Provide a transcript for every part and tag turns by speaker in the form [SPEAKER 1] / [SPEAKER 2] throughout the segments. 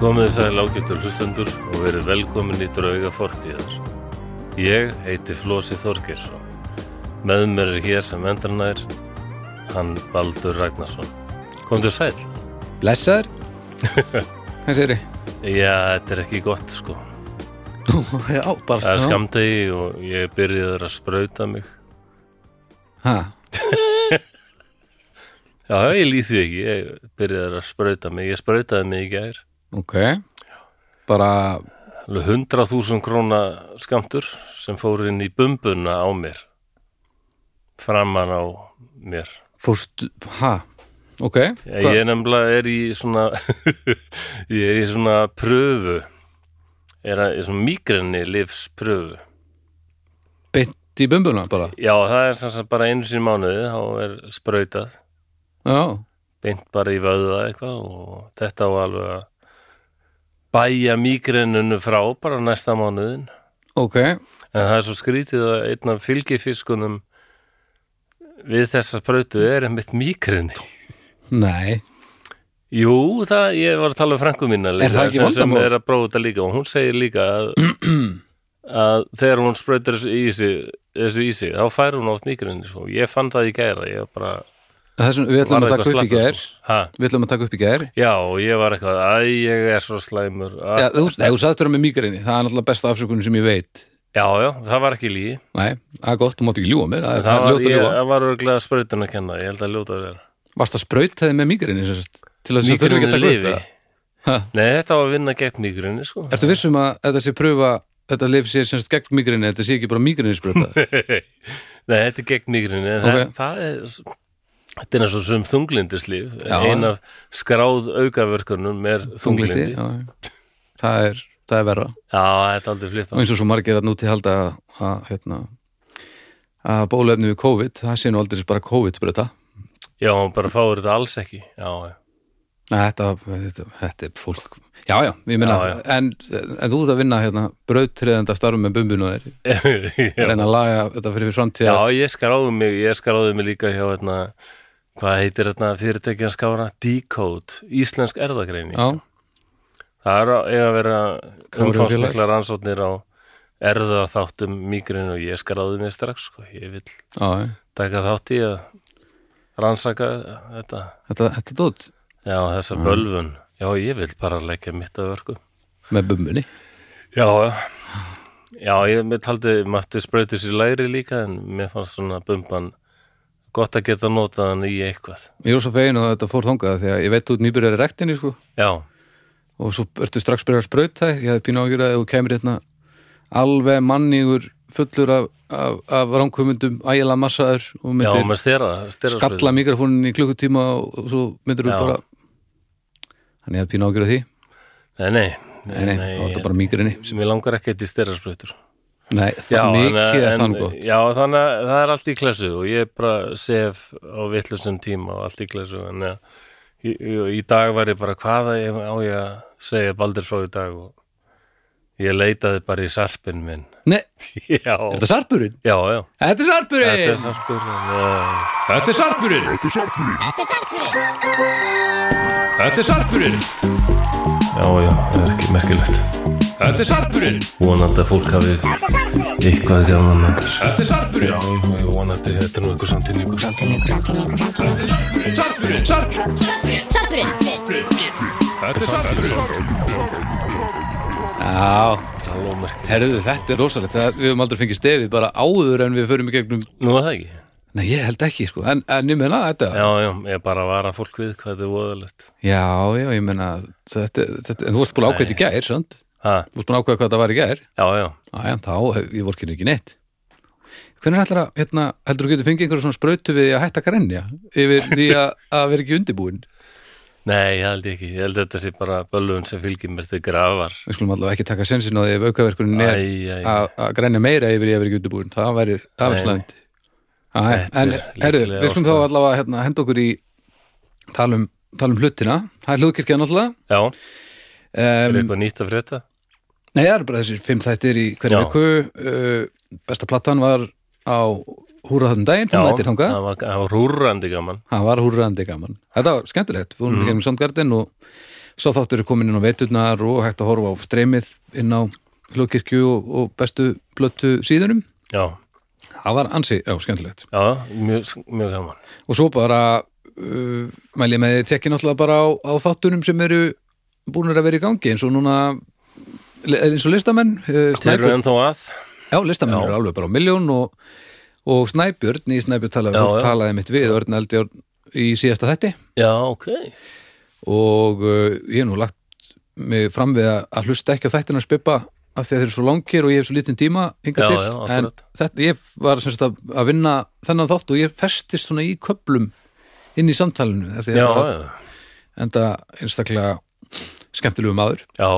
[SPEAKER 1] Komið þess að lágjöftur hlustendur og verið velkomin í drauga fortíðar. Ég heiti Flósi Þorgeirsson. Með mér er hér sem endranær, hann Baldur Ragnarsson. Komdu sæl?
[SPEAKER 2] Blessaður? Hvað segir þið?
[SPEAKER 1] Já, þetta er ekki gott sko.
[SPEAKER 2] Já, bara
[SPEAKER 1] Það er skamdegi og ég byrjaður að sprauta mig.
[SPEAKER 2] Ha,
[SPEAKER 1] Já, ég lýð því ekki, ég byrjaður að sprauta mig. Ég sprautaði mig í gær.
[SPEAKER 2] ok Bara,
[SPEAKER 1] Alveg 100.000 króna skamtur sem fór inn í bumbuna á mér. Framan á mér.
[SPEAKER 2] fórst, ha Ok,
[SPEAKER 1] Já, ég nefnilega er í svona ég er í svona pröfu er að, í svona migrenni lifspröfu
[SPEAKER 2] beint í bumbuna bara
[SPEAKER 1] já það er sem sagt bara einu sinni í mánuði þá er sprautað
[SPEAKER 2] Já,
[SPEAKER 1] beint bara í vöðva eitthvað og þetta á alveg að bæja migrennunu frá bara næsta mánuðin
[SPEAKER 2] ok
[SPEAKER 1] en það er svo skrítið að einn af fylgifiskunum við þessa sprautu er einmitt migrenni
[SPEAKER 2] Nei,
[SPEAKER 1] Jú, það, ég var að tala um frænku mína líka,
[SPEAKER 2] Er það ekki
[SPEAKER 1] sem- sem
[SPEAKER 2] vandamál?
[SPEAKER 1] er að prófa þetta líka og hún segir líka að, að þegar hún sprautur þessu ísi, þessu ísi þá fær hún oft migrinni sko. ég fann það í gæra ég bara
[SPEAKER 2] þessum, við ætlum að
[SPEAKER 1] varð
[SPEAKER 2] taka upp í
[SPEAKER 1] slappur,
[SPEAKER 2] gær
[SPEAKER 1] sko. Ha,
[SPEAKER 2] Við ætlum að taka upp í gær
[SPEAKER 1] Já, og ég var eitthvað að ég er svo slæmur að,
[SPEAKER 2] Já,
[SPEAKER 1] já.
[SPEAKER 2] þú, nei, þú sagðist þurra með mýgrinni Það er náttúrulega besta afsökunin sem ég veit
[SPEAKER 1] já, það var ekki lígi
[SPEAKER 2] Nei, það er gott, þú mátt ekki ljúga mér Það er-
[SPEAKER 1] það
[SPEAKER 2] það er
[SPEAKER 1] var,
[SPEAKER 2] ljótt að
[SPEAKER 1] ég,
[SPEAKER 2] ljúga
[SPEAKER 1] það var örglega sprautun að kenna ég held að ljóta þér
[SPEAKER 2] Varst að sprautaði með mýgrinni Til þess að þurfa ekki að taka upp
[SPEAKER 1] lifi
[SPEAKER 2] það? Ha.
[SPEAKER 1] Nei, þetta var að vinna gegn migrinni sko.
[SPEAKER 2] Ertu vissum að þetta sé pröfa Þetta lif sé semst gegn mýgrinni Þetta sé ekki bara mýgrinni sprautað
[SPEAKER 1] Nei, þetta er gegn migrinni okay. það,
[SPEAKER 2] Ok.
[SPEAKER 1] það er þetta er eins og sem þunglindislíf
[SPEAKER 2] Já.
[SPEAKER 1] ein af skráð aukavörkunum er þunglindi
[SPEAKER 2] Þunglindi,
[SPEAKER 1] já.
[SPEAKER 2] já. Það er, það er verra
[SPEAKER 1] þetta er aldrei
[SPEAKER 2] og
[SPEAKER 1] flipa
[SPEAKER 2] eins og svo margir að núti halda að, að, hérna, að bólefni við COVID það sé nú aldrei bara COVID spröta
[SPEAKER 1] já, hún bara fáur þetta alls ekki já, já.
[SPEAKER 2] þetta, þetta, þetta er fólk já, já, ég minna
[SPEAKER 1] Já, já.
[SPEAKER 2] En, en þú ert að vinna hérna, brautriðenda starfum með bumbinu þér
[SPEAKER 1] já.
[SPEAKER 2] reyna að laga þetta fyrir framtíð
[SPEAKER 1] já, ég skráði mig ég skráði mig líka hjá hérna, hvað heitir þetta fyrirtækjan skára Decode, Íslensk erðagreining
[SPEAKER 2] já,
[SPEAKER 1] það er að, eiga að vera
[SPEAKER 2] Kári og
[SPEAKER 1] umfangsmikla rannsóknir á erðaþáttum migrin og ég skráði mig strax sko. ég vil
[SPEAKER 2] já, já.
[SPEAKER 1] taka þátt í að rannsaka þetta
[SPEAKER 2] þetta, þetta er dótt
[SPEAKER 1] Já, þessa
[SPEAKER 2] Mhm.
[SPEAKER 1] bölvun. Já, ég vil bara leggja mitt að verku.
[SPEAKER 2] með bumbunni
[SPEAKER 1] Já, já. Já, ég mér taldi, mætti sprautis í læri líka en mér fannst svona bumban gott að geta notað hann í eitthvað.
[SPEAKER 2] ég er svo fegin og þetta fór þangað því að ég veit þú ert nýbyrjar í rektinni sko,
[SPEAKER 1] Já,
[SPEAKER 2] og svo ertu strax byrjar að sprauta ég hefði pínu ágjur að ef þú kemur hérna alveg mannigur fullur af, af, af ránkumundum ægilega massaður og
[SPEAKER 1] já,
[SPEAKER 2] myndir
[SPEAKER 1] með stera, stera
[SPEAKER 2] skalla mikrofónin í klukkutíma og og svo myndir þú
[SPEAKER 1] Já.
[SPEAKER 2] bara hann er að pína ágjörða því
[SPEAKER 1] Nei, nei,
[SPEAKER 2] nei, nei, þá er þetta bara migrinni
[SPEAKER 1] sem ég langar ekkert í stera sprautur.
[SPEAKER 2] nei, það mikið er þann gott
[SPEAKER 1] Já, þannig að það er allt í klessu og ég bara sef á vitlusum tíma og allt í klessu en ja, í, í- í dag var ég bara hvaða ég, á ég að segja Baldur frá í dag og ég leitaði bara í sarpinn minn
[SPEAKER 2] nei,
[SPEAKER 1] Já,
[SPEAKER 2] er þetta sarpurinn?
[SPEAKER 1] já, já
[SPEAKER 2] þetta er
[SPEAKER 1] Þetta er
[SPEAKER 2] sarpurinn!
[SPEAKER 1] sarpinn já.
[SPEAKER 2] þetta er sarpurinn! þetta er sarpurinn!
[SPEAKER 1] já, já, það er ekki merkilegt
[SPEAKER 2] þetta er sarpurinn!
[SPEAKER 1] Vonandi að fólk hafi eitthvað gaman að þessu.
[SPEAKER 2] þetta er
[SPEAKER 1] Já,
[SPEAKER 2] sarpurinn!
[SPEAKER 1] ég vonandi þetta er nú eitthvað samtíningur
[SPEAKER 2] sarpurinn! sarpurinn! þetta er sarpurinn! já
[SPEAKER 1] Hallómerki
[SPEAKER 2] Herðu, þetta er rosalegt, það, við höfum aldrei fengið stefið bara áður en við förum í gegnum
[SPEAKER 1] Nú er það ekki
[SPEAKER 2] Nei, ég held ekki, sko, en, en ég menna þetta
[SPEAKER 1] Já, já, ég bara vara fólk við hvað þetta er voðalegt
[SPEAKER 2] Já, já, ég meina þetta, þetta, en þú varst búin að ákveða þetta í gær, svönd Þú
[SPEAKER 1] Ha,
[SPEAKER 2] varst búin að ákveða hvað það var í gær
[SPEAKER 1] já, já
[SPEAKER 2] Æja, þá, hef- ég vorkinu ekki neitt Hvernig ætlar að, hérna, heldur þú getur fengið einhverjum svona sprautu við því að hætta að grenja yfir því að, að vera ekki undibúin
[SPEAKER 1] Nei, ég held ekki, ég held að þetta sé bara bölvun sem fylgir mér til grafar
[SPEAKER 2] Við skulum allavega ekki taka sensin á því ef aukaverkunin er
[SPEAKER 1] Æ, æ,
[SPEAKER 2] að að grenja meira yfir því að vera ekki undibúin Það væri
[SPEAKER 1] Nei.
[SPEAKER 2] afslæmt Æja,
[SPEAKER 1] Þetta
[SPEAKER 2] en
[SPEAKER 1] er
[SPEAKER 2] herðu,
[SPEAKER 1] líklega
[SPEAKER 2] við skulum þá
[SPEAKER 1] ástæðan.
[SPEAKER 2] allavega hérna, henda okkur í talum, talum um hlutina Það er hlugkirkja náttúrulega
[SPEAKER 1] Já,
[SPEAKER 2] um,
[SPEAKER 1] er eitthvað nýtt að frétta?
[SPEAKER 2] Nei, það eru bara þessir fimm þættir í hverju
[SPEAKER 1] Já.
[SPEAKER 2] viku uh, Besta platan var á húra þáttum daginn,
[SPEAKER 1] Já,
[SPEAKER 2] fimm þættir þangað
[SPEAKER 1] það var, það var rúrandi gaman
[SPEAKER 2] Það var húrandi gaman Þetta var skemmtilegt, við vorum mm. gegnum Soundgarden og Sá þáttur er komin inn á veturnar og hægt að horfa á streymið inn á hlugkirkju og, og bestu blöttu síðunum.
[SPEAKER 1] já,
[SPEAKER 2] Það var ansi, já, skemmtilegt.
[SPEAKER 1] já, mjög, mjög gaman
[SPEAKER 2] Og svo bara, uh, mæli ég með því, tekki náttúrulega bara á, á þáttunum sem eru búinir að vera í gangi eins og núna, eins og listamenn, uh,
[SPEAKER 1] Þeir eru
[SPEAKER 2] snæpur
[SPEAKER 1] ennþá að
[SPEAKER 2] Já, listamenn
[SPEAKER 1] Já.
[SPEAKER 2] eru alveg bara á miljón og, og Snæbjörn í Snæbjörn talaði,
[SPEAKER 1] Já,
[SPEAKER 2] fólk
[SPEAKER 1] já.
[SPEAKER 2] talaði mitt við Örn Eldjörn í síðasta þætti
[SPEAKER 1] Já, ok,
[SPEAKER 2] og uh, ég hef nú lagt mig fram við að, að hlusta ekki á þættina að spippa af því að þeir eru svo langir og ég hef svo lítinn tíma hinga
[SPEAKER 1] Já,
[SPEAKER 2] til,
[SPEAKER 1] já, akkurat.
[SPEAKER 2] en þetta, ég var semst að, að vinna þennan þátt og ég festist svona í köplum inn í samtalinu, af því
[SPEAKER 1] já,
[SPEAKER 2] þetta var
[SPEAKER 1] já,
[SPEAKER 2] enda einstaklega skemmtilegu maður
[SPEAKER 1] já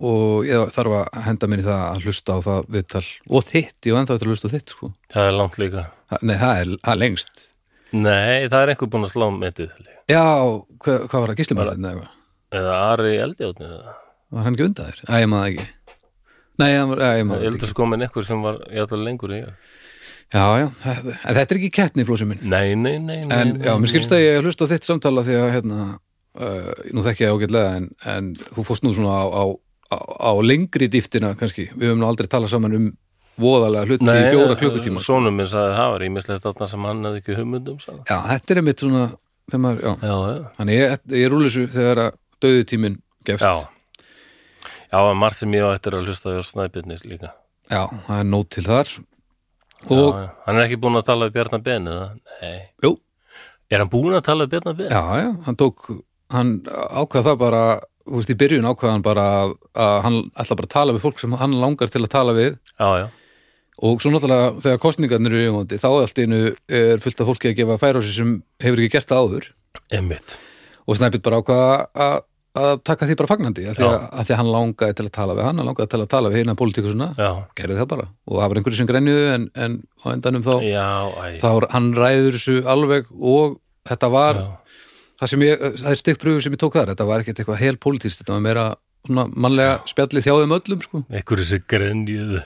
[SPEAKER 2] og ég þarf að henda minni það að hlusta á það viðtal og þitt, ég var ennþá eftir að hlusta á þitt sko.
[SPEAKER 1] Það er langt líka
[SPEAKER 2] Það- Nei, það er, það er lengst.
[SPEAKER 1] Nei, það er einhver búinn að slá metið held ég.
[SPEAKER 2] Já, hva, hvað var það, gíslimarðin eða eitthvað?
[SPEAKER 1] Eða Ari Eldjáttni eða
[SPEAKER 2] Var hann ekki undan þér? Æ, ég maður það ekki. Nei, hann var, æ, ég
[SPEAKER 1] Ég
[SPEAKER 2] maður það
[SPEAKER 1] held
[SPEAKER 2] ekki.
[SPEAKER 1] að svo komin einhver sem var játlega lengur í ég.
[SPEAKER 2] Já, já, þetta, en þetta er ekki kettni, flósi minn.
[SPEAKER 1] Nei, nei, nei, nei
[SPEAKER 2] En,
[SPEAKER 1] nei,
[SPEAKER 2] já, mér skilst
[SPEAKER 1] nei.
[SPEAKER 2] að ég hlusta á þitt samtala því að, hérna, uh, nú þekki ég ágætlega, en, en þú fórst nú svona á, á, á, á lengri dýftina, kannski. Við höfum nú aldrei talað saman um voðalega hluti í fjóra
[SPEAKER 1] eh,
[SPEAKER 2] klukkutíma.
[SPEAKER 1] Sónum minn sagði það var ímislegt þarna sem hann hefði ekki humundum sagði.
[SPEAKER 2] Já, þetta er einmitt svona, þegar maður, já.
[SPEAKER 1] Já, já,
[SPEAKER 2] Þannig ég, ég rúli þessu þegar að döðutíminn gefst.
[SPEAKER 1] já Já, en margt sem ég á eftir að hlusta á snæbjörnis líka
[SPEAKER 2] Já, það er nót til þar og,
[SPEAKER 1] já, já. Hann er ekki búinn að tala við Bjarnar Ben eða? Nei
[SPEAKER 2] jú,
[SPEAKER 1] Er hann búinn að tala við Bjarnar Ben?
[SPEAKER 2] já, já, hann tók hann ákvað það bara þú veist, í byrjun ákvað hann bara að, að hann ætla bara að tala við fólk sem hann langar til að tala við
[SPEAKER 1] Já, já,
[SPEAKER 2] og svo náttúrulega þegar kostningarnir eru yfirvandi þá allt í einu er fullt af fólki að gefa færa á sig sem hefur ekki gert það áður
[SPEAKER 1] einmitt
[SPEAKER 2] og Snæbjörn bara ákvað að, að taka því bara fagnandi að því að,
[SPEAKER 1] Já.
[SPEAKER 2] að því að hann langaði til að tala við hann, hann langaði til að tala við hérna pólitíkusuna,
[SPEAKER 1] Já,
[SPEAKER 2] gerði það bara og það var einhverju sem grenjuðu en, en á endanum þá
[SPEAKER 1] já, æ
[SPEAKER 2] þá er- hann ræður þessu alveg og þetta var
[SPEAKER 1] Já.
[SPEAKER 2] það sem ég, það er stikkpröfu sem ég tók þar þetta var ekkert eitthvað hel pólitíst, þetta var meira svona mannlega spjallið hjá þeim öllum sko.
[SPEAKER 1] Ekkur þessi grenjuð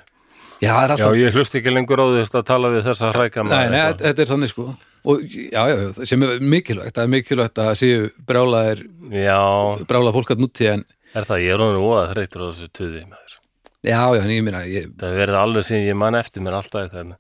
[SPEAKER 2] já, það er
[SPEAKER 1] Já,
[SPEAKER 2] alltaf,
[SPEAKER 1] ég hlust ekki lengur á því að tala við þessa hræka
[SPEAKER 2] nei, nei, þetta- þetta er þannig sko og já, já, já, það sem er mikilvægt það er mikilvægt að það séu brjálaðir
[SPEAKER 1] Já,
[SPEAKER 2] brjálað fólk að núti en
[SPEAKER 1] er það, ég er honum óað þreytur á þessu tuði maður.
[SPEAKER 2] já, já, en ég minna ég,
[SPEAKER 1] Það er verið alveg síðan ég man eftir mér alltaf eitthvað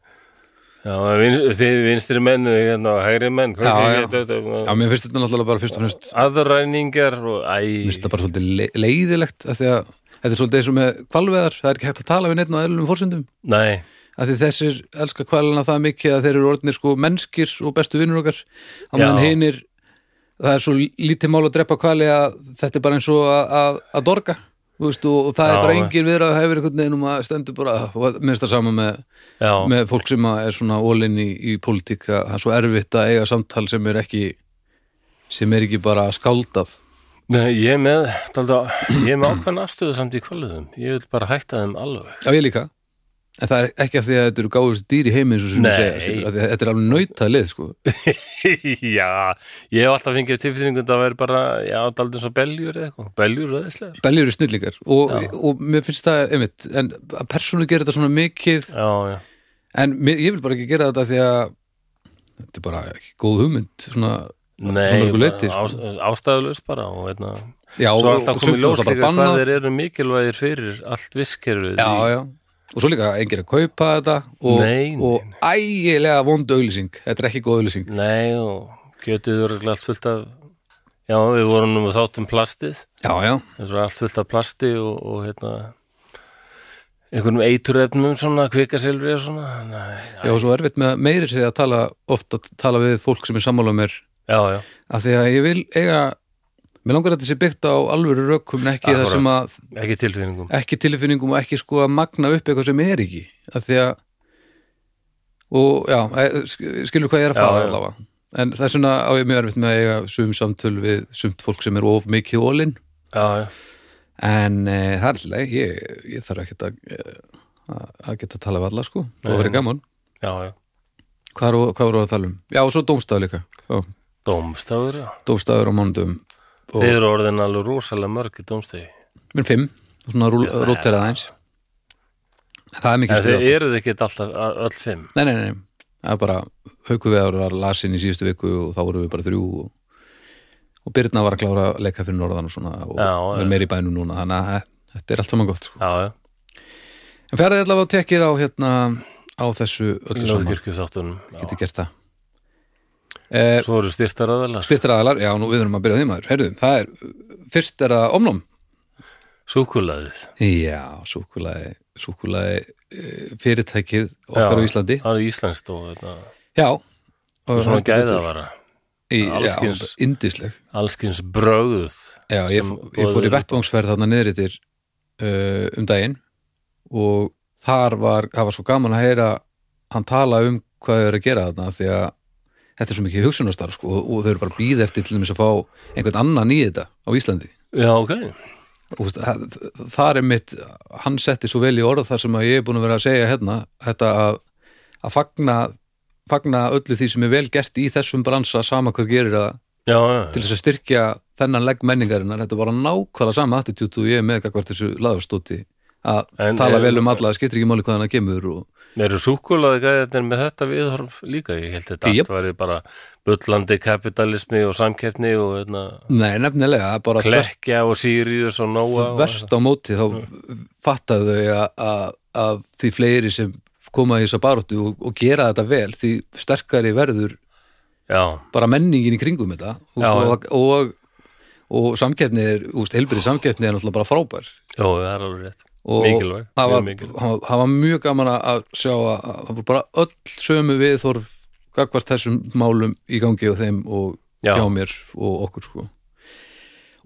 [SPEAKER 1] Já, vin, þið vinstri menn og hérna, og hægri menn
[SPEAKER 2] Já,
[SPEAKER 1] hvernig
[SPEAKER 2] já.
[SPEAKER 1] ég- þetta-
[SPEAKER 2] já, mér finnst þetta náttúrulega bara fyrst og fremst
[SPEAKER 1] Aðræningar og
[SPEAKER 2] mér finnst
[SPEAKER 1] æ
[SPEAKER 2] þetta bara svolítið le leiðilegt af því að þetta er svolítið eins og með kvalveðar það er ekki hægt að tala við neitt á eðlum fórsendum
[SPEAKER 1] Nei,
[SPEAKER 2] að því þessir elska kvalina það mikið að þeir eru orðnir sko mennskir og bestu vinnur okkar að
[SPEAKER 1] Já.
[SPEAKER 2] meðan hinir það er svo lítið mál að drepa kvali að þetta er bara eins og að, að, að dorga þú veist, og, og það
[SPEAKER 1] Já,
[SPEAKER 2] er bara
[SPEAKER 1] veit.
[SPEAKER 2] engin viðrað hefur einhvern veginn um að stendur bara og minnst það sama með,
[SPEAKER 1] já,
[SPEAKER 2] með fólk sem að er svona ólinn í, í pólitík að það er svo erfitt að eiga samtal sem er ekki sem er ekki bara skáldað
[SPEAKER 1] Nei, ég er með talda, ég er með ákveðan afstöðu samt í kvöluðum ég vil bara hætta þeim alveg
[SPEAKER 2] já ég líka en það er ekki af því að þetta eru gáðust dýr í heiminn sem
[SPEAKER 1] Nei.
[SPEAKER 2] sem segja, skilur, af því að þetta er alveg nautað lið sko.
[SPEAKER 1] Já, ég hef alltaf fengið tilfinningum það væri bara, já, talda eins og beljur eða eitthvað, beljur eða þesslega
[SPEAKER 2] Belli eru snillingar og,
[SPEAKER 1] Já.
[SPEAKER 2] og mér finnst það, einmitt, en að persónu gera þetta svona mikið,
[SPEAKER 1] Já, já,
[SPEAKER 2] en mér, ég vil bara ekki gera þetta því að þetta er bara ekki góð hugmynd, svona
[SPEAKER 1] nei,
[SPEAKER 2] mörgu leyti,
[SPEAKER 1] bara á- ástæðulaus bara og veitna
[SPEAKER 2] já,
[SPEAKER 1] Svo
[SPEAKER 2] og-
[SPEAKER 1] alltaf
[SPEAKER 2] og
[SPEAKER 1] komið
[SPEAKER 2] sumt
[SPEAKER 1] ljós
[SPEAKER 2] náttúrulega bara
[SPEAKER 1] líka hvað
[SPEAKER 2] bannað.
[SPEAKER 1] þeir eru mikilvægir fyrir allt visskerfið
[SPEAKER 2] já, já, og svo líka engir að kaupa þetta og,
[SPEAKER 1] Nei, nei,
[SPEAKER 2] og ægilega vond auglýsing, þetta er ekki góð auglýsing
[SPEAKER 1] Nei, og kjötið eru allt fullt af Já, við vorum nú þátt um plastið
[SPEAKER 2] já, já,
[SPEAKER 1] Það eru allt fullt af plasti og, og hérna einhvernum eiturefnum svona, kvikasilfri og svona Nei,
[SPEAKER 2] já, og svo erfitt með meiri sér að tala, ofta tala við fólk sem er sammála mér,
[SPEAKER 1] já, já,
[SPEAKER 2] af því að ég vil eiga, mér langar að þetta sé byggt á alvöru rökum, en ekki það sem að
[SPEAKER 1] ekki tilfinningum
[SPEAKER 2] ekki tilfinningum og ekki sko að magna upp eitthvað sem er ekki að því að og já, eh, sk- skilur hvað ég er að
[SPEAKER 1] Já,
[SPEAKER 2] fara
[SPEAKER 1] já.
[SPEAKER 2] allavega en það er svona á ég mjög erfitt með að eiga sum samtöl við sumt fólk sem er of mikið ólinn
[SPEAKER 1] Já, já,
[SPEAKER 2] en e, það er alltaf ég, ég þarf ekkert að, eh, að, að geta að tala við alla sko, það verið gaman
[SPEAKER 1] já, já
[SPEAKER 2] hvað er- hvað voru að tala um? Já, og svo dómstafur líka já,
[SPEAKER 1] Dómstafur, já
[SPEAKER 2] dómstafur á mánudum og
[SPEAKER 1] Þeir eru orðin alveg rosalega mörg í dómstegi
[SPEAKER 2] minn fimm, svona rúl-
[SPEAKER 1] Ég-
[SPEAKER 2] róterað eins það er mikið
[SPEAKER 1] En
[SPEAKER 2] stuð
[SPEAKER 1] þeir eru þið ekki alltaf a- öll fimm
[SPEAKER 2] Nei, nei, nei, það er bara haukuveðar var lasin í síðustu viku og þá vorum við bara þrjú og, og Birna var að klára að leika fyrir norðan og svona og
[SPEAKER 1] Já,
[SPEAKER 2] er
[SPEAKER 1] já.
[SPEAKER 2] meir í bænum núna þannig að eh, þetta er allt saman gott sko.
[SPEAKER 1] já, já,
[SPEAKER 2] en ferðið allavega og tekið á hérna á þessu öllu saman
[SPEAKER 1] lóðkirkju þáttunum
[SPEAKER 2] getið gert það eh,
[SPEAKER 1] Svo eru styrtar aðalega
[SPEAKER 2] styrtir aðalar, já nú við erum að byrja á því maður heyrðu, það er, fyrst er það omnum
[SPEAKER 1] Súkulaðið
[SPEAKER 2] já, súkulaði súkulaði fyrirtækið okkar á Íslandi
[SPEAKER 1] Það er íslenskt og þetta,
[SPEAKER 2] já, og heldur
[SPEAKER 1] svona
[SPEAKER 2] betur.
[SPEAKER 1] gæðavara
[SPEAKER 2] í,
[SPEAKER 1] alls
[SPEAKER 2] já,
[SPEAKER 1] kyns.
[SPEAKER 2] indisleg
[SPEAKER 1] Allskins brögð
[SPEAKER 2] Já, ég,
[SPEAKER 1] sem
[SPEAKER 2] ég fór í
[SPEAKER 1] boðið er
[SPEAKER 2] vettvangsferð þarna niðritir uh, um daginn og þar var, það var svo gaman að heyra hann tala um hvað þau eru að gera þarna því að þetta er svo mikið hugsunastarf sko, og, og þau eru bara býð eftir til þess að fá einhvern annan í þetta á Íslandi
[SPEAKER 1] Já, ok
[SPEAKER 2] og þú veist, það- þar er mitt hann setti svo vel í orð þar sem að ég er búin að vera að segja hérna þetta að, að fagna, fagna öllu því sem er vel gert í þessum bransa sama hver gerir að
[SPEAKER 1] Já, já,
[SPEAKER 2] til þess að styrkja þennan legg menningarinnar þetta var nákvæmlega sama attitút og ég er með gagvart þessu laðarstóti að
[SPEAKER 1] En
[SPEAKER 2] tala
[SPEAKER 1] er-
[SPEAKER 2] vel um alla, það skiptir ekki máli hvaðan að kemur og
[SPEAKER 1] Eru súkulaði gæðirnir með þetta viðhorf líka? Ég held þetta
[SPEAKER 2] Jöp.
[SPEAKER 1] allt væri bara bullandi kapitalismi og samkeppni og hérna,
[SPEAKER 2] nei, nefnilega, bara þvert,
[SPEAKER 1] klekkja og sírius og nóa og Mm.
[SPEAKER 2] þvert á móti þá fattaðu þau að, að, að því fleiri sem koma í þessa baróttu og, og gera þetta vel því sterkari verður
[SPEAKER 1] Já,
[SPEAKER 2] bara menningin í kringum þetta úst,
[SPEAKER 1] Já,
[SPEAKER 2] og, og, og, og samkeppni er, úst, helbrið samkeppni er náttúrulega bara frábær
[SPEAKER 1] já, það er alveg rétt
[SPEAKER 2] og
[SPEAKER 1] Mikilvæg,
[SPEAKER 2] það var,
[SPEAKER 1] mjög mikilvæg
[SPEAKER 2] hann- það var mjög gaman að- að sjá að að það voru bara öll sömu viðþorf gagvart þessum málum í gangi og þeim og
[SPEAKER 1] Já.
[SPEAKER 2] hjá mér og okkur sko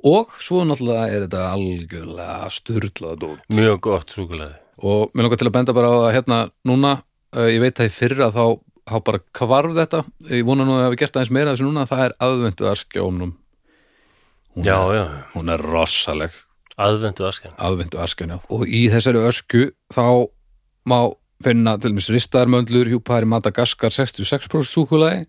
[SPEAKER 2] og svo náttúrulega er þetta algjörlega sturlað dót
[SPEAKER 1] Mjög gott súkulaði
[SPEAKER 2] og mér langar til að benda bara á það hérna núna, uh, ég veit að í fyrra þá, þá bara kvarf þetta ég vona nú að hafa gert aðeins meira af þessu núna það er aðvendu askjónum hún,
[SPEAKER 1] Já,
[SPEAKER 2] er-
[SPEAKER 1] já,
[SPEAKER 2] hún er rossaleg
[SPEAKER 1] aðvendu askan
[SPEAKER 2] aðvendu askjana og í þessari ösku þá má finna til dæmis ristaðarmöndlur, hjúpari Madagaskar 66% súkulaði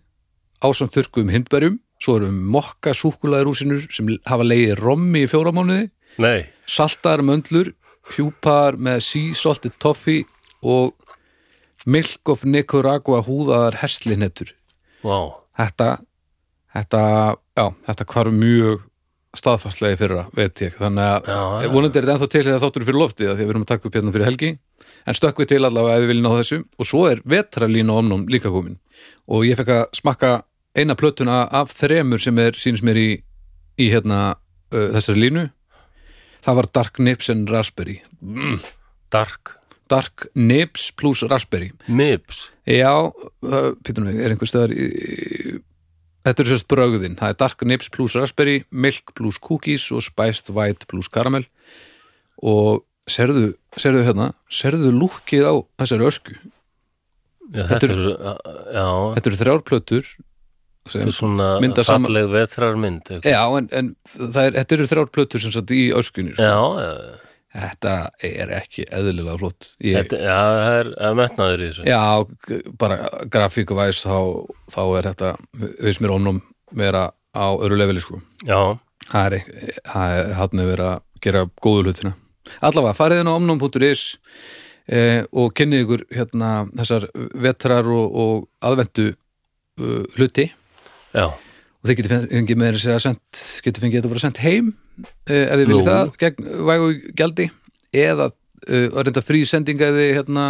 [SPEAKER 2] ásamt þurrkuðum hindberjum, svo erum mokka súkulaðirúsinur sem hafa leiðið rommi í fjóra mánuði,
[SPEAKER 1] Nei,
[SPEAKER 2] saltaðarmöndlur hjúpar með sea salted toffee og milk of Nicaragua húðaðar herslinettur
[SPEAKER 1] vá,
[SPEAKER 2] þetta þetta, já, þetta hvarf mjög staðfastlega í fyrra, veit ég þannig að
[SPEAKER 1] Já, já.
[SPEAKER 2] vonandi er þetta ennþá til þegar þáttur er fyrir loftið af því að við erum að taka upp hérna fyrir helgi en stökk við til allavega ef við viljum á þessu og svo er vetralína omnum líka komin og ég fekk að smakka eina plötuna af þremur sem er sýnist mér í, í hérna uh, þessari línu það var Dark Nips and Raspberry
[SPEAKER 1] dark
[SPEAKER 2] Dark Nips plus Raspberry
[SPEAKER 1] Mibs,
[SPEAKER 2] Já, það, pítur mig, er einhver stöðar í, í, Þetta er sérst brögðin Það er dark nips plus raspberry milk plus cookies og spiced white plus caramel og serðu, serðu hérna serðu lúkið á þessari ösku
[SPEAKER 1] já,
[SPEAKER 2] Þetta
[SPEAKER 1] þetta
[SPEAKER 2] er-
[SPEAKER 1] eru Já,
[SPEAKER 2] Þetta eru þrjár plötur
[SPEAKER 1] þetta
[SPEAKER 2] sem,
[SPEAKER 1] er svona
[SPEAKER 2] Mynda saman-
[SPEAKER 1] falleg vetrarmynd eitthvað.
[SPEAKER 2] Já, en, en það er, þetta eru þrjár plötur sem satt í öskunni sko.
[SPEAKER 1] Já, já,
[SPEAKER 2] Þetta er ekki eðlilega flott Ég,
[SPEAKER 1] þetta, já, það er það er metnaður í þessu
[SPEAKER 2] Já, g- bara grafíkuvæs þá, þá er þetta, veist mér omnum vera á öru leveli sko
[SPEAKER 1] Já,
[SPEAKER 2] Það er, ekki- það er hann er verið að gera góðu hlutina. Allavega, farið inn á omnum.is eh, og kynnið ykkur hérna þessar vetrar og, og aðventu uh, hluti
[SPEAKER 1] já,
[SPEAKER 2] og þið getið fen- fengið með þess að sent, getið fengið þetta bara sent heim eh, ef þið viljið
[SPEAKER 1] Nú.
[SPEAKER 2] það, gegn vægu gjaldi eða uh, að reynda frí sendinga ef þið, hérna,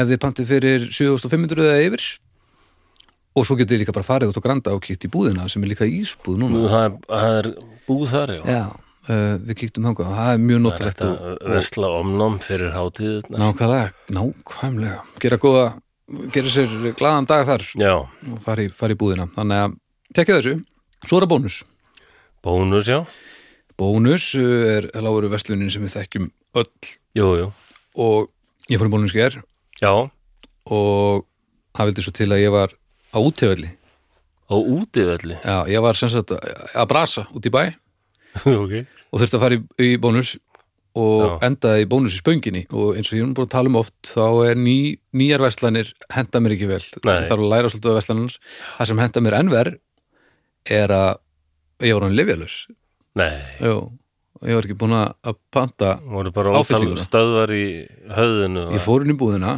[SPEAKER 2] ef þið pantið fyrir 7500 eða yfir og svo getið þið líka bara farið út á granda og kýtt í búðina sem er líka ísbúð núna
[SPEAKER 1] Nú, það er, það er búð þar, já
[SPEAKER 2] Já, uh, við kíktum þangað og það er mjög
[SPEAKER 1] Það er
[SPEAKER 2] notalegt
[SPEAKER 1] hægt
[SPEAKER 2] og
[SPEAKER 1] að vesla omnám fyrir hátíðirna
[SPEAKER 2] nákvæmlega, nákvæmlega gera góða, gera sér glaðan dag þar
[SPEAKER 1] Já,
[SPEAKER 2] og fara í, fara í búðina þannig að tekja þessu, svo er að bónus
[SPEAKER 1] bónus, já
[SPEAKER 2] bónus uh, er lágur vestlunin sem við þekkjum öll
[SPEAKER 1] Jú, jú,
[SPEAKER 2] og ég fór í bónus ger
[SPEAKER 1] já
[SPEAKER 2] og það vildi svo til að ég var á útefelli,
[SPEAKER 1] Og útivelli
[SPEAKER 2] já, ég var sem sagt að að brasa út í bæ
[SPEAKER 1] Ok
[SPEAKER 2] og þurfti að fara í, í bónus og
[SPEAKER 1] Já.
[SPEAKER 2] endaði í bónus í spönginni og eins og ég er nú búin að tala um oft þá er ný, nýjar verslanir henda mér ekki vel
[SPEAKER 1] Nei.
[SPEAKER 2] ég þarf að læra svolítið af verslanar það sem henda mér enn verð er að ég var hann lifjalus
[SPEAKER 1] Nei,
[SPEAKER 2] ég var ekki búin að- að panta
[SPEAKER 1] voru bara ótal
[SPEAKER 2] Áfyllinguna.
[SPEAKER 1] stöðvar í höfðinu
[SPEAKER 2] ég fór inn í búðina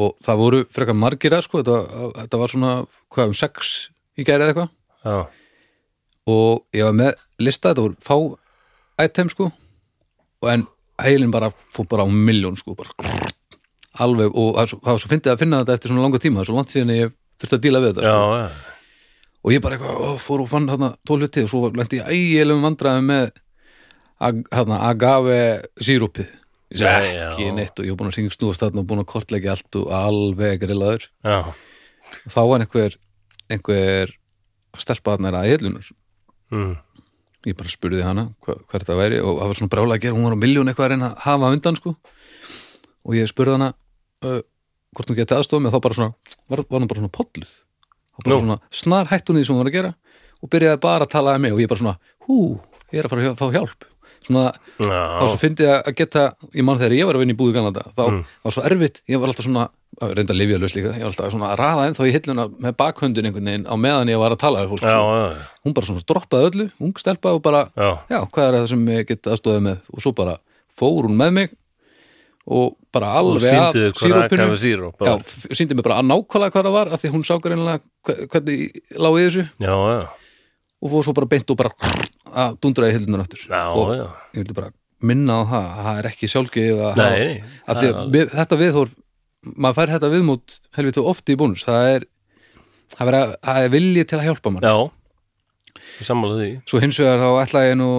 [SPEAKER 2] og það voru frekar margir að sko, þetta, þetta var svona hvað um sex í gæri eða eitthvað
[SPEAKER 1] Já,
[SPEAKER 2] og ég var með lista, þetta voru fá item sko og en heilin bara fór bara á miljón sko bara grrrt, alveg og það er svo- það var svo fyndið að finna þetta eftir svona langa tíma það er svo langt síðan ég þurfti að díla við þetta
[SPEAKER 1] já,
[SPEAKER 2] sko.
[SPEAKER 1] já,
[SPEAKER 2] og ég bara eitthvað, ó, fór og fann þarna tóluti og svo lendi ég ægilegum vandræðum með ag, þarna, agave sírupið ég segi
[SPEAKER 1] Nei,
[SPEAKER 2] ekki
[SPEAKER 1] já.
[SPEAKER 2] neitt og ég var búin að ringsnúast þarna og búin að kortleggja allt og alveg grillaður
[SPEAKER 1] já,
[SPEAKER 2] þá var einhver, einhver stelpa þarna er að eðlunar
[SPEAKER 1] mm,
[SPEAKER 2] ég bara spurði hana hva, hvað þetta væri og það var svona brála að gera, hún var á miljón eitthvað að reyna að hafa undan sko og ég spurði hana uh, hvort hún geti aðstofa mig og þá bara svona, var, var hún bara svona polluð þá bara
[SPEAKER 1] Nú.
[SPEAKER 2] svona snar hætt hún í því sem hún var að gera og byrjaði bara að tala um mig og ég bara svona, hú, ég er að fara að hjá- fá hjálp svona, þá
[SPEAKER 1] já,
[SPEAKER 2] svo fyndi ég að geta ég mann þegar ég var að vinna í búið ganlanda þá
[SPEAKER 1] Mm.
[SPEAKER 2] var svo erfitt, ég var alltaf svona að reynda að lifja laus líka, ég var alltaf svona að raða ennþá í hilluna með bakhöndin einhvern veginn á meðan ég var að tala við fólk
[SPEAKER 1] já,
[SPEAKER 2] svo
[SPEAKER 1] já,
[SPEAKER 2] hún bara svona droppaði öllu, ung stelpa og bara
[SPEAKER 1] já,
[SPEAKER 2] já, hvað er það sem ég get aðstofið með og svo bara fór hún með mig og bara
[SPEAKER 1] og
[SPEAKER 2] alveg
[SPEAKER 1] síndi þið hvað
[SPEAKER 2] sírupinu.
[SPEAKER 1] rakaði síróp,
[SPEAKER 2] já,
[SPEAKER 1] já,
[SPEAKER 2] f- síndi mig bara að nákvæmlega hvað það var af því hún sá greinlega hve- hvernig lá í þessu
[SPEAKER 1] já, já,
[SPEAKER 2] og fór svo bara beint og bara að dundra í hildunar aftur
[SPEAKER 1] já,
[SPEAKER 2] og
[SPEAKER 1] já,
[SPEAKER 2] ég vildi bara minna á það að það er ekki sjálfgeif að hafa-
[SPEAKER 1] nei,
[SPEAKER 2] af
[SPEAKER 1] það
[SPEAKER 2] því að
[SPEAKER 1] er alveg-
[SPEAKER 2] við, þetta viðhorf maður fær þetta viðmót helviti ofti í bónus það er, það vera, það er vilji til að hjálpa mann
[SPEAKER 1] já, ég sammála því,
[SPEAKER 2] svo hins vegar þá ætla ég nú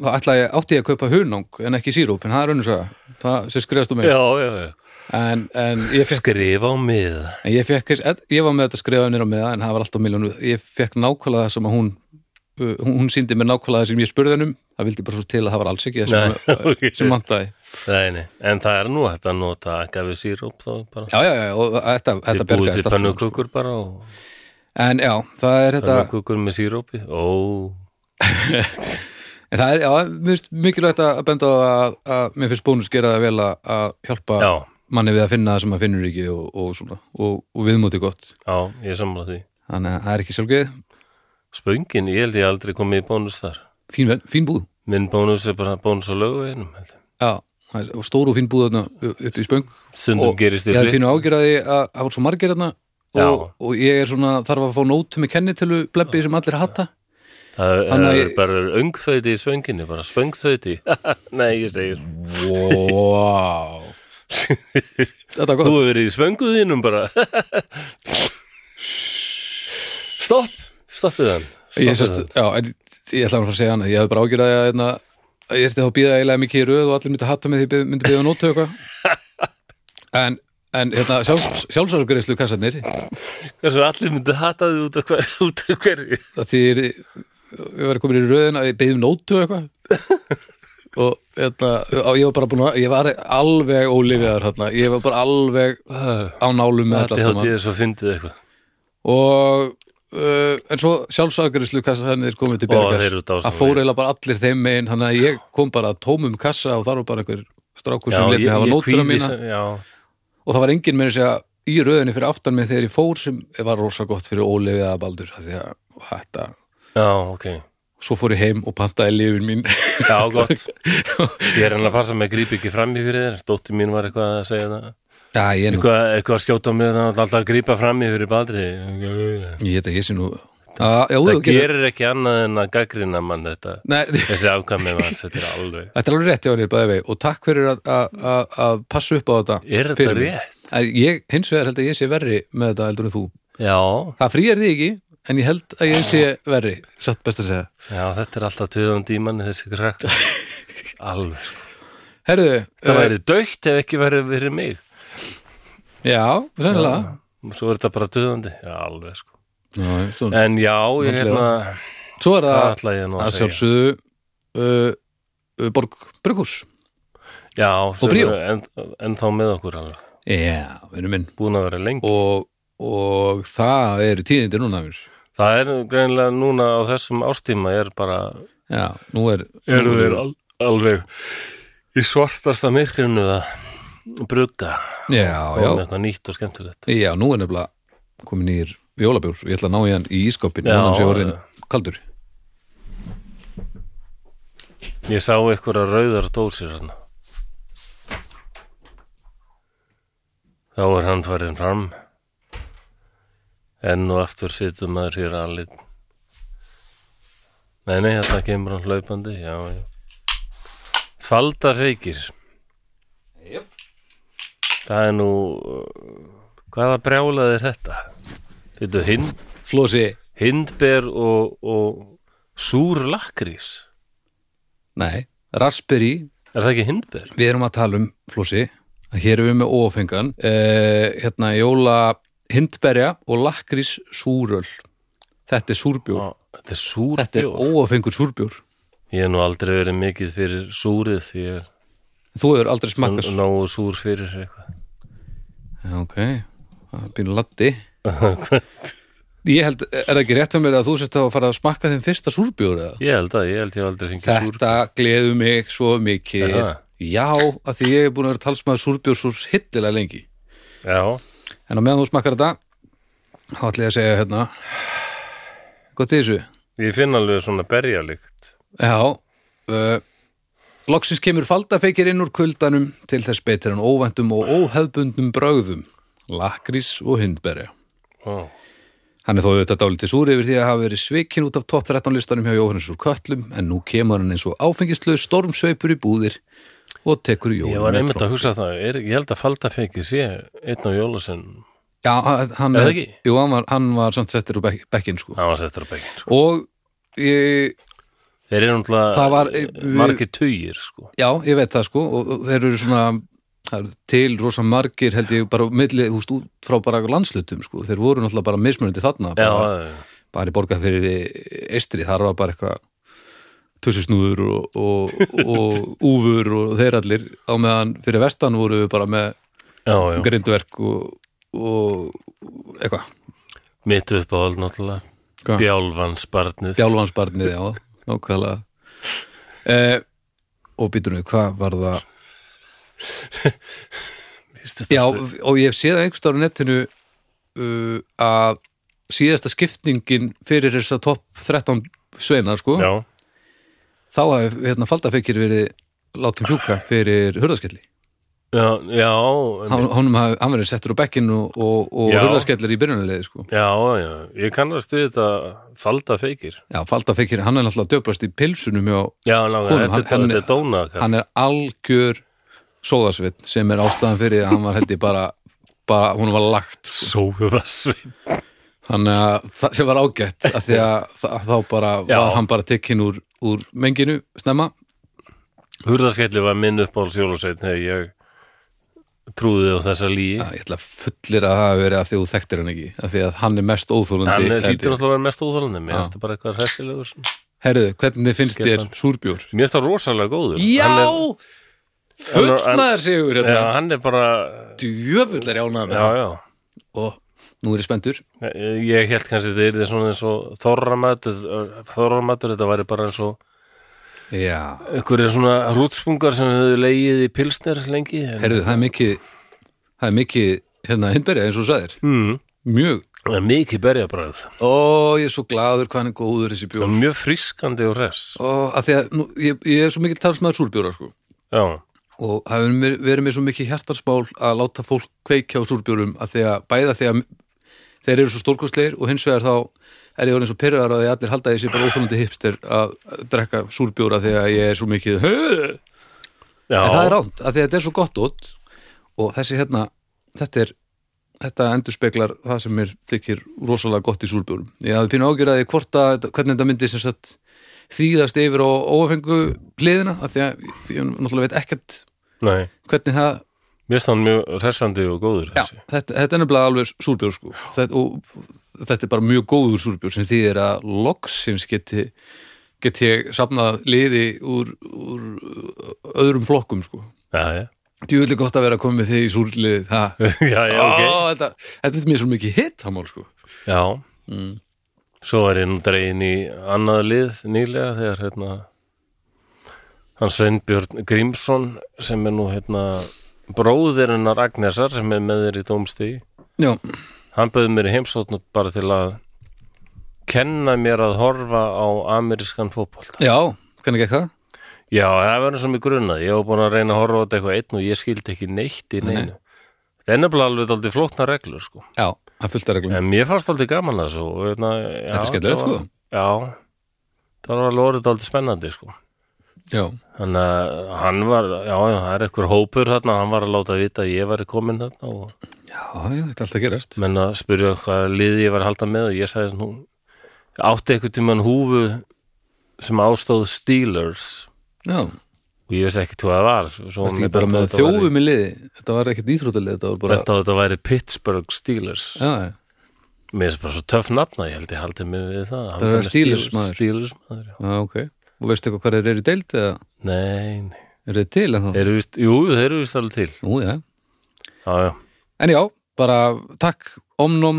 [SPEAKER 2] þá ætla ég átti ég að kaupa hunang en ekki síróp, en það er önnur saga það sem skrifast um mig
[SPEAKER 1] já, já, já,
[SPEAKER 2] en, en, ég fekk,
[SPEAKER 1] skrifa á mið,
[SPEAKER 2] en ég fekk ég var með þetta skrifað nýra með það en það var alltaf miljónu ég fekk nákvæmlega það sem að hún uh, hún, hún síndi mér nákvæmlega það sem ég spurði hennum það vildi bara svo til að það var alls ekki það sem,
[SPEAKER 1] Nei, ok.
[SPEAKER 2] sem vantaði
[SPEAKER 1] nei, nei, en það er nú hægt að nota agave síróp þá bara,
[SPEAKER 2] já, já, já, og þetta,
[SPEAKER 1] þið
[SPEAKER 2] þetta
[SPEAKER 1] búið til
[SPEAKER 2] bergaðist allt saman.
[SPEAKER 1] pönnukökur bara og
[SPEAKER 2] en já, það er þetta
[SPEAKER 1] pönnukökur með sírópi, ó,
[SPEAKER 2] en það er, já, mér finnst mikilvægt að benda á að, að mér finnst bónus gera það vel að, að hjálpa
[SPEAKER 1] já,
[SPEAKER 2] manni við að finna það sem maður finnur ekki og, og svona, og, og viðmóti gott
[SPEAKER 1] já, ég er sammála því,
[SPEAKER 2] þannig að það er ekki sjálfgeð,
[SPEAKER 1] spöngin, ég held ég aldrei komið í bónus þar,
[SPEAKER 2] fín, ven- fín búð
[SPEAKER 1] minn bónus er bara bónus á lögu einum, held ég.
[SPEAKER 2] já, það er- og stór og fín búð þarna u- upp í spöng
[SPEAKER 1] stundum
[SPEAKER 2] og ég
[SPEAKER 1] gerist í
[SPEAKER 2] hefði
[SPEAKER 1] fleiri,
[SPEAKER 2] pínu ágjörði að það voru svo margir þarna og,
[SPEAKER 1] Já.
[SPEAKER 2] og ég er svona, þarf að fá nótum í kennitölu blebbi sem allir hatta
[SPEAKER 1] það er
[SPEAKER 2] Þannig að
[SPEAKER 1] ég...
[SPEAKER 2] ég-
[SPEAKER 1] bara öngþöyti í spönginni, bara spöngþöyti, nei, ég segir,
[SPEAKER 2] wow þetta er
[SPEAKER 1] þú
[SPEAKER 2] gott,
[SPEAKER 1] hefur verið í spönguðinum bara, stopp, stoppið hann,
[SPEAKER 2] ég,
[SPEAKER 1] stoppið
[SPEAKER 2] sest, já, en, ég ætla að fara að segja hana, ég hefði bara ágjörði að hérna, að ég ætti þá að býða eiginlega mikið í röð og allir myndi hatta mig því ég myndi býða nótu eitthvað en, en hérna, sjálfs, sjálfsárgreislu kassarnir
[SPEAKER 1] Hversu allir myndi hata þig út af hver, út af hverju
[SPEAKER 2] að því er, við varum komin í röðina við beðum nótu um og eitthvað og hérna, á, ég var bara búin að ég var alveg ólifiðar hérna. ég var bara alveg á nálum með þetta
[SPEAKER 1] Allir
[SPEAKER 2] allt
[SPEAKER 1] hátt
[SPEAKER 2] saman
[SPEAKER 1] ég þess að fyndið eitthvað
[SPEAKER 2] og uh, en svo sjálfsakarinslu kassarnir komið til
[SPEAKER 1] Ó, þeir
[SPEAKER 2] bjargar
[SPEAKER 1] eru dásamlegir.
[SPEAKER 2] að fór eiginlega bara allir þeim megin þannig að ég kom bara að tómum kassa og þar var bara einhver strákur sem lét mig hafa nótur á
[SPEAKER 1] kvíði
[SPEAKER 2] mína
[SPEAKER 1] sem- Já,
[SPEAKER 2] og það var enginn með þess að í röðinni fyrir aftan mig þegar ég fór sem var rosa gott fyrir ólifiða að baldur af því að þetta
[SPEAKER 1] já, ok
[SPEAKER 2] svo fór ég heim og pantaði lifin mín
[SPEAKER 1] Já, gott Ég er hann að passa mig að grípa ekki fram í fyrir þér Dóttir mín var eitthvað að segja það
[SPEAKER 2] Já, ég er nú,
[SPEAKER 1] Eitthvað, eitthvað að skjóta á mig það alltaf að grípa fram í fyrir badri
[SPEAKER 2] ég þetta, ég sé nú Ah, Já, já,
[SPEAKER 1] Það
[SPEAKER 2] þú gerir
[SPEAKER 1] gerir ekki annað en að gaggrina mann þetta
[SPEAKER 2] Nei,
[SPEAKER 1] Þessi afkvæmi var, þetta er alveg
[SPEAKER 2] þetta er alveg rétt hjá henni, bæði vei og takk fyrir að- að að- að passa upp á þetta
[SPEAKER 1] Er
[SPEAKER 2] fyrir
[SPEAKER 1] þetta
[SPEAKER 2] mig.
[SPEAKER 1] rétt?
[SPEAKER 2] Að Ég, hins vegar held að ég sé verri með þetta heldur en þú
[SPEAKER 1] Já,
[SPEAKER 2] Það frýjar þig ekki, en ég held að ég sé verri Satt best að segja
[SPEAKER 1] já, þetta er alltaf töðan dímanni þessi krakk Alveg, sko
[SPEAKER 2] Herðu,
[SPEAKER 1] Það
[SPEAKER 2] eh,
[SPEAKER 1] væri dögt ef ekki væri verið mig
[SPEAKER 2] eh, já, sennilega
[SPEAKER 1] og svo er þetta bara döðandi já, alveg sko
[SPEAKER 2] Já, svona.
[SPEAKER 1] en já, ég
[SPEAKER 2] Náttúrulega.
[SPEAKER 1] hérna,
[SPEAKER 2] Svo er
[SPEAKER 1] það
[SPEAKER 2] það
[SPEAKER 1] ætla ég nú
[SPEAKER 2] að
[SPEAKER 1] að segja
[SPEAKER 2] sjálfsögðu uh, uh, Borg Brukkurs
[SPEAKER 1] já, sem
[SPEAKER 2] bríó.
[SPEAKER 1] er enn en þá með okkur alveg,
[SPEAKER 2] Já, vinnum minn
[SPEAKER 1] búin að vera lengi
[SPEAKER 2] og, og það eru tíðindir núna mér.
[SPEAKER 1] það er greinilega núna á þessum ástíma er bara
[SPEAKER 2] Já, nú er
[SPEAKER 1] eru þeir al, alveg í svartasta myrkrinu að brugga
[SPEAKER 2] Já,
[SPEAKER 1] og með
[SPEAKER 2] já,
[SPEAKER 1] eitthvað nýtt og skemmtilegt
[SPEAKER 2] já, nú er nefnilega komin nýr jólabjór, ég ætla að ná í hann í ískopin
[SPEAKER 1] Já,
[SPEAKER 2] og hann sé orðin kaldur
[SPEAKER 1] ég sá eitthvað rauðar dósir hann þá er hann farin fram enn og aftur situr maður hér alveg Nei, nei, þetta kemur hann hlaupandi, já, já. Faldar reykir.
[SPEAKER 2] Jöp.
[SPEAKER 1] Það er nú, uh, hvaða brjálað er þetta? Þetta er hind,
[SPEAKER 2] Flósi,
[SPEAKER 1] hindber og, og súr lakrís.
[SPEAKER 2] nei, raspberry
[SPEAKER 1] Er það ekki hindber?
[SPEAKER 2] Við erum að tala um flósi að hér erum við með ófengan eh, hérna jóla hindberja og lakrís súröl Þetta er súrbjór
[SPEAKER 1] Ó, Sko, Þetta er súr
[SPEAKER 2] Þetta er óafengur súrbjór
[SPEAKER 1] Ég hef nú aldrei verið mikið fyrir súrið því ég
[SPEAKER 2] Þú hefur aldrei smakkað
[SPEAKER 1] er
[SPEAKER 2] súr
[SPEAKER 1] nógu súr fyrir eitthvað.
[SPEAKER 2] Já, Ok, það er býnur laddi Ég held, er það ekki rétt um mér að þú sett að fara að smakka þeim fyrsta súrbjór eða?
[SPEAKER 1] Ég held að, ég held ég hef aldrei fengið súr.
[SPEAKER 2] Þetta gleður mig svo
[SPEAKER 1] Er
[SPEAKER 2] mikið
[SPEAKER 1] það?
[SPEAKER 2] Já, af því ég er búin að vera talsmaður súrbjór svo hittilega lengi
[SPEAKER 1] Já,
[SPEAKER 2] En á meðan þú smakkar þetta þá ætla ég að segja hérna Gott í þessu
[SPEAKER 1] ég finn alveg svona berjalikt.
[SPEAKER 2] Já uh, Loksins kemur faldafeikir inn úr kuldanum til þess betur en óvæntum og óhefbundnum brögðum lakrís og hindberja
[SPEAKER 1] Ó,
[SPEAKER 2] Hann er þó auðvitað dálítið súr yfir því að hafa verið svikin út af topp 13 listanum hjá Jóhannes úr köllum en nú kemur hann eins og áfengislu stormsveipur í búðir og tekur
[SPEAKER 1] ég var
[SPEAKER 2] Jóhannes
[SPEAKER 1] einmitt að hugsa það. Er, ég held að faldafeikir sé einn á jólasinn.
[SPEAKER 2] Já, hann,
[SPEAKER 1] Er það ekki?
[SPEAKER 2] jú, hann, var, hann var samt settir úr bekk, bekkin sko.
[SPEAKER 1] Það var settur á bekkinn. Sko.
[SPEAKER 2] og ég,
[SPEAKER 1] Þeir eru
[SPEAKER 2] Það var- eh,
[SPEAKER 1] náttúrulega margir tugir, sko.
[SPEAKER 2] Já, ég veit það sko og og þeir eru svona það eru til rosa margir held ég bara á milli, húst, út frá bara landslutum sko, þeir voru náttúrulega bara mismunandi þarna
[SPEAKER 1] Já,
[SPEAKER 2] bara, bara í borga fyrir estri, þar var bara eitthvað tussusnúður og, og, og úfur og þeir allir á meðan fyrir vestan voru við bara með
[SPEAKER 1] já, já.
[SPEAKER 2] grindverk og, og eitthvað,
[SPEAKER 1] Mitt uppáhald náttúrulega.
[SPEAKER 2] Hvað?
[SPEAKER 1] Bjálfansbarnið.
[SPEAKER 2] djálfansbarnið já, nákvæmlega eh, og býtunum, hvað var það Já,
[SPEAKER 1] Já,
[SPEAKER 2] og ég hef séð einhvers staðar á netinu uh, að síðasta skiptingin fyrir þess að topp 13 sveina, sko,
[SPEAKER 1] já.
[SPEAKER 2] þá hef hérna, faldafekir verið látið fjúka fyrir hurðaskelli.
[SPEAKER 1] Já, já, einmitt.
[SPEAKER 2] Hann, honum hafði hann verið settur á bekkinn og, og, og
[SPEAKER 1] Já.
[SPEAKER 2] hurðaskellir í byrjunarleiði, sko.
[SPEAKER 1] já, já, ég kannast við þetta faldafeikir.
[SPEAKER 2] Já, faldafekir, hann er náttúrulega döplast í pilsunum hjá,
[SPEAKER 1] Já, nákvæm,
[SPEAKER 2] Hún,
[SPEAKER 1] þetta,
[SPEAKER 2] hann-
[SPEAKER 1] þetta,
[SPEAKER 2] hann-
[SPEAKER 1] þetta er dóna
[SPEAKER 2] hann er algjör sóðasveit sem er ástæðan fyrir að hann var held ég bara, bara hún var lagt, sko.
[SPEAKER 1] sóðasveit
[SPEAKER 2] þannig að það sem var ágætt af því að þa- þá bara
[SPEAKER 1] Já.
[SPEAKER 2] var hann bara tekinn úr, úr menginu snemma
[SPEAKER 1] Hurðaskelli var minn uppáhalds jólasveit þegar ég trúði á þessa líi
[SPEAKER 2] að ég ætla að fullir að það hafi verið að því þú þekktir hann ekki af því að hann er mest óþólandi
[SPEAKER 1] Hann er lítur náttúrulega að vera mest óþálandi
[SPEAKER 2] Já.
[SPEAKER 1] Mér finnst það bara eitthvað hressilegur svona.
[SPEAKER 2] Herðu, hvernig finnst þér
[SPEAKER 1] Skellandi.
[SPEAKER 2] súrbjór?
[SPEAKER 1] Mér finnst það rosalega góður
[SPEAKER 2] Já!
[SPEAKER 1] hann er,
[SPEAKER 2] Fullnaður sigur
[SPEAKER 1] já,
[SPEAKER 2] hérna
[SPEAKER 1] hann er bara
[SPEAKER 2] Djöfull er jánað með
[SPEAKER 1] Já,
[SPEAKER 2] það
[SPEAKER 1] já
[SPEAKER 2] og nú er ég spendur
[SPEAKER 1] Ég- Ég held kannski þetta yrði svona eins og þorramatur Þorramatur, þetta væri bara eins og
[SPEAKER 2] Já,
[SPEAKER 1] einhverjir svona rútspungar sem hefðu legið í pilsner lengi en-
[SPEAKER 2] herðu, það er mikið það er mikið hérna hindberja eins og þú sagðir
[SPEAKER 1] mm,
[SPEAKER 2] Mjög,
[SPEAKER 1] það er Mikið berjabræð
[SPEAKER 2] ó, ég er svo gladur hvað hann er góður þessi bjór
[SPEAKER 1] Mjög frískandi og res
[SPEAKER 2] Ó, af því að nú, ég, ég er svo mikið talsmaður súrbjóra sko
[SPEAKER 1] Já,
[SPEAKER 2] og það hefur mér- verið mér svo mikið hjartarsmál að láta fólk kveikja á súrbjórum að því að bæða því að þeir eru svo stórkostleir og hins vegar þá er ég orðin svo pyrrar að ég allir halda að ég sé bara óþólandi hipster að drekka súrbjóra því að ég er svo mikið en
[SPEAKER 1] já
[SPEAKER 2] það er ránt að því að þetta er svo gott út og þessi hérna þetta er Þetta endurspeglar það sem mér þykir rosalega gott í súrbjórum. Ég hafði pínu ágjörðaði hvort að, þetta- hvernig þetta myndi sem sagt þýðast yfir á óafengu hliðina, af því að ég, ég náttúrulega veit ekkert
[SPEAKER 1] Nei,
[SPEAKER 2] hvernig það
[SPEAKER 1] mér finnst hann mjög hressandi og góður
[SPEAKER 2] Já,
[SPEAKER 1] þessi.
[SPEAKER 2] þetta, þetta er nefnilega alveg súrbjór sko. þetta, og þetta er bara mjög góður súrbjór sem þýðir að loksins geti, geti ég safnað liði úr, úr öðrum flokkum sko.
[SPEAKER 1] Já, já,
[SPEAKER 2] Djúvillig gott að vera að koma með þig í súrlið það.
[SPEAKER 1] já, já, ok
[SPEAKER 2] Ó, þetta, þetta er mér svo mikið hitt hamál sko.
[SPEAKER 1] Já,
[SPEAKER 2] Mm.
[SPEAKER 1] svo er ég nú dregin í annað lið nýlega þegar hérna hann Sveinbjörn Grímsson sem er nú hérna bróðirinnar Agnesar sem er með þér í dómstí
[SPEAKER 2] Já,
[SPEAKER 1] hann bauði mér í heimsóknu bara til að kenna mér að horfa á amerískan fótbolta
[SPEAKER 2] já, hvernig ekki það?
[SPEAKER 1] Já, það verður sem ég grunaði. Ég var búin að reyna að horfa á þetta eitthvað einn og ég skildi ekki neitt í neinu. Þetta er nefnilega alveg aldrei flóknar reglur, sko.
[SPEAKER 2] Já, það er fullt að reglum
[SPEAKER 1] En mér fannst aldrei gaman að þessu. og, Hérna, já,
[SPEAKER 2] sko. Þetta er skemmtilegt,
[SPEAKER 1] var-
[SPEAKER 2] sko.
[SPEAKER 1] Já, það það var lórið aldrei spennandi sko
[SPEAKER 2] já,
[SPEAKER 1] þannig að hann var, já, já, það er einhver hópur þarna, hann var að láta vita að ég var komin þarna og
[SPEAKER 2] já, já, þetta er alltaf gerast
[SPEAKER 1] menn að spyrja hvað liði ég var að halda með og ég sagði svona, hún átti einhvern tímann húfu sem ástóð Steelers
[SPEAKER 2] já,
[SPEAKER 1] og ég veist ekki hvað það var svo hún
[SPEAKER 2] varst
[SPEAKER 1] er
[SPEAKER 2] ekki bara
[SPEAKER 1] bent á
[SPEAKER 2] með
[SPEAKER 1] þetta væri-
[SPEAKER 2] þjófum í liði þetta var ekkert íþrótalið, þetta var bara
[SPEAKER 1] bent á að þetta væri Pittsburgh Steelers
[SPEAKER 2] já, já,
[SPEAKER 1] mér er bara svo töff nafna, ég held ég haldið mig við það Halda
[SPEAKER 2] er
[SPEAKER 1] mig
[SPEAKER 2] Steelers maður.
[SPEAKER 1] Steelers maður, já,
[SPEAKER 2] já, ok og veistu eitthvað hvað þeir eru í deild eða
[SPEAKER 1] nei, nei
[SPEAKER 2] eru þeir til en þá?
[SPEAKER 1] Eru vist, jú, þeir eru vist alveg til
[SPEAKER 2] Nú, já,
[SPEAKER 1] Já, já,
[SPEAKER 2] en já, bara takk Omnum,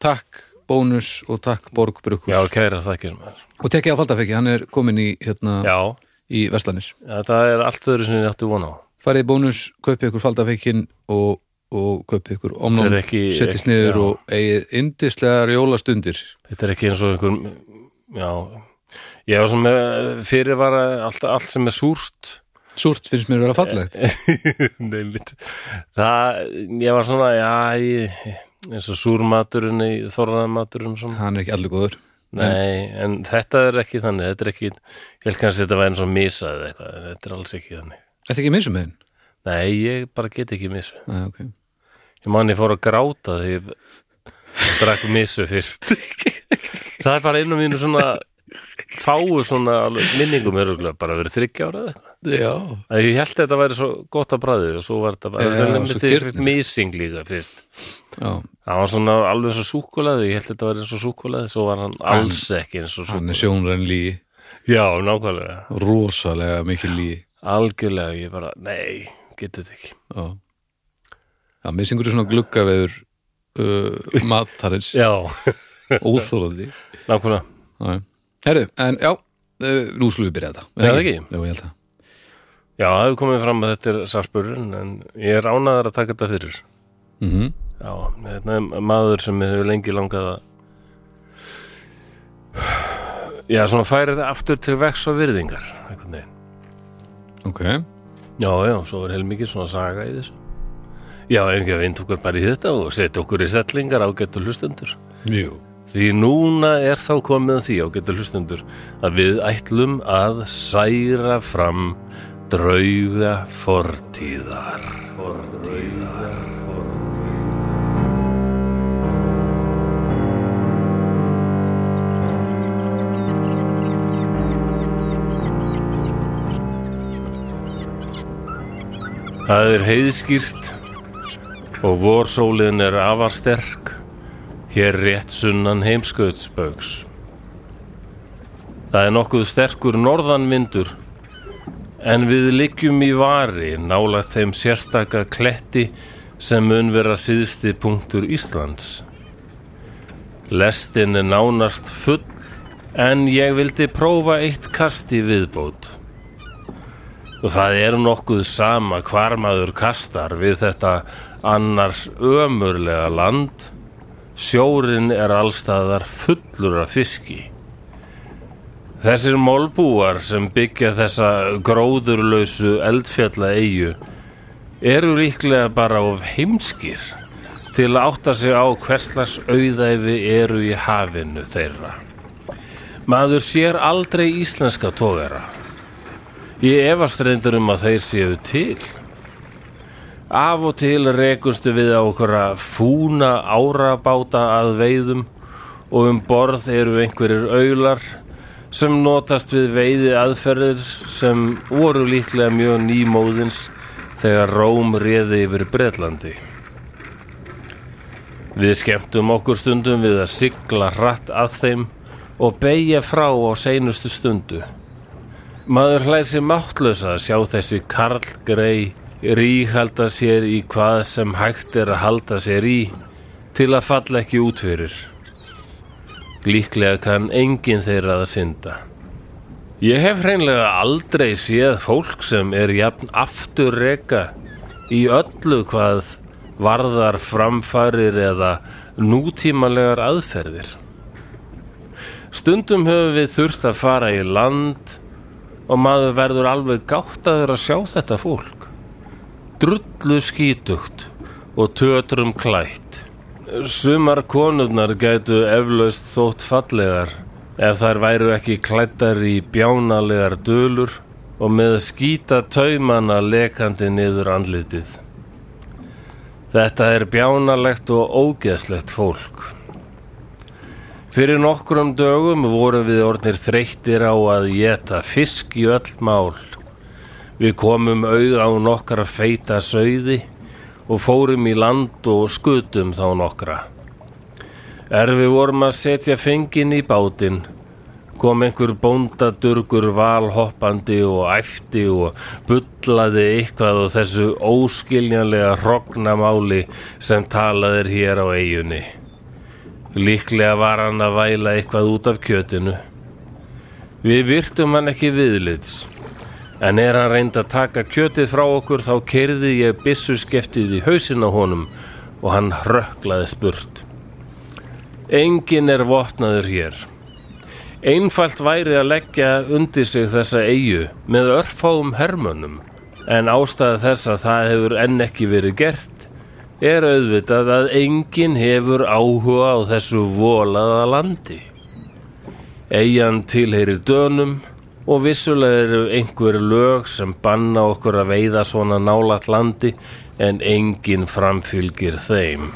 [SPEAKER 2] takk Bónus og takk Borg Brukus
[SPEAKER 1] já kæra þakkir maður
[SPEAKER 2] og tekja á Faldafekki, hann er komin í hérna,
[SPEAKER 1] Já,
[SPEAKER 2] í verslanir
[SPEAKER 1] þetta er allt öðru sem ég átti von á
[SPEAKER 2] farið í bónus, kaupið ykkur faldafeikin og, og kaupið ykkur omnum,
[SPEAKER 1] Þetta er ekki-
[SPEAKER 2] settist
[SPEAKER 1] ekki-
[SPEAKER 2] niður
[SPEAKER 1] já.
[SPEAKER 2] og eigið yndislegar jólastundir
[SPEAKER 1] Þetta er ekki eins og einhver Já, ég var svona með fyrirvara allt, allt sem er súrt
[SPEAKER 2] súrt finnst mér vera
[SPEAKER 1] Eh,
[SPEAKER 2] fallegt
[SPEAKER 1] Nei, mitt Það, ég var svona, já ég, eins og súrmaturinn í þorraðamaturinn svona
[SPEAKER 2] hann er ekki allir góður
[SPEAKER 1] Nei, en þetta er ekki þannig Þetta er ekki, ég held kannski að þetta væri eins og misa eða eitthvað, en þetta er alls ekki þannig
[SPEAKER 2] Þetta ekki misum með Ah,
[SPEAKER 1] Nei, ég bara get ekki misu
[SPEAKER 2] henn okay.
[SPEAKER 1] Ég man ég fór að gráta því ég drakk misu fyrst. það er bara einu mínu svona fáu svona alveg minningum öruglega bara verið þryggja ára eða eitthvað.
[SPEAKER 2] já,
[SPEAKER 1] Að Ég held að þetta væri svo gott að bræði og svo var þetta bara,
[SPEAKER 2] Já,
[SPEAKER 1] þetta
[SPEAKER 2] já,
[SPEAKER 1] er
[SPEAKER 2] svo
[SPEAKER 1] nefnir til
[SPEAKER 2] girnilegt.
[SPEAKER 1] mising líka fyrst.
[SPEAKER 2] já,
[SPEAKER 1] Það var svona alveg eins og súkulaði, ég held að þetta væri eins og súkulaði, svo var hann alls ekki eins og
[SPEAKER 2] hann
[SPEAKER 1] súkulaði.
[SPEAKER 2] er sjónræn lí
[SPEAKER 1] Já, nákvæmlega.
[SPEAKER 2] rosalega mikið lí
[SPEAKER 1] Algjörlega, ég bara, nei, getur þetta ekki.
[SPEAKER 2] já, já misingur er svona gluggaveður uh, matarins,
[SPEAKER 1] Já,
[SPEAKER 2] óþólandi
[SPEAKER 1] nákvæmlega.
[SPEAKER 2] Já, já. herru, en já uh, nú skulum við byrja þetta
[SPEAKER 1] Já, það ekki.
[SPEAKER 2] Jú, ég held það
[SPEAKER 1] Já, það hefur komið fram að þetta er sarpurinn, en ég er ánaðar að taka þetta fyrir.
[SPEAKER 2] mm
[SPEAKER 1] Já, þetta er maður sem hefur lengi langað að Já, svona færið aftur til vex og virðingar einhvern veginn.
[SPEAKER 2] ok,
[SPEAKER 1] Já, já, svo er heilmikið svona saga í þessu Já, einhvern veginn okkur bara í þetta og setja okkur í settlingar ágættu hlustendur
[SPEAKER 2] jú
[SPEAKER 1] Því núna er þá komið að því ágættu hlustendur að við ætlum að særa fram drauga fortíðar Fortíðar, fortíðar Það er heiðskýrt og vorsólin er afar sterk hér rétt sunnan heimskautsbaugs. Það er nokkuð sterkur norðanvindur en við liggjum í vari nála þeim sérstaka kletti sem mun vera síðsti punktur Íslands. Lestin er nánast full en ég vildi prófa eitt kast í viðbót. Og það er nokkuð sama hvar maður kastar við þetta annars ömurlega land. Sjórin er allstaðar fullur af fiski. Þessir mólbúar sem byggja þessa gróðurlausu eldfjalla eigu eru líklega bara of heimskir til að átta sig á hverslags auðæfi eru í hafinu þeirra. Maður sér aldrei íslenska tógara. Ég efast reyndur um að þeir séu til. Af og til rekunstu við á okkur að fúna árabáta að veiðum og um borð eru einhverjir aular sem notast við veiði aðferðir sem voru líklega mjög nýmóðins þegar Róm réði yfir Bretlandi. Við skemmtum okkur stundum við að sigla hratt að þeim og beigja frá á seinustu stundu. Maður hlæðir sér máttlösa að sjá þessi Karl Grey ríhalda sér í hvað sem hægt er að halda sér í til að falla ekki út fyrir. Líklega kann enginn þeirra að synda. Ég hef hreinlega aldrei séð fólk sem er jafn afturreka í öllu hvað varðar framfarir eða nútímalegar aðferðir. Stundum höfum við þurft að fara í land og maður verður alveg gáttaður að sjá þetta fólk. Drullu skítugt og tötrum klætt. Sumar konurnar gætu eflaust þótt fallegar ef þær væru ekki klættar í bjánalegar dölur og með skýta taumana lekandi niður andlitið. Þetta er bjánalegt og ógeðslegt fólk. Fyrir nokkrum dögum vorum við orðnir þreyttir á að geta fisk í öll mál. Við komum auð á nokkra feita sauði og fórum í land og skutum þá nokkra. Er við vorum að setja fengin í bátinn, kom einhver bóndadurgur valhoppandi og æfti og bullaði eitthvað á þessu óskiljanlega hrognamáli sem talaðir hér á eigunni. Líklega var hann að væla eitthvað út af kjötinu. Við virtum hann ekki viðlits, en er hann reynd að taka kjötið frá okkur þá kerði ég byssuskeftið í hausin á honum og hann hrökklaði spurt. Engin er vopnaður hér. Einfalt væri að leggja undir sig þessa eigu með örfáum hermönnum, en ástæða þess að það hefur enn ekki verið gert er auðvitað að enginn hefur áhuga á þessu volaða landi. Eyjan tilheyrir dönum og vissulega eru einhver lög sem banna okkur að veiða svona nálat landi en enginn framfylgir þeim.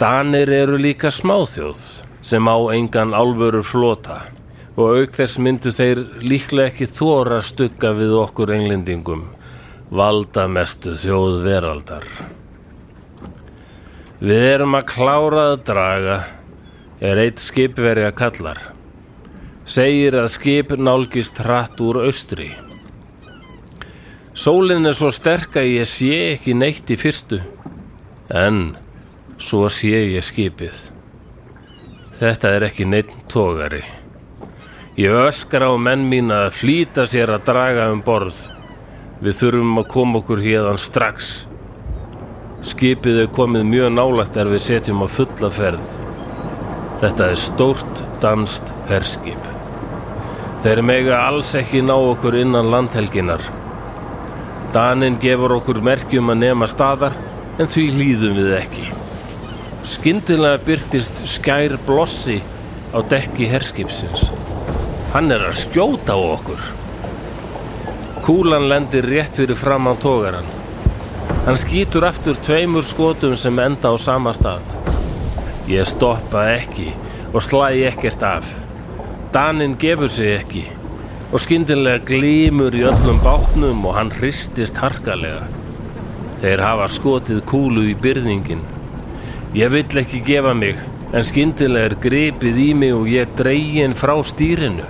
[SPEAKER 1] Danir eru líka smáþjóð sem á engan alvöru flota og auk þess myndu þeir líklega ekki þóra stugga við okkur englendingum, valdamestu þjóð veraldar. Við erum að klára að draga, er eitt skipverja kallar. Segir að skip nálgist hratt úr austri. Sólin er svo sterk að ég sé ekki neitt í fyrstu, en svo sé ég skipið. Þetta er ekki neitt tógari. Ég öskra á menn mína að flýta sér að draga um borð. Við þurfum að koma okkur hérðan strax. Skipið er komið mjög nálægt er við setjum á fulla ferð. Þetta er stórt danst herskip. Þeir mega alls ekki ná okkur innan landhelginar. Danin gefur okkur merkjum að nema staðar en því hlýðum við ekki. Skyndilega byrtist skær blossi á dekki herskipsins. Hann er að skjóta á okkur. Kúlan lendir rétt fyrir fram á tógaran. Hann skýtur aftur tveimur skotum sem enda á sama stað. Ég stoppa ekki og slæ ekkert af. Danin gefur sig ekki og skyndilega glímur í öllum bátnum og hann hristist harkalega. Þeir hafa skotið kúlu í byrningin. Ég vill ekki gefa mig en skyndilega er gripið í mig og ég dreygin frá stýrinu.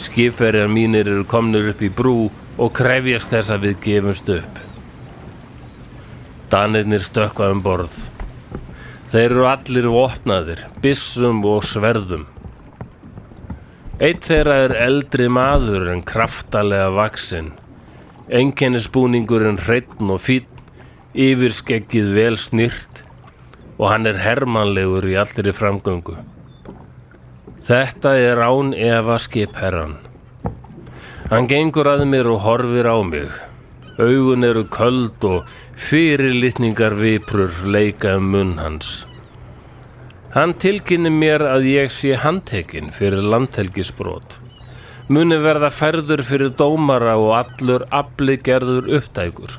[SPEAKER 1] Skipverjar mínir eru komnur upp í brú og krefjast þess að við gefumst upp. Danirnir stökkva um borð. Þeir eru allir vopnaðir, byssum og sverðum. Eitt þeirra er eldri maður en kraftalega vaksinn. Enkennisbúningurinn hreittn og fýtt, yfirskeggið vel snýrt og hann er hermanlegur í allri framgöngu. Þetta er án efa skipherran. Hann gengur að mér og horfir á mig. Augun eru köld og fyrirlitningar viprur leika um munn hans. Hann tilkynni mér að ég sé handtekinn fyrir landhelgisbrot. Muni verða færður fyrir dómara og allur afli gerður upptækur.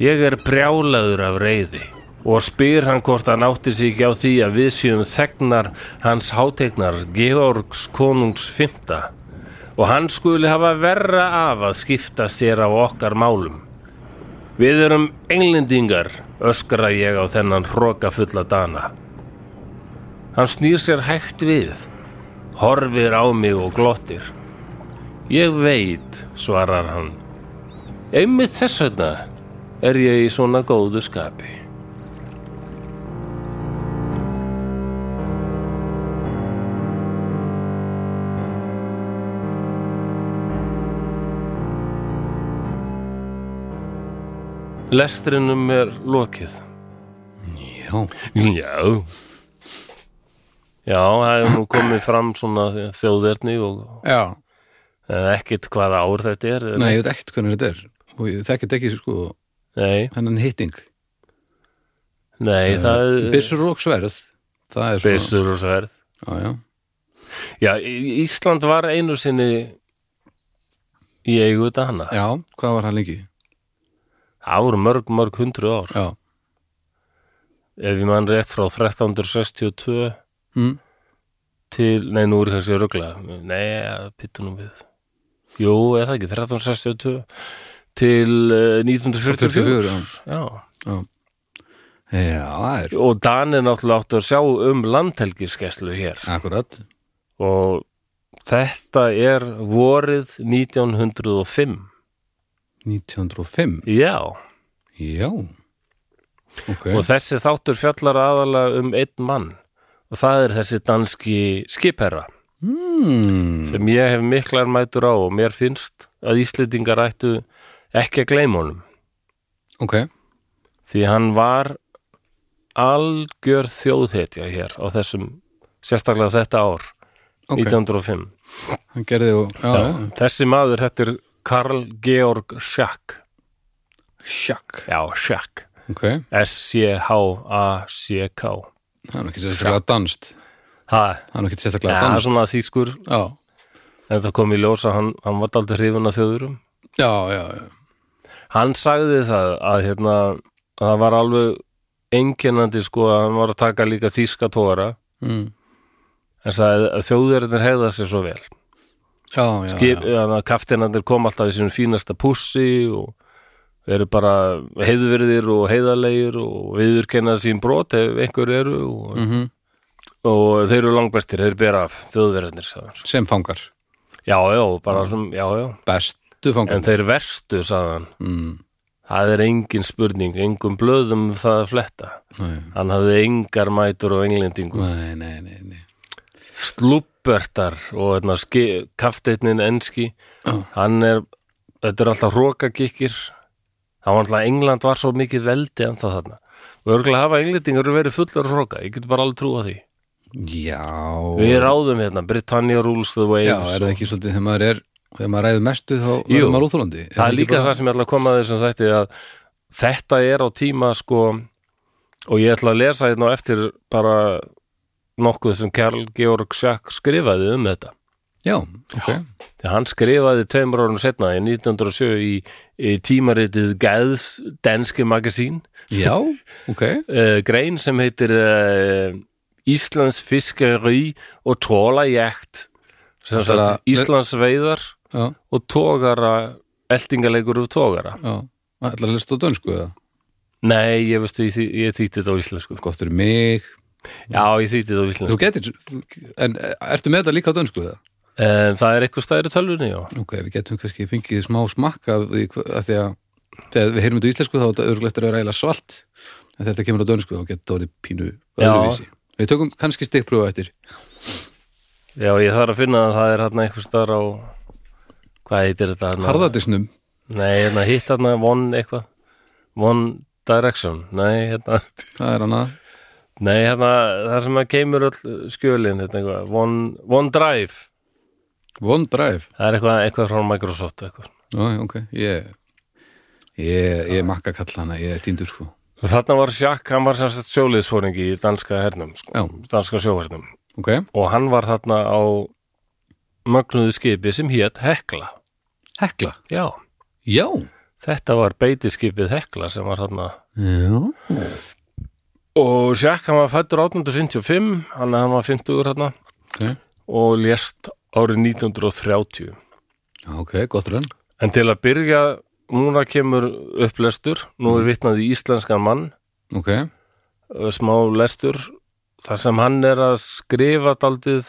[SPEAKER 1] Ég er brjálaður af reyði og spyr hann hvort hann átti sig ekki á því að við séum þegnar hans hátegnar Georgs konungs fymta og hann skuli hafa verra af að skipta sér á okkar málum. Við erum englendingar, öskra ég á þennan hroka fulla dana. Hann snýr sér hægt við, horfir á mig og glottir. Ég veit, svarar hann. Einmitt þess vegna er ég í svona góðu skapi. Lestrinum er lokið.
[SPEAKER 2] Já,
[SPEAKER 1] Já. Já, það hefur nú komið fram svona þjóðerni og
[SPEAKER 2] já.
[SPEAKER 1] en ekkert hvaða ár þetta er. er-
[SPEAKER 2] Nei, ég veit ekkert hvernig þetta er og ég þekkit ekki sko
[SPEAKER 1] Nei,
[SPEAKER 2] hennan hitting
[SPEAKER 1] nei, það er Uh.
[SPEAKER 2] Byssur og sverð Það er svona
[SPEAKER 1] byssur og sverð.
[SPEAKER 2] Já, já
[SPEAKER 1] Já, Í- Ísland var einu sinni í eigu dana.
[SPEAKER 2] Já, hvað var hann lengi?
[SPEAKER 1] Það voru mörg, mörg hundru ár.
[SPEAKER 2] Já,
[SPEAKER 1] Ef ég mann rétt frá 1362
[SPEAKER 2] mm.
[SPEAKER 1] til, nei, nú er ég kannski rugla. Nei, ja, pittu nú við. Jú, eða ekki, 1362 til eh, 1944.
[SPEAKER 2] 44 já.
[SPEAKER 1] Já.
[SPEAKER 2] já, það er
[SPEAKER 1] Og Danir náttúrulega áttu að sjá um landhelgiskeslu hér.
[SPEAKER 2] akkurat
[SPEAKER 1] Og þetta er vorið 1905.
[SPEAKER 2] 1905,
[SPEAKER 1] Já.
[SPEAKER 2] já Ok,
[SPEAKER 1] og þessi þáttur fjallar aðalega um einn mann og það er þessi danski skipherra
[SPEAKER 2] mm.
[SPEAKER 1] sem ég hef miklar mætur á og mér finnst að Íslendingar ættu ekki að gleyma honum
[SPEAKER 2] ok
[SPEAKER 1] því hann var algjör þjóðhetja hér á þessum, sérstaklega þetta ár
[SPEAKER 2] Ok.
[SPEAKER 1] 1905
[SPEAKER 2] hann gerði og, já, já,
[SPEAKER 1] þessi maður hættir Karl Georg Schack
[SPEAKER 2] sjakk
[SPEAKER 1] já, Schack
[SPEAKER 2] Ok, það
[SPEAKER 1] S-C-H-A-C-K
[SPEAKER 2] er nú ekki sérstaklega danst
[SPEAKER 1] ha,
[SPEAKER 2] Það er nú ekki
[SPEAKER 1] ja,
[SPEAKER 2] sérstaklega danst
[SPEAKER 1] svona þýskur
[SPEAKER 2] Já,
[SPEAKER 1] En það kom í ljós að hann, hann var aldrei hrifun af þjóðurum.
[SPEAKER 2] já, já, já.
[SPEAKER 1] Hann sagði það að hérna, að það var alveg einkennandi sko að hann var að taka líka þýska tóra
[SPEAKER 2] Mm.
[SPEAKER 1] en sagði að þjóðurinnir hegða sér svo vel.
[SPEAKER 2] já, já,
[SPEAKER 1] Skip,
[SPEAKER 2] já.
[SPEAKER 1] að kaftinandir kom alltaf í sínum fínasta pussi og eru bara heiðvirðir og heiðarlegir og viðurkenna sín brot ef einhver eru og,
[SPEAKER 2] Mm
[SPEAKER 1] og þeir eru langbestir, þeir bera af þjóðurinnir. sagði hann. sko.
[SPEAKER 2] Sem fangar,
[SPEAKER 1] Já, já, bara sem, já, já.
[SPEAKER 2] bestu fangar
[SPEAKER 1] En þeir verstu, sagði hann.
[SPEAKER 2] mm.
[SPEAKER 1] Það er engin spurning, engum blöðum um það að fletta.
[SPEAKER 2] Nei,
[SPEAKER 1] Hann hafði engar mætur og englendingu.
[SPEAKER 2] nei, nei, nei, nei.
[SPEAKER 1] Slúbertar og hérna, ski- kafteitnin enski, hann er, þetta er alltaf hrókagikkir. Það var alltaf, England var svo mikið veldi en það þarna. Og örgulega hafa englendingur verið fullar hróka, ég get bara alveg trúa því.
[SPEAKER 2] Já
[SPEAKER 1] Við ráðum hérna, Britannia rules the waves.
[SPEAKER 2] Já, er það ekki svolítið þegar maður er þegar maður ræður mestu þá
[SPEAKER 1] Jú.
[SPEAKER 2] verður maður úþólandi
[SPEAKER 1] það er líka það sem ég ætla að koma að þessum þætti að þetta er á tíma sko og ég ætla að lesa hérna á eftir bara nokkuð sem Karl Georg Schack skrifaði um þetta
[SPEAKER 2] Já, ok
[SPEAKER 1] þegar hann skrifaði tveimur árum setna í 1907 í, í tímaritið Gæðs Danske Magasín
[SPEAKER 2] Já, ok
[SPEAKER 1] uh, grein sem heitir uh, Íslands fiskeri og trólajækt sem
[SPEAKER 2] Þetta er
[SPEAKER 1] sagt
[SPEAKER 2] að-
[SPEAKER 1] Íslands veiðar
[SPEAKER 2] Já,
[SPEAKER 1] og tógara eltingaleikur úr tógara
[SPEAKER 2] já Það ætlar að lesta á dönsku eða
[SPEAKER 1] Nei, ég veistu, ég, þý- ég þýtti þetta á íslensku.
[SPEAKER 2] Gott fyrir mig
[SPEAKER 1] Já, ég þýtti þetta á íslensku.
[SPEAKER 2] Þú getur En eh, ertu með þetta líka á dönsku eða?
[SPEAKER 1] En það er eitthvað stæri tölvunni, já.
[SPEAKER 2] Ok, við getum kannski fengið smá smakka af því hva- af því að þegar við heyrum þetta í íslensku þá er þetta örgulegt að vera eiginlega svalt en þegar þetta kemur á dönsku þá getur þetta orðið pínu
[SPEAKER 1] Já.
[SPEAKER 2] öðruvísi Við tökum kannski stikkpröfu eftir
[SPEAKER 1] Já, ég þarf að finna að það er hérna eitthvað stæri á, hvað heitir þetta hérna?
[SPEAKER 2] Harðardisnum
[SPEAKER 1] Nei, hérna hitt hérna One eitthvað. One Direction. Nei, hérna,
[SPEAKER 2] Það er hana
[SPEAKER 1] nei, hérna, það sem að kemur öll skjölin, hérna eitthvað. One, one Drive.
[SPEAKER 2] OneDrive
[SPEAKER 1] Það er eitthvað, eitthvað frá Microsoft eitthvað.
[SPEAKER 2] Já, ok, ég ég, ég makka kalla hana, ég er týndur sko
[SPEAKER 1] Og Þarna var Sjakk, hann var sem sagt sjóliðsfóringi í danska hernum, sko,
[SPEAKER 2] Já,
[SPEAKER 1] danska sjóhernum.
[SPEAKER 2] ok,
[SPEAKER 1] Og hann var þarna á mögnuðu skipi sem hétt Hekla.
[SPEAKER 2] hekla
[SPEAKER 1] Já,
[SPEAKER 2] Já,
[SPEAKER 1] þetta var beitiskipið Hekla sem var þarna
[SPEAKER 2] já.
[SPEAKER 1] og Sjakk hann var fættur 1855 hann, hann var 50 þarna
[SPEAKER 2] Okay.
[SPEAKER 1] og lést árið 1930
[SPEAKER 2] Já, ok, gott raun
[SPEAKER 1] en til að byrja núna kemur upplestur nú er vitnað í íslenskan mann
[SPEAKER 2] Ok,
[SPEAKER 1] ö, smá lestur þar sem hann er að skrifa daldið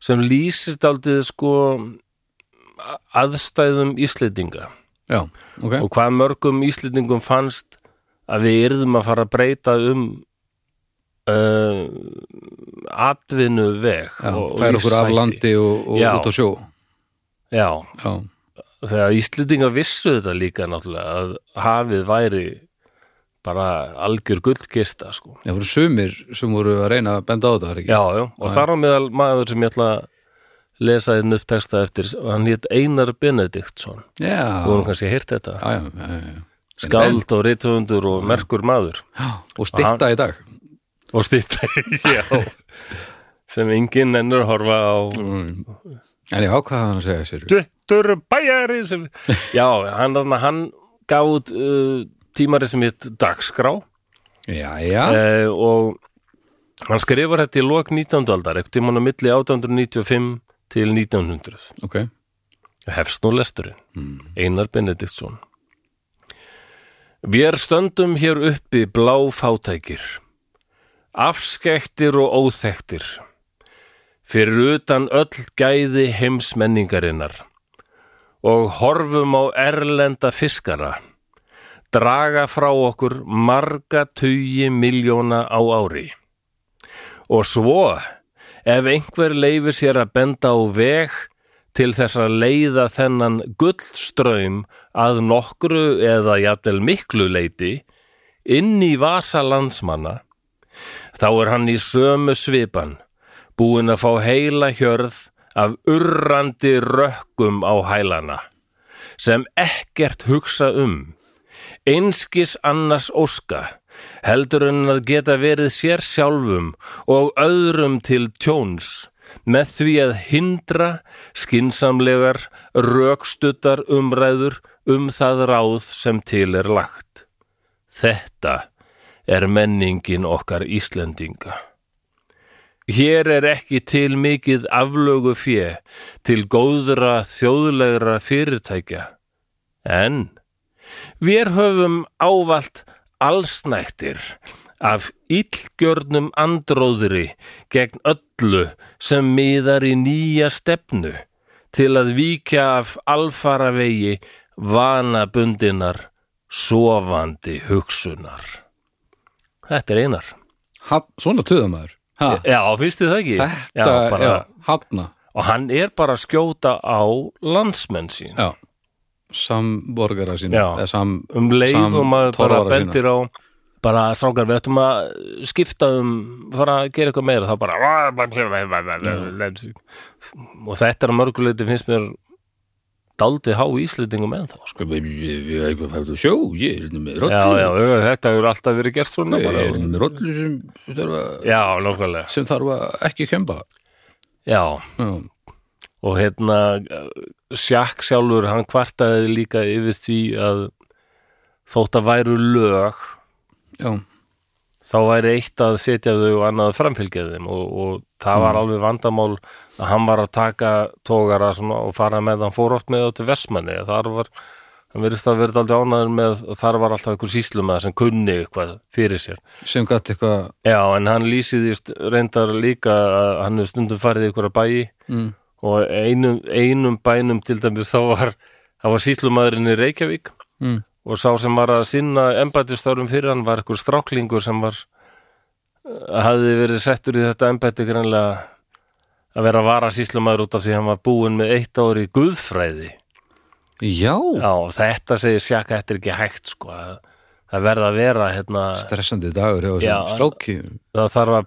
[SPEAKER 1] sem lýsist daldið sko a- aðstæðum Íslendinga
[SPEAKER 2] já, ok
[SPEAKER 1] og hvað mörgum Íslendingum fannst að við yrðum að fara að breyta um uh, atvinnu veg
[SPEAKER 2] já, Fær okkur af landi og, og
[SPEAKER 1] Já.
[SPEAKER 2] út á sjó
[SPEAKER 1] Já,
[SPEAKER 2] Já,
[SPEAKER 1] þegar Íslendingar vissu þetta líka náttúrulega að hafið væri bara algjör gullkista sko.
[SPEAKER 2] það voru sumir sem voru að reyna að benda á þetta, var ekki?
[SPEAKER 1] Já, já, og þar á meðal maður sem ég ætla að lesa þinn upp texta eftir hann hétt Einar Benediktsson
[SPEAKER 2] Já,
[SPEAKER 1] og hann kannski heyrt þetta
[SPEAKER 2] já, já, já, já.
[SPEAKER 1] skáld og reythöfundur og merkur maður
[SPEAKER 2] Og stitta í dag
[SPEAKER 1] og stýta já sem enginn ennur horfa á
[SPEAKER 2] Mm. En ég ákvaða hann að segja sér
[SPEAKER 1] Duttur bæjari sem... Já, hann, þarna, hann gaf út uh, tímari sem hitt Dagskrá
[SPEAKER 2] Já, já,
[SPEAKER 1] eh, og hann skrifar þetta í lok 19. aldar, ekkert tímann á milli 1895 til 1900
[SPEAKER 2] ok
[SPEAKER 1] hefst nú lesturinn Einar Benediktsson Vér stöndum hér uppi blá fátækir afskektir og óþektir fyrir utan öll gæði heimsmenningarinnar og horfum á erlenda fiskara draga frá okkur marga tugi miljóna á ári og svo ef einhver leifir sér að benda á veg til þess að leiða þennan gullströym að nokkru eða jafnvel miklu leiti inn í vasa landsmanna, þá er hann í sömu svipan, búinn að fá heila hjörð af urrandi rökkum á hælana, sem ekkert hugsa um, einskis annars óska, heldur en að geta verið sér sjálfum og öðrum til tjóns með því að hindra skinsamlegar rökstuttar umræður um það ráð sem til er lagt. Þetta er menningin okkar Íslendinga. Hér er ekki til mikið aflögu fjö til góðra þjóðlegra fyrirtækja. En við höfum ávalt allsnættir af illgjörnum andróðri gegn öllu sem miðar í nýja stefnu til að víkja af alfaravegi vanabundinar sofandi hugsunar. Þetta er einar.
[SPEAKER 2] ha, Svona töðamaður ha,
[SPEAKER 1] Já, finnst þið það ekki?
[SPEAKER 2] Ah. Þetta,
[SPEAKER 1] já, bara,
[SPEAKER 2] Eh, já, hafna
[SPEAKER 1] Og hann er bara að skjóta á landsmenn sín.
[SPEAKER 2] Já, samborgara sína
[SPEAKER 1] Já.
[SPEAKER 2] eða sam,
[SPEAKER 1] Um leið
[SPEAKER 2] sam
[SPEAKER 1] og maður bara
[SPEAKER 2] torfara sína.
[SPEAKER 1] bendir á bara strákar, við ættum að skipta um fara að gera eitthvað meira þá bara og þetta er að mörguleiti finnst mér daldið há íslendingum en þá
[SPEAKER 2] Sko, ég- ég ég- ég- ég- ég- Sjó, ég er hérna með
[SPEAKER 1] Já,
[SPEAKER 2] rollur
[SPEAKER 1] já, þetta hefur alltaf verið gert svona
[SPEAKER 2] Ég
[SPEAKER 1] bara.
[SPEAKER 2] er hérna með rollur sem þarf að
[SPEAKER 1] Já, nákvæmlega
[SPEAKER 2] sem þarf að ekki kemba
[SPEAKER 1] Já,
[SPEAKER 2] Já,
[SPEAKER 1] og hérna Sjakk sjálfur, hann kvartaði líka yfir því að þótt að væru lög
[SPEAKER 2] já,
[SPEAKER 1] þá væri eitt að setja þau og annað að framfylgja þeim og, og það var alveg vandamál að hann var að taka tógara svona og fara með hann fór oft með þá til Vestmanni þar var, hann verðist að verið aldrei ánæður með að þar var alltaf einhver síslumæður sem kunni eitthvað fyrir sér
[SPEAKER 2] sem gætt eitthvað
[SPEAKER 1] já en hann lýsiðist reyndar líka að hann hefur stundum farið í einhverja bæi
[SPEAKER 2] mm,
[SPEAKER 1] og einum, einum bænum til dæmis þá var, þá var síslumæðurinn í Reykjavík
[SPEAKER 2] mm.
[SPEAKER 1] og sá sem var að sinna embættistörum fyrir hann var einhver stráklingur sem var eh, hafði verið settur í þetta embætti greinlega að vera varasýslumæður út af því hann var búinn með eitt ári í guðfræði
[SPEAKER 2] Já,
[SPEAKER 1] Já, og þetta segir sjaka, þetta er ekki hægt sko, að það verða að vera hérna,
[SPEAKER 2] stressandi dagur hjá
[SPEAKER 1] Já.
[SPEAKER 2] þessum stráki
[SPEAKER 1] það þarf að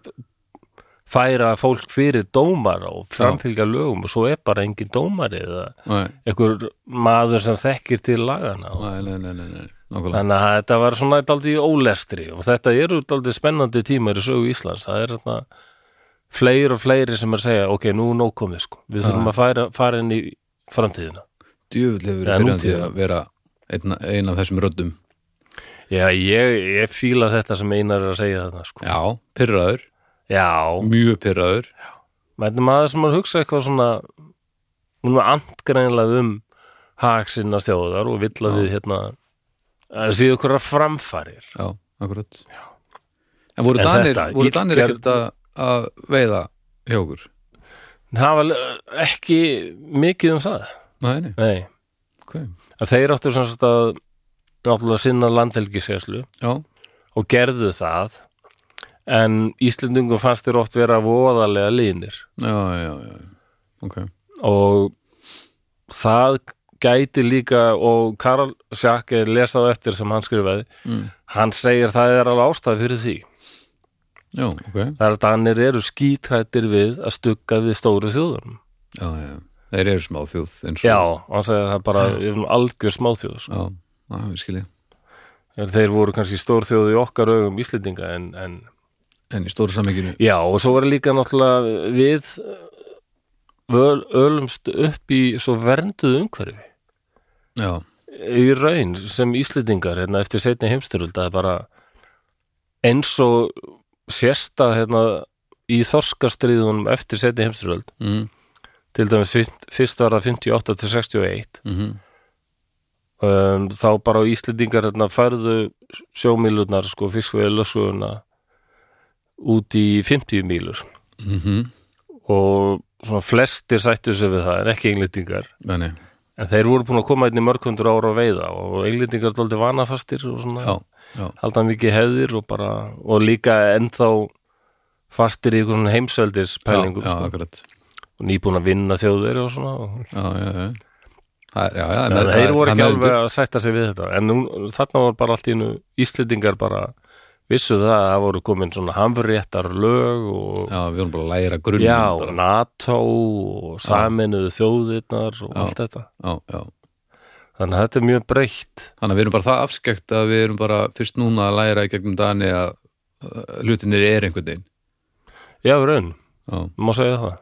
[SPEAKER 1] færa fólk fyrir dómar og framfylgja lögum og svo er bara engin dómari eða
[SPEAKER 2] Nei,
[SPEAKER 1] einhver maður sem þekkir til lagana og
[SPEAKER 2] nei, nei, nei, nei, nei. nákvæmlega
[SPEAKER 1] Þannig að þetta var svona daldið í ólestri og þetta eru daldið spennandi tímar í sögu Íslands. Það er þarna fleiri og fleiri sem er að segja, ok, nú er nóg komið sko. Við þurfum að færa, fara inn í framtíðina.
[SPEAKER 2] Djöfull hefur
[SPEAKER 1] Já,
[SPEAKER 2] verið byrjandi
[SPEAKER 1] nútíðin.
[SPEAKER 2] að vera einn ein af þessum röddum
[SPEAKER 1] Já, ég, ég fíla þetta sem einar er að segja þarna sko.
[SPEAKER 2] Já, pyrraður,
[SPEAKER 1] Já,
[SPEAKER 2] mjög pyrraður
[SPEAKER 1] mættum maður sem að hugsa eitthvað svona, hún var andgreinlega um hag sinna þjóðar og vill að við hérna að síðu okkur að framfarir.
[SPEAKER 2] Já, akkurat En voru
[SPEAKER 1] En
[SPEAKER 2] danir,
[SPEAKER 1] þetta,
[SPEAKER 2] voru danir
[SPEAKER 1] illgerð-
[SPEAKER 2] ekkert að, að veiða hjá okkur?
[SPEAKER 1] Það var eh, ekki mikið um það.
[SPEAKER 2] Nei, nei,
[SPEAKER 1] Nei.
[SPEAKER 2] ok
[SPEAKER 1] að þeir áttu sem sagt að náttúrulega sinna landhelgiseslu
[SPEAKER 2] Já,
[SPEAKER 1] og gerðu það en Íslendingum fannst þeir oft vera voðalega línir
[SPEAKER 2] já, já, já Ok,
[SPEAKER 1] og það gæti líka og Karl Sjakk er lesað eftir sem hann skrifaði
[SPEAKER 2] Mm.
[SPEAKER 1] hann segir það er alveg ástæð fyrir því
[SPEAKER 2] já, ok
[SPEAKER 1] það er að Danir eru skítrættir við að stugga við stóru þjóðum
[SPEAKER 2] Já, já, já. þeir eru smá þjóð eins og
[SPEAKER 1] já, og hann segir það bara um algjör smáþjóð sko.
[SPEAKER 2] já, já við skiljið
[SPEAKER 1] þeir voru kannski stór þjóð í okkar augum Íslendinga en, en
[SPEAKER 2] en í stóru samenginu
[SPEAKER 1] Já, og svo var líka náttúrulega við völ, ölumst upp í svo vernduð umhverfi
[SPEAKER 2] já,
[SPEAKER 1] í raun sem Íslendingar hérna, eftir setni heimstyrjöld að bara eins og sérsta hérna, í þorskastriðunum eftir setni heimstyrjöld
[SPEAKER 2] mm,
[SPEAKER 1] til dæmis fyrst- fyrst var það 58 til 61
[SPEAKER 2] mm
[SPEAKER 1] um, þá bara Íslendingar hérna, færðu sjómílunar sko, fiskveið lösuguna út í 50 mílur
[SPEAKER 2] -hmm.
[SPEAKER 1] og svona flestir sættu sig við það en ekki englendingar
[SPEAKER 2] Nei,
[SPEAKER 1] en þeir voru búin að koma einnig mörgundur ára að veiða og englendingar dóldi vanafastir og svona
[SPEAKER 2] já, já,
[SPEAKER 1] halda mikið hefðir og bara og líka ennþá fastir í einhvern heimsveldis pælingum
[SPEAKER 2] já, já,
[SPEAKER 1] sko.
[SPEAKER 2] akkurat
[SPEAKER 1] og nýbúin að vinna þjóðveri og svona og,
[SPEAKER 2] já, já, já, það er, já, já,
[SPEAKER 1] en
[SPEAKER 2] það
[SPEAKER 1] þeir voru
[SPEAKER 2] hann
[SPEAKER 1] ekki
[SPEAKER 2] meðvitund-
[SPEAKER 1] alveg að sætta sig við þetta en nú, þarna voru bara allt í einu Íslendingar bara vissu það að það voru komin svona hamréttar lög og já,
[SPEAKER 2] já, við vorum bara að læra grunn
[SPEAKER 1] og NATO og saminuðu þjóðirnar og
[SPEAKER 2] Já.
[SPEAKER 1] allt þetta
[SPEAKER 2] já, já.
[SPEAKER 1] þannig að þetta er mjög breytt
[SPEAKER 2] þannig að við erum bara það afskekt að við erum bara fyrst núna að læra í gegnum dani að uh, hlutinir er einhvern veginn
[SPEAKER 1] já, í raun,
[SPEAKER 2] já.
[SPEAKER 1] má segja það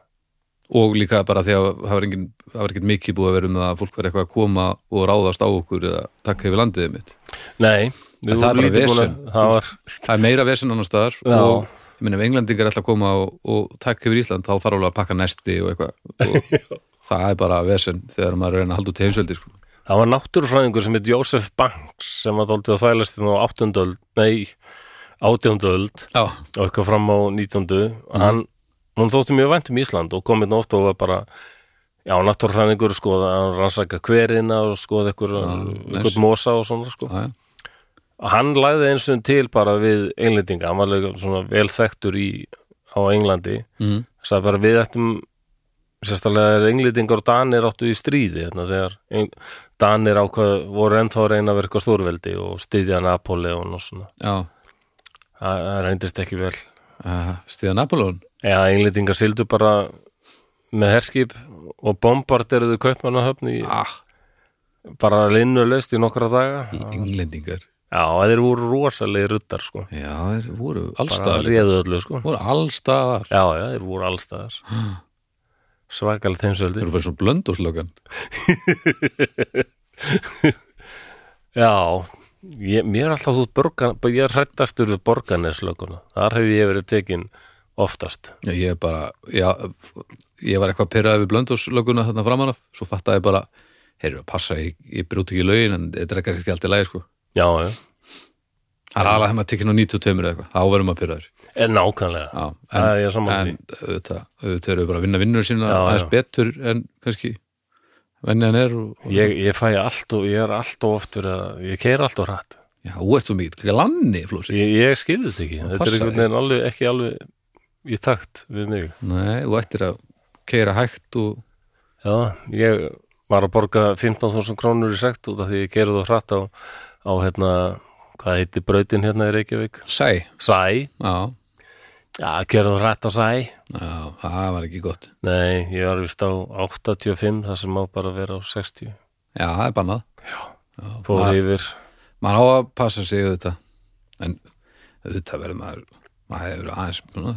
[SPEAKER 2] og líka bara því að það var, engin, það var ekkert mikið búið að vera um það að fólk var eitthvað að koma og ráðast á okkur eða taka yfir landiðið mitt
[SPEAKER 1] nei, við
[SPEAKER 2] En það er
[SPEAKER 1] vorum
[SPEAKER 2] bara
[SPEAKER 1] lítið búin
[SPEAKER 2] vesen.
[SPEAKER 1] að það var
[SPEAKER 2] það er meira vesen annar staðar
[SPEAKER 1] Já.
[SPEAKER 2] og ég meina ef englendingar ætla að koma og, og taka yfir Ísland þá þarf alveg að pakka nesti og eitthvað og það er bara vesen þegar maður er að reyna að halda út heimsveldi sko.
[SPEAKER 1] Það var náttúrufræðingur sem heit Jósef Banks sem að dálítið að þvælast inn á 8. öld, nei, 18. öld
[SPEAKER 2] já,
[SPEAKER 1] og eitthvað fram á 19.
[SPEAKER 2] Mhm.
[SPEAKER 1] Mm. Hann, hún þótti mjög vænt um Ísland og komið oft og var bara, já, náttúrufræðingur skoða, hann rannsaka hverina og skoða ykkur,
[SPEAKER 2] nice.
[SPEAKER 1] ykkur mosa og svona, sko.
[SPEAKER 2] já, já,
[SPEAKER 1] Og hann læði eins og til bara við englendinga, hann var leika svona vel þekktur í, á Englandi,
[SPEAKER 2] mm,
[SPEAKER 1] þess að bara við ættum sérstaklega er englendingar og danir áttu í stríði hérna, þegar Eng- danir ákvað voru ennþá að reyna að verka stórveldi og styðja Napoleon og svona
[SPEAKER 2] já.
[SPEAKER 1] það það reyndist ekki vel
[SPEAKER 2] Uh, stíða Napoleon
[SPEAKER 1] eða englendingar sildu bara með herskip og bombarderuðu kaupmannahöfni í
[SPEAKER 2] ah,
[SPEAKER 1] bara linnulaust í nokkra daga já,
[SPEAKER 2] englendingar
[SPEAKER 1] þeir voru rosalegi ruttar sko
[SPEAKER 2] já, þeir voru
[SPEAKER 1] bara
[SPEAKER 2] allstaðar
[SPEAKER 1] réðu öllu sko
[SPEAKER 2] voru allstaðar
[SPEAKER 1] já, já, þeir voru allstaðar svakal
[SPEAKER 2] þeir
[SPEAKER 1] þeimsveldi
[SPEAKER 2] voru bara svona blöndoslögan
[SPEAKER 1] Já, ég, mér er alltaf þú borgan, ég er hrættastur við borganeslökuna. Þar hef ég verið tekin oftast.
[SPEAKER 2] Já, ég er bara, já, ég var eitthvað pyrraði við blöndoslöguna þarna framan af, svo fattaði ég bara, heyrðu, passa, ég, ég brúti ekki lögin, en þetta er kannski ekki allt í lagi, sko.
[SPEAKER 1] Já, já,
[SPEAKER 2] Það er alveg að maður tekinn á 92 eða eitthvað, þá verðum maður pyrraður.
[SPEAKER 1] en Eh, nákvæmlega.
[SPEAKER 2] Já,
[SPEAKER 1] Það er ég
[SPEAKER 2] en,
[SPEAKER 1] saman
[SPEAKER 2] en
[SPEAKER 1] því.
[SPEAKER 2] auðvitað, auðvitað eru bara að vinna vinnur sína
[SPEAKER 1] Já,
[SPEAKER 2] aðeins
[SPEAKER 1] já.
[SPEAKER 2] betur en kannski venni hann er og, og
[SPEAKER 1] Ég, ég fæ allt og, ég er allt og oft verið að, ég keir allt og hrætt.
[SPEAKER 2] já, þú ert svo mikið glanni, Flósi.
[SPEAKER 1] Ég, ég skilði þetta ekki. Þetta er
[SPEAKER 2] passa
[SPEAKER 1] einhvern veginn alveg, ekki alveg í takt við mig.
[SPEAKER 2] Nei, þú ættir að keira hægt og,
[SPEAKER 1] Já, ég var að borga 15.000 krónur í sekt út af því ég keirði það hrætt á, á hérna, hvað heitir brautin hérna í Reykjavík?
[SPEAKER 2] sæ,
[SPEAKER 1] Sæ,
[SPEAKER 2] já,
[SPEAKER 1] já, keirði það hrætt á sæ.
[SPEAKER 2] já, það var ekki gott.
[SPEAKER 1] Nei, ég var vist á 85 það sem má bara vera á 60
[SPEAKER 2] Já, það er bannað.
[SPEAKER 1] fór
[SPEAKER 2] maður-
[SPEAKER 1] yfir
[SPEAKER 2] maður á að passa sig auðvitað en auðvitað verður maður maður hefur aðeins svona,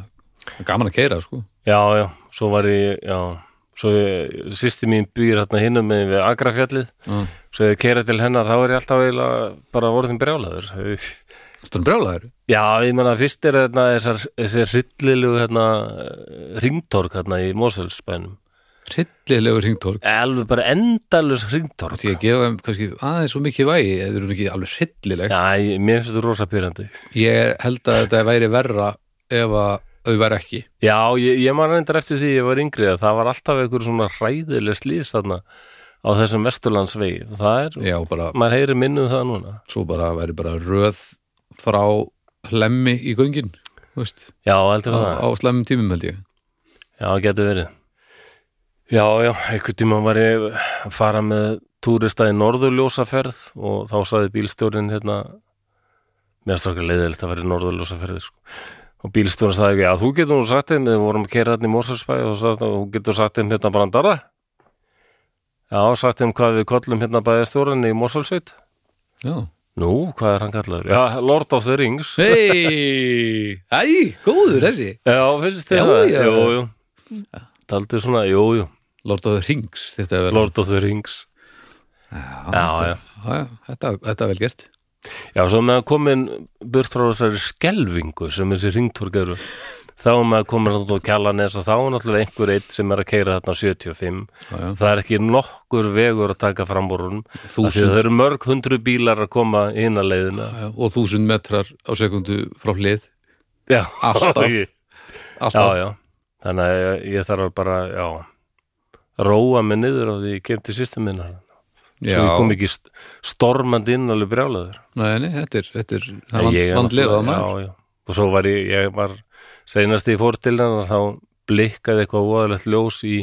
[SPEAKER 2] gaman að keira sko
[SPEAKER 1] Já, já, svo var ég já, svo ég, sýsti mín býr hérna hinnum með við Agrafjallið
[SPEAKER 2] Mm.
[SPEAKER 1] svo ég keira til hennar, þá er ég alltaf eiginlega bara orðin brjálaður
[SPEAKER 2] Þannig brjálæður
[SPEAKER 1] Já, ég menna fyrst er hérna þessar, þessi hryllilegu hérna ringtork hérna í Mosfellsbænum
[SPEAKER 2] hryllilegu hringtorg
[SPEAKER 1] alveg bara endalus ringtork
[SPEAKER 2] því að gefa þeim kannski aðeins svo mikið vægi eða eru ekki alveg hryllileg
[SPEAKER 1] Já, ég, mér finnst þetta rosa pyrrandi
[SPEAKER 2] ég held að þetta væri verra ef að þau væri ekki
[SPEAKER 1] Já, ég, ég man reyndar eftir því ég var yngri að það var alltaf einhver svona hræðileg slýs þarna á þessum vesturlandsvegi og það er,
[SPEAKER 2] já, bara,
[SPEAKER 1] maður heyri minnum það núna
[SPEAKER 2] svo bara væri bara röð frá hlemmi í göngin þú veist,
[SPEAKER 1] Já, heldur
[SPEAKER 2] á,
[SPEAKER 1] það,
[SPEAKER 2] á slemmum tímum held ég
[SPEAKER 1] já, getur verið Já, já, einhvern tíma var ég að fara með túrista í norðurljósaferð og þá saði bílstjórinn hérna mér strókar leiðilegt að vera í norðurljósaferði sko. og bílstjórinn saði já, þú getur nú sagt þeim, við vorum að kera hérna í Mósarsbæði og sagði, þú getur sagt þeim hérna brandara Já, sagt þeim hvað við kollum hérna bæðastjórinn í Mósalsveit
[SPEAKER 2] já,
[SPEAKER 1] Nú, hvað er hann kallaður? Já, Lord of the Rings
[SPEAKER 2] Hei, æ, góður þessi
[SPEAKER 1] Já, finnst þið
[SPEAKER 2] Já,
[SPEAKER 1] það?
[SPEAKER 2] já.
[SPEAKER 1] Jú, jú Taldið svona, jú, jú
[SPEAKER 2] Lord of the Rings þetta er vel
[SPEAKER 1] Lord of the Rings Já, já.
[SPEAKER 2] já, þetta, þetta er vel gert
[SPEAKER 1] Já, svo með að komin burt frá þessari skelvingu sem þessi ringtorg eru þá er maður komin út á kjallanes og þá er náttúrulega einhver eitt sem er að keira þarna á
[SPEAKER 2] Já,
[SPEAKER 1] 75
[SPEAKER 2] já.
[SPEAKER 1] það er ekki nokkur vegur að taka fram úr hún
[SPEAKER 2] Þúsund.
[SPEAKER 1] það eru mörg hundru bílar að koma inn að leiðina
[SPEAKER 2] Já, og þúsund metrar á sekundu frá hlið
[SPEAKER 1] Já,
[SPEAKER 2] Alltaf.
[SPEAKER 1] já,
[SPEAKER 2] alltaf,
[SPEAKER 1] já þannig að ég, ég þarf að bara, já róa mig niður á því ég kem til sýstum minna svo ég kom ekki st- stormandi inn alveg brjálaður
[SPEAKER 2] Nei, nei, þetta er, þetta er
[SPEAKER 1] Nei,
[SPEAKER 2] það
[SPEAKER 1] ég er
[SPEAKER 2] er vandlefað
[SPEAKER 1] náttúrulega-
[SPEAKER 2] maður
[SPEAKER 1] já, já. og svo var ég, ég var seinast þegar ég fór til hennar þá blikkaði eitthvað voðalegt ljós í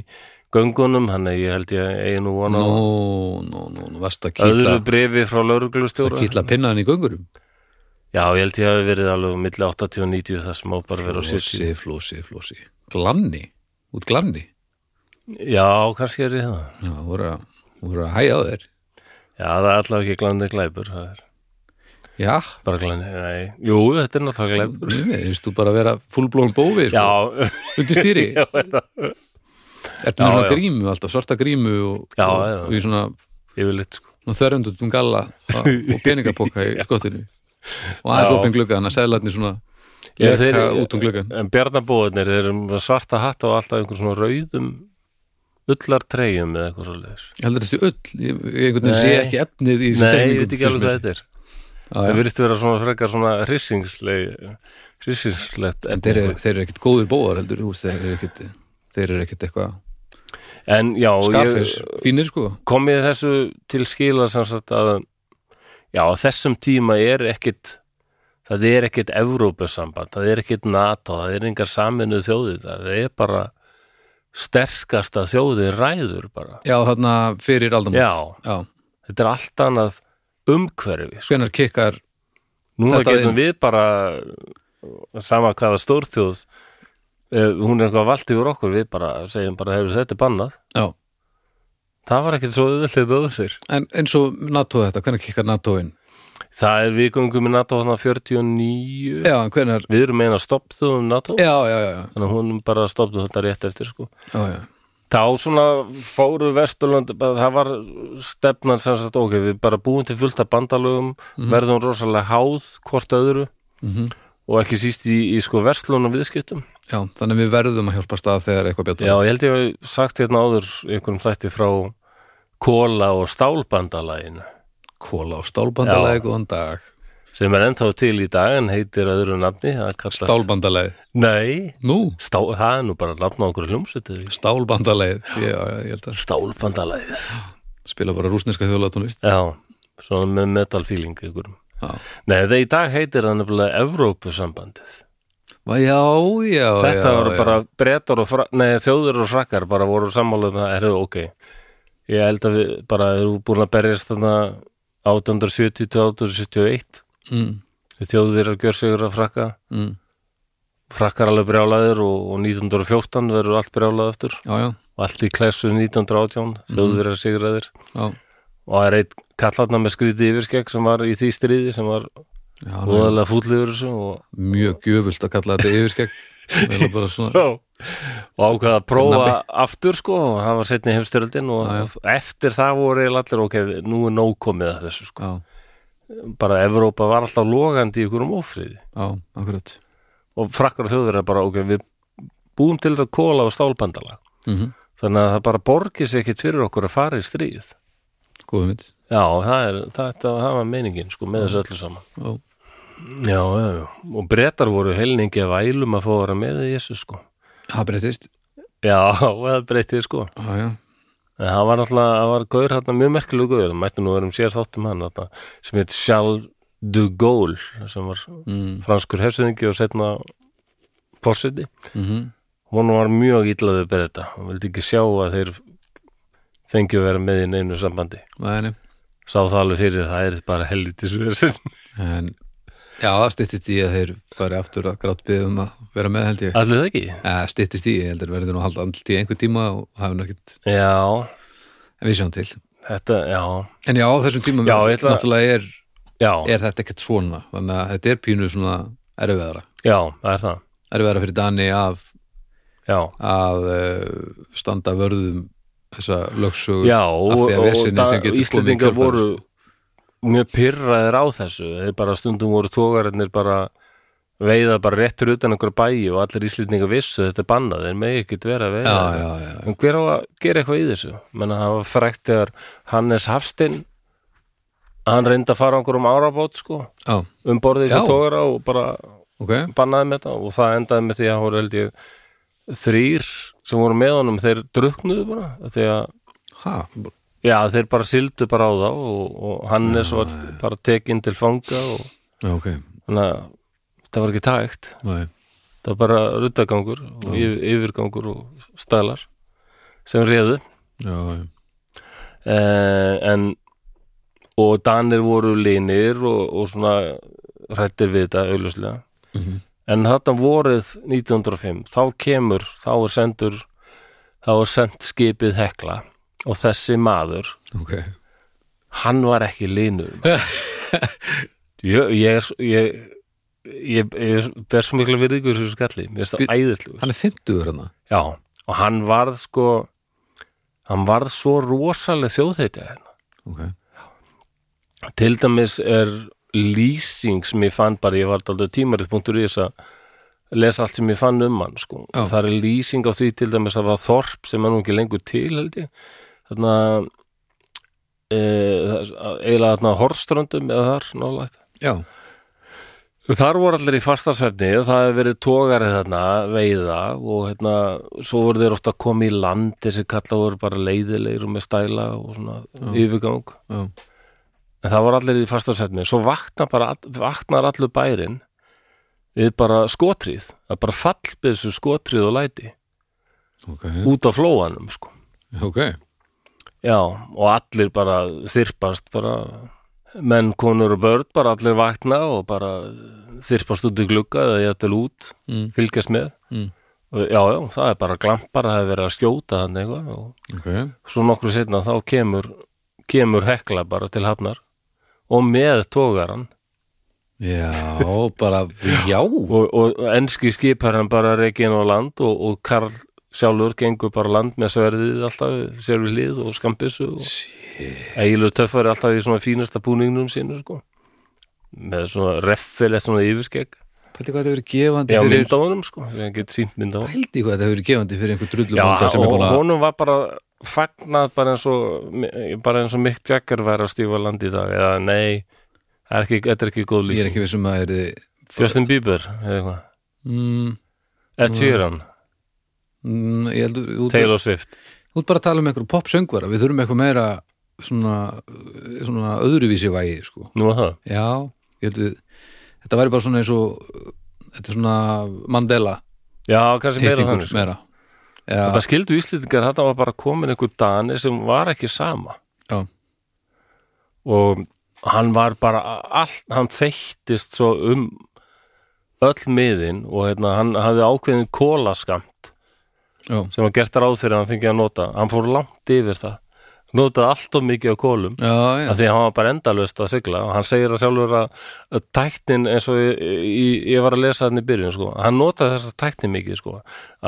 [SPEAKER 1] göngunum, hann að ég held ég eigi nú
[SPEAKER 2] Nú,
[SPEAKER 1] vona á
[SPEAKER 2] nú, nú, nú, varst að kýtla
[SPEAKER 1] öðru brefi frá
[SPEAKER 2] að
[SPEAKER 1] lauruglustjóra
[SPEAKER 2] kýtla pinnaðan í göngurum
[SPEAKER 1] já, ég held ég hafi verið alveg milli 80 og 90 það sem má bara vera á
[SPEAKER 2] Flósi,
[SPEAKER 1] 70
[SPEAKER 2] flósi, flósi Glanni, út glanni
[SPEAKER 1] já, kannski er ég það
[SPEAKER 2] Já, voru að, voru að hæja á þér
[SPEAKER 1] já, það er allavega ekki glændi glæpur það er
[SPEAKER 2] Já,
[SPEAKER 1] bara glændi, nei, jú, þetta er náttúrulega glæpur
[SPEAKER 2] mér finnst þú bara að vera fullblón bófi, sko,
[SPEAKER 1] já,
[SPEAKER 2] undir stýri
[SPEAKER 1] já, er það.
[SPEAKER 2] Ertu með
[SPEAKER 1] Já,
[SPEAKER 2] svona
[SPEAKER 1] já.
[SPEAKER 2] grímu, alltaf svarta grímu og,
[SPEAKER 1] Já,
[SPEAKER 2] og,
[SPEAKER 1] já, já.
[SPEAKER 2] og í svona
[SPEAKER 1] yfirleitt sko
[SPEAKER 2] þörundutum galla og og peningapoka í skottinu og aðeins
[SPEAKER 1] Já.
[SPEAKER 2] opin gluggan að seglarni svona
[SPEAKER 1] Já,
[SPEAKER 2] leka
[SPEAKER 1] þeir-
[SPEAKER 2] út um gluggan
[SPEAKER 1] En bjarnabóðinir, þeir eru með svarta hatt og alltaf einhver svona rauðum ullartreyjum eða eitthvað svo leiðis.
[SPEAKER 2] heldur þessi öll, ég ég einhvern veginn sé
[SPEAKER 1] Nei.
[SPEAKER 2] ekki efnið í
[SPEAKER 1] Nei, ég veit ekki alveg hvað þetta er. Það
[SPEAKER 2] er
[SPEAKER 1] virðist vera svona frekar svona hryssingsleg, hryssingslegt.
[SPEAKER 2] en
[SPEAKER 1] efni.
[SPEAKER 2] þeir eru, þeir eru ekkit góður bóðar heldur úr, þeir eru ekkit, þeir eru ekkit eitthvað
[SPEAKER 1] En já,
[SPEAKER 2] skafis,
[SPEAKER 1] ég
[SPEAKER 2] fínir sko
[SPEAKER 1] kom ég þessu til skila sem sagt að, já, á þessum tíma er ekkit, það er ekkit Evrópusamband, það er ekkit NATO, það er engar saminuð þjóðið, það er bara sterkasta þjóðið ræður bara.
[SPEAKER 2] já þarna fyrir aldamót
[SPEAKER 1] Já.
[SPEAKER 2] já.
[SPEAKER 1] Þetta er allt annað umhverfi. sko.
[SPEAKER 2] hvenar kikkar
[SPEAKER 1] Núna
[SPEAKER 2] Þetta
[SPEAKER 1] getum
[SPEAKER 2] er-
[SPEAKER 1] við bara sama hvaða stórþjóð eh, hún er eitthvað vald yfir okkur við bara segjum bara hefur þetta er bannað
[SPEAKER 2] já.
[SPEAKER 1] það var ekkert svo auðvöldið öður fyrr
[SPEAKER 2] en eins og NATO þetta, hvenar kikkar NATO inn
[SPEAKER 1] það er við gungum í NATO hann 49
[SPEAKER 2] já, en hvenar
[SPEAKER 1] við erum eina stoppþjóðum NATO
[SPEAKER 2] já, já, já, já,
[SPEAKER 1] þannig að hún bara stoppðu þetta rétt eftir sko.
[SPEAKER 2] já, já.
[SPEAKER 1] þá svona fóru Vesturlönd bara það var stefnan sem sagt ok, við bara búum til fullt af bandalögum verðum rosalega háð hvort öðru
[SPEAKER 2] Mhm.
[SPEAKER 1] og ekki síst í, í sko verslunum viðskiptum
[SPEAKER 2] já, þannig að við verðum að hjálpa stað þegar eitthvað bjátt á.
[SPEAKER 1] Já, ég held ég að sagt hérna áður í einhverjum þætti frá kóla og stálbandalæginu
[SPEAKER 2] kóla og stálbandalæði, góðan dag
[SPEAKER 1] sem er ennþá til í dag en heitir öðru nafni það kallast...
[SPEAKER 2] stálbandalæði,
[SPEAKER 1] Nei,
[SPEAKER 2] nú
[SPEAKER 1] stál, það er nú bara nafn á okkur hljómsveitu
[SPEAKER 2] stálbandalæði, já, já, ég held að
[SPEAKER 1] Stálbandalægið
[SPEAKER 2] spila bara rúsneska þjóðlatónlist
[SPEAKER 1] Já, svona með metal feeling ykkur
[SPEAKER 2] já,
[SPEAKER 1] Nei, það í dag heitir það nefnilega Evrópusambandið
[SPEAKER 2] Va, já, já
[SPEAKER 1] Þetta
[SPEAKER 2] já,
[SPEAKER 1] voru
[SPEAKER 2] já.
[SPEAKER 1] bara brettar og fra... Nei, þjóður og frakkar bara voru sammála um það er ok Ég held að við bara erum búin að berjast þarna 1870 til 1871
[SPEAKER 2] mm,
[SPEAKER 1] þjóðverjar gjör sigur að frakka
[SPEAKER 2] mm,
[SPEAKER 1] frakkar alveg brjálaðir og, og 1914 verður allt brjálað aftur
[SPEAKER 2] já, já,
[SPEAKER 1] og allt í klessu 1918
[SPEAKER 2] Mhm.
[SPEAKER 1] þjóðverjar sigur að þér
[SPEAKER 2] já,
[SPEAKER 1] og það er eitt kallatna með skrítið yfirskegg sem var í því stríði sem var
[SPEAKER 2] já nú,
[SPEAKER 1] óðalega fútliður þessu og,
[SPEAKER 2] mjög gjöfult að kalla þetta yfirskegg Vel að bara svona,
[SPEAKER 1] og ákvaða að prófa aftur sko og það var setni heimstyröldin og
[SPEAKER 2] Já,
[SPEAKER 1] eftir það voru eiginlega allir ok, nú er nóg komið að þessu sko
[SPEAKER 2] já,
[SPEAKER 1] bara Evrópa var alltaf logandi í ykkur um ófriði
[SPEAKER 2] já, akkurat
[SPEAKER 1] og frakkar og þjóðverjar bara ok, við búum til þetta kóla og stálbandala
[SPEAKER 2] mm
[SPEAKER 1] þannig að það bara borgi sig ekkit fyrir okkur að fara í stríð
[SPEAKER 2] góðum mitt
[SPEAKER 1] já, það, er, það, það, það var meiningin sko, með þessu öllu saman
[SPEAKER 2] já,
[SPEAKER 1] já, já, já, og brettar voru helningi af ælum að fá að vera með í þessu sko
[SPEAKER 2] það breytist
[SPEAKER 1] já, og það breytið sko
[SPEAKER 2] já, já,
[SPEAKER 1] en það var náttúrulega, það var gaur hérna mjög merkilegu gaur, það mætti nú verið um sér þáttum hann hérna, sem heit Charles de Gaulle sem var
[SPEAKER 2] mm,
[SPEAKER 1] franskur hefsöðingi og setna fórseti
[SPEAKER 2] mm
[SPEAKER 1] hún var mjög illa við bretta hún vildi ekki sjá að þeir fengju að vera með í neinu sambandi
[SPEAKER 2] Nei, nei.
[SPEAKER 1] sá það alveg fyrir það er bara helvitis versin
[SPEAKER 2] en já, það styttist í að þeir fari aftur að grátbyðið um að vera með held ég
[SPEAKER 1] allir það ekki?
[SPEAKER 2] Eh, styttist í, ég heldur verður nú að halda andlut í einhver tíma og hafa nokkert,
[SPEAKER 1] Já,
[SPEAKER 2] en við sjáum til
[SPEAKER 1] þetta, já
[SPEAKER 2] en já, á þessum tímum
[SPEAKER 1] Já, ég ætla-
[SPEAKER 2] náttúrulega er
[SPEAKER 1] já,
[SPEAKER 2] er þetta ekkert svona þannig að þetta er pínu svona erfiðara
[SPEAKER 1] já, það er það
[SPEAKER 2] erfiðara fyrir Dani að,
[SPEAKER 1] já,
[SPEAKER 2] að uh, standa vörðum þessa lögsögu
[SPEAKER 1] já
[SPEAKER 2] af
[SPEAKER 1] og,
[SPEAKER 2] því að
[SPEAKER 1] og,
[SPEAKER 2] vesenið sem getur
[SPEAKER 1] og
[SPEAKER 2] komið í
[SPEAKER 1] Íslendingar
[SPEAKER 2] kjölfarið,
[SPEAKER 1] voru mjög pyrraðir á þessu þeir bara stundum voru tógarinnir bara veiða bara rétt fyrir utan einhverja bæi og allir Íslendingar vissu þetta er bannað þeir megi ekkert vera að veiða
[SPEAKER 2] já,
[SPEAKER 1] þetta.
[SPEAKER 2] já, já,
[SPEAKER 1] En hver á að gera eitthvað í þessu? Menna það var frækt þegar Hannes Hafstinn hann reyndi að fara á einhverjum árabót sko,
[SPEAKER 2] já,
[SPEAKER 1] um borðið
[SPEAKER 2] Já.
[SPEAKER 1] ykkur tókara og bara
[SPEAKER 2] ok
[SPEAKER 1] bannaði með þetta og það endaði með því að það voru held ég þrýr sem voru með honum þeir druknuðu bara því að
[SPEAKER 2] ha,
[SPEAKER 1] já, þeir bara sildu bara á þá og, og Hannes var bara tekinn til fanga og
[SPEAKER 2] já, ok
[SPEAKER 1] þannig að það var ekki tægt
[SPEAKER 2] Nei.
[SPEAKER 1] það var bara ruttagangur og yfir, yfirgangur og stælar sem réðu
[SPEAKER 2] já, já,
[SPEAKER 1] eh, en og Danir voru línir og, og svona hrættir við þetta augljóslega en þarna vorið 1905 þá kemur, þá er sendur þá er sendt skipið hekla og þessi maður
[SPEAKER 2] ok
[SPEAKER 1] hann var ekki línur maður. ég, ég, er s- ég ég, ég ber svo mikla virðingur þessu skalli, mér er það
[SPEAKER 2] Bíl-
[SPEAKER 1] æðislu
[SPEAKER 2] hann er 50 hérna
[SPEAKER 1] já, og hann varð sko hann varð svo rosaleg þjóðheitja hérna
[SPEAKER 2] ok,
[SPEAKER 1] til dæmis er lýsing sem ég fann bara, ég var aldrei tímarið.is að lesa allt sem ég fann um hann sko.
[SPEAKER 2] Já.
[SPEAKER 1] það er lýsing á því til dæmis að það var þorp sem er nú ekki lengur til held ég þarna e, eiginlega þarna á horströndum eða þar nálægt
[SPEAKER 2] já,
[SPEAKER 1] Þar voru allir í fastasvefni og það hefði verið tógarið þarna veiða og hérna, svo voru þeir ofta að koma í land þessi kalla voru bara leiðilegir og með stæla og svona yfirgang
[SPEAKER 2] já,
[SPEAKER 1] en það voru allir í fastasvefni svo vakna bara, vaknar allur bærin við bara skotrið það er bara fallbyrsu skotrið og læti
[SPEAKER 2] ok
[SPEAKER 1] út á flóanum sko
[SPEAKER 2] ok,
[SPEAKER 1] já, og allir bara þyrpast bara menn, konur og börn bara allir vakna og bara þyrpast út í glugga eða jættil út
[SPEAKER 2] Mm.
[SPEAKER 1] fylgjast með
[SPEAKER 2] Mm.
[SPEAKER 1] og, já, já, það er bara glampar það er verið að skjóta þannig eitthvað og
[SPEAKER 2] ok
[SPEAKER 1] svo nokkru setna þá kemur kemur hekla bara til hafnar og með tógaran
[SPEAKER 2] já, bara, já
[SPEAKER 1] og, og enski skipar hann bara reikin á land og, og Karl sjálfur gengur bara á land með sverðið alltaf sér við hlið og skambissu og eiginlega töffar er alltaf í svona fínasta búningnum sínur sko með svona reffilegt svona yfirskegg
[SPEAKER 2] pældi hvað þetta verið gefandi
[SPEAKER 1] já,
[SPEAKER 2] fyrir
[SPEAKER 1] mynd á honum sko, ég get sínt mynd á honum
[SPEAKER 2] pældi hvað þetta verið gefandi fyrir einhver
[SPEAKER 1] já,
[SPEAKER 2] drullumanda sem er
[SPEAKER 1] og
[SPEAKER 2] búin að
[SPEAKER 1] honum var bara fagnað bara eins og bara eins og Mick Jagger væri að stífa land í dag eða nei, það er ekki, þetta er ekki góð
[SPEAKER 2] ég er
[SPEAKER 1] lýsing
[SPEAKER 2] ekki vissum að það er
[SPEAKER 1] Justin Bieber, eða eitthvað
[SPEAKER 2] mm,
[SPEAKER 1] Ed Sheeran,
[SPEAKER 2] mm, ég heldur þú ert-
[SPEAKER 1] Taylor Swift
[SPEAKER 2] þú ert bara að tala um einhver popsöngvara við þurfum eitthvað meira svona, svona öðruvísi vægi sko.
[SPEAKER 1] nú að það
[SPEAKER 2] já, ég heldur þetta væri bara svona eins og þetta er svona Mandela
[SPEAKER 1] Já, kannski meira
[SPEAKER 2] hittingur
[SPEAKER 1] þannig sko.
[SPEAKER 2] meira já,
[SPEAKER 1] Það skildu Íslendingar þetta var bara komin einhver dani sem var ekki sama
[SPEAKER 2] Já.
[SPEAKER 1] og hann var bara allt, hann þeyttist svo um öll miðin og hérna, hann hafði ákveðin kólaskamt
[SPEAKER 2] já,
[SPEAKER 1] sem var gert ráð fyrir að hann fengi að nota hann fór langt yfir það notaði allt of mikið á kólum
[SPEAKER 2] já, já,
[SPEAKER 1] af því að hann var bara endalaust að sigla og hann segir að sjálfur að að tæknin eins og ég, ég, ég var að lesa þannig í byrjun sko. hann notaði þessa tæknin mikið sko,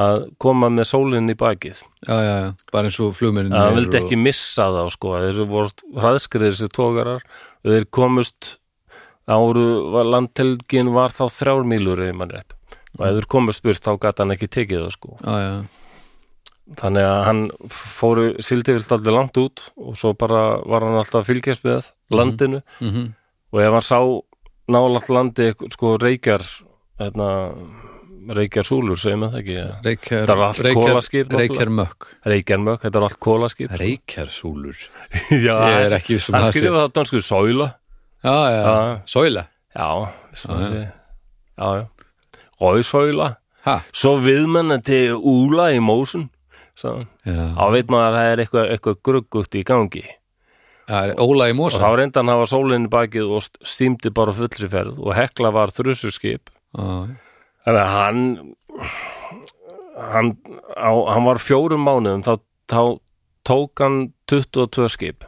[SPEAKER 1] að koma með sólinn í bakið
[SPEAKER 2] já, já, já. bara eins og flugmennin
[SPEAKER 1] að hann vildi ekki missa þá sko. þessi voru hraðskriðir þessi tógarar og þeir komust áru, var, landtelgin var þá þrjár mílur ef mann rétt og ef þeir komust burt þá gat hann ekki tekið það sko.
[SPEAKER 2] já, já,
[SPEAKER 1] þannig að hann fóru sildi vilt allir langt út og svo bara var hann alltaf að fylgjast með landinu
[SPEAKER 2] mm
[SPEAKER 1] og ef hann sá nálægt landi eitthvað, sko reykjar hérna, reykjar súlur segir maður það ekki ja.
[SPEAKER 2] reykjar
[SPEAKER 1] Það var allt kolaskip, náttúrulega.
[SPEAKER 2] reykjar mökk
[SPEAKER 1] reykjarmökk, þetta er allt kólaskip
[SPEAKER 2] reykjarsúlur,
[SPEAKER 1] já,
[SPEAKER 2] ég er ekki vissum
[SPEAKER 1] hann
[SPEAKER 2] það sé
[SPEAKER 1] skrifa það dansku sæla
[SPEAKER 2] já, já,
[SPEAKER 1] Já.
[SPEAKER 2] sæla
[SPEAKER 1] já, sem að segja. já, já rauðsæla,
[SPEAKER 2] ha,
[SPEAKER 1] svo viðmennandi úla í mósun
[SPEAKER 2] Mhm.
[SPEAKER 1] sagði hann.
[SPEAKER 2] já,
[SPEAKER 1] þá veit maður að það er eitthvað, eitthvað gruggugt í gangi
[SPEAKER 2] það er Óla í
[SPEAKER 1] og
[SPEAKER 2] Mosa
[SPEAKER 1] þá reyndi hann að hafa sólinni í bakið og st- stýmdi bara á fullri ferð og hekla var þrjusurskip
[SPEAKER 2] já,
[SPEAKER 1] Þannig að hann hann, á, hann var fjórum mánuðum þá, þá tók hann 22 skip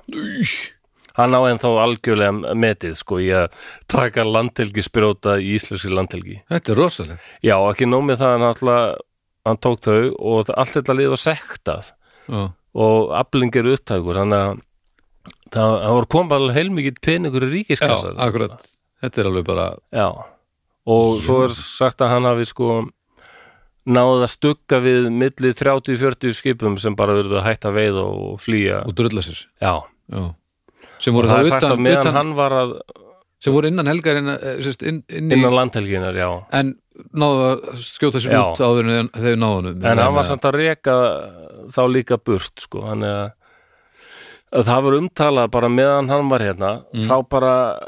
[SPEAKER 1] hann á ennþá algjörlega metið sko í að taka landhelgisbrjóta í íslenski landhelgi
[SPEAKER 2] Þetta er rosalegt.
[SPEAKER 1] já, ekki nóg með það hann alltaf hann tók þau og það- allt þetta lið var sektað
[SPEAKER 2] Já.
[SPEAKER 1] og aflingir upptækur þannig að það, það var kom bara heilmikið peningur í
[SPEAKER 2] Já,
[SPEAKER 1] ríkiskassar
[SPEAKER 2] akkurat. Þetta er alveg bara,
[SPEAKER 1] Já, og svo er sagt að hann hafi sko náð að stugga við milli 30-40 skipum sem bara verður að hætta veið og flýja.
[SPEAKER 2] og drulla sér.
[SPEAKER 1] Já,
[SPEAKER 2] Já. Sem voru
[SPEAKER 1] það er
[SPEAKER 2] það
[SPEAKER 1] sagt að
[SPEAKER 2] utan,
[SPEAKER 1] meðan
[SPEAKER 2] utan
[SPEAKER 1] hann var að
[SPEAKER 2] sem voru innan helgar inn, sérst, inn, inn í,
[SPEAKER 1] innan landhelginar, já.
[SPEAKER 2] en náðu að skjóta sér
[SPEAKER 1] Já.
[SPEAKER 2] út áður en þeir náðu hann.
[SPEAKER 1] En hann var samt að reka þá líka burt, sko, hann er að að það var umtalað bara meðan hann var hérna,
[SPEAKER 2] Mm.
[SPEAKER 1] þá bara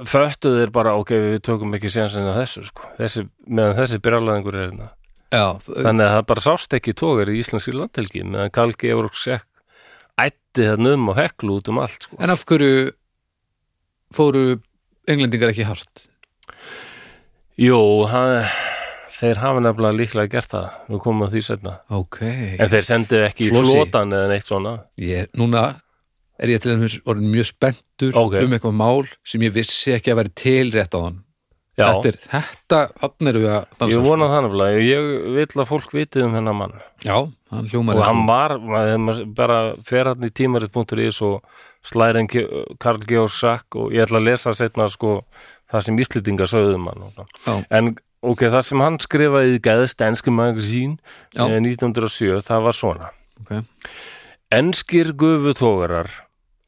[SPEAKER 1] föttu þeir bara, ok, við tökum ekki sénsinn að þessu, sko, þessi, meðan þessi byrjalaðingur er hérna.
[SPEAKER 2] Já, það-
[SPEAKER 1] Þannig að það bara sást ekki tógar í íslenski landhelgi meðan Karl Georg Sekk ætti þarna um og heklu út um allt sko.
[SPEAKER 2] en af hverju fóru englendingar ekki hart?
[SPEAKER 1] Jú, hann, þeir hafa nefnilega líklega gert það, við komum að því setna
[SPEAKER 2] Ok.
[SPEAKER 1] en þeir sendu ekki í
[SPEAKER 2] Flosi.
[SPEAKER 1] flotan eða neitt svona
[SPEAKER 2] Ég, er- núna er ég til þess orðin mjög spenntur
[SPEAKER 1] Ok.
[SPEAKER 2] um eitthvað mál sem ég vissi ekki að vera tilrétt á hann.
[SPEAKER 1] Já,
[SPEAKER 2] Þetta er, þetta, hann eru við að dansa.
[SPEAKER 1] ég
[SPEAKER 2] sko.
[SPEAKER 1] vona það nefnilega ég vil að fólk vitið um hennar mann
[SPEAKER 2] Já, hann hljómar
[SPEAKER 1] og
[SPEAKER 2] eins
[SPEAKER 1] hann var, maður, maður bara fer hann í tímarit.is og slærin Karl Georg Sack og ég ætla að lesa setna sko það sem Íslendingar sögðum hann og svona.
[SPEAKER 2] Já.
[SPEAKER 1] en ok, það sem hann skrifaði í Gæðst Ensku Magazine
[SPEAKER 2] Já.
[SPEAKER 1] eh, 1907, það var svona
[SPEAKER 2] Ok.
[SPEAKER 1] Enskir gufutógarar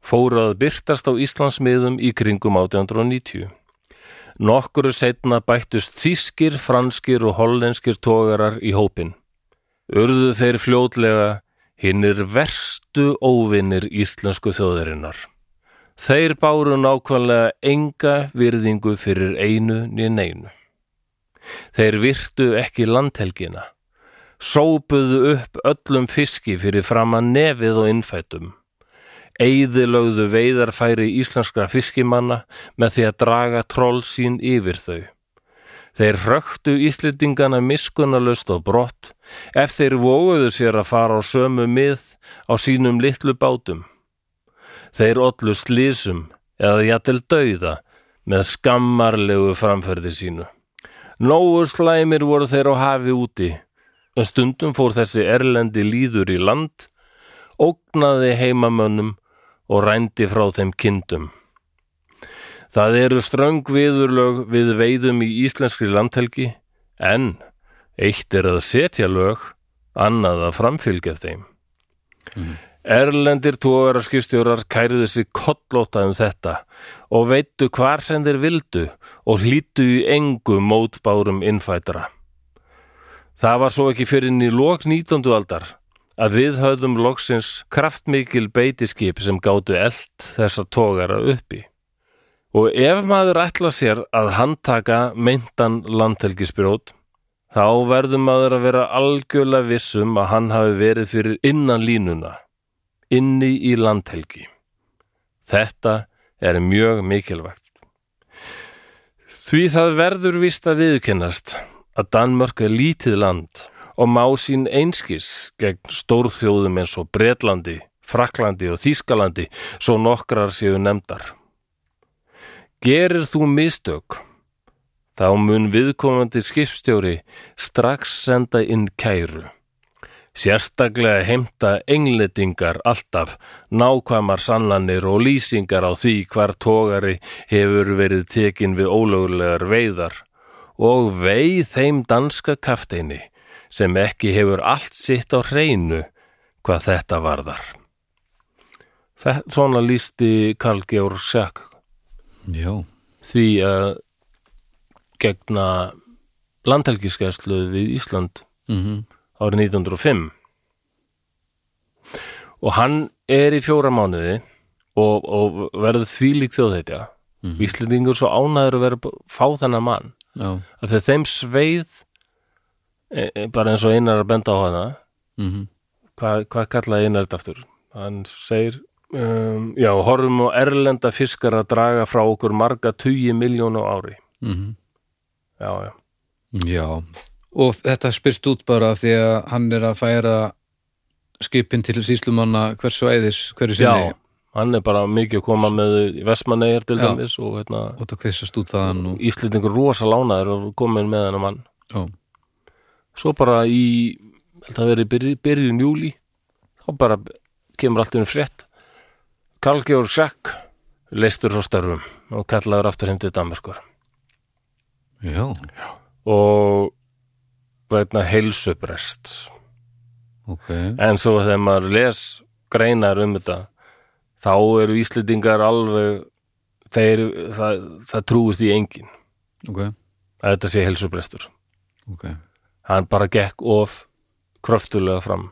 [SPEAKER 1] fóru að byrtast á Íslandsmiðum í kringum 1890 Nokkuru setna bættust þýskir, franskir og hollenskir tógarar í hópin urðu þeir fljótlega hinnir verstu óvinnir íslensku þjóðarinnar. Þeir báru nákvæmlega enga virðingu fyrir einu né neinu. Þeir virtu ekki landhelgina, sópuðu upp öllum fiski fyrir framan nefið og innfætum. Eyðilögðu veiðarfæri íslenskra fiskimanna með því að draga troll sín yfir þau. Þeir hröktu Íslendingana miskunnalust og brott ef þeir vóguðu sér að fara á sömu mið á sínum litlu bátum. Þeir ollu slísum eða jafnvel dauða með skammarlegu framferði sínu. Nógu slæmir voru þeir á hafi úti en stundum fór þessi erlendi líður í land, ógnaði heimamönnum og rændi frá þeim kindum. Það eru ströng viðurlög við veiðum í íslenskri landhelgi, en eitt er að setja lög, annað að framfylgja þeim. Erlendir tógararskipstjórar kæruðu sig kollóta um þetta og veittu hvar sem þeir vildu og hlýttu í engu mótbárum innfætra. Það var svo ekki fyrir inn í lok 19. aldar að við höfðum loksins kraftmikil beitiskip sem gátu eld þessa tógara uppi. Og ef maður ætla sér að handtaka meintan landhelgisbrjót, þá verður maður að vera algjörlega vissum að hann hafi verið fyrir innan línuna, inni í landhelgi. Þetta er mjög mikilvægt. Því það verður víst að viðkennast að Danmörk er lítið land og má sín einskis gegn stórþjóðum eins og Bretlandi, Fraklandi og Þýskalandi svo nokkrar séu nefndar. Gerir þú mistök? Þá mun viðkomandi skipstjóri strax senda inn kæru. Sérstaklega heimta englendingar alltaf nákvæmar sannanir og lýsingar á því hvar tógari hefur verið tekin við ólögulegar veiðar og veið þeim danska kafteini sem ekki hefur allt sitt á hreinu hvað þetta varðar. Þetta, svona lísti Karl Georg Schack
[SPEAKER 2] og- Já,
[SPEAKER 1] því að gegna landhelgiskeslu við Ísland
[SPEAKER 2] mhm.
[SPEAKER 1] árið 1905 og hann er í fjóra mánuði og, og verður þvílík þjóðheitja
[SPEAKER 2] Mhm.
[SPEAKER 1] mm -hmm. Íslendingur svo ánæður að vera að fá þennan mann
[SPEAKER 2] Já,
[SPEAKER 1] af því að þeim sveið e, e, bara eins og einar að benda á hana
[SPEAKER 2] mhm.
[SPEAKER 1] hvað hva kallaði einar þetta aftur hann segir um, já, horfum á erlenda fiskar að draga frá okkur marga tugi miljónu ári
[SPEAKER 2] Mhm.
[SPEAKER 1] já, já,
[SPEAKER 2] Já, og þetta spyrst út bara því að hann er að færa skipin til síslumanna hvers svæðis, hverju
[SPEAKER 1] já
[SPEAKER 2] sinni
[SPEAKER 1] hann er bara mikið að koma með þau í Vestmanneir til
[SPEAKER 2] Já.
[SPEAKER 1] dæmis og hérna,
[SPEAKER 2] og það kvissast út þaðan og,
[SPEAKER 1] Íslendingur rosa lánaður og komin með hennar mann
[SPEAKER 2] já,
[SPEAKER 1] svo bara í held að verið byrjun, byrjun júli þá bara kemur allt um frétt Karl Georg Schack leistur frá störfum og kallaður aftur heim til Danmarkur
[SPEAKER 2] já,
[SPEAKER 1] og veitna heilsuprest
[SPEAKER 2] ok
[SPEAKER 1] en svo þegar maður les greinar um þetta þá eru Íslendingar alveg þeir, það, það trúist í engin
[SPEAKER 2] ok,
[SPEAKER 1] að þetta sé heilsubrestur
[SPEAKER 2] ok
[SPEAKER 1] hann bara gekk of kröftulega fram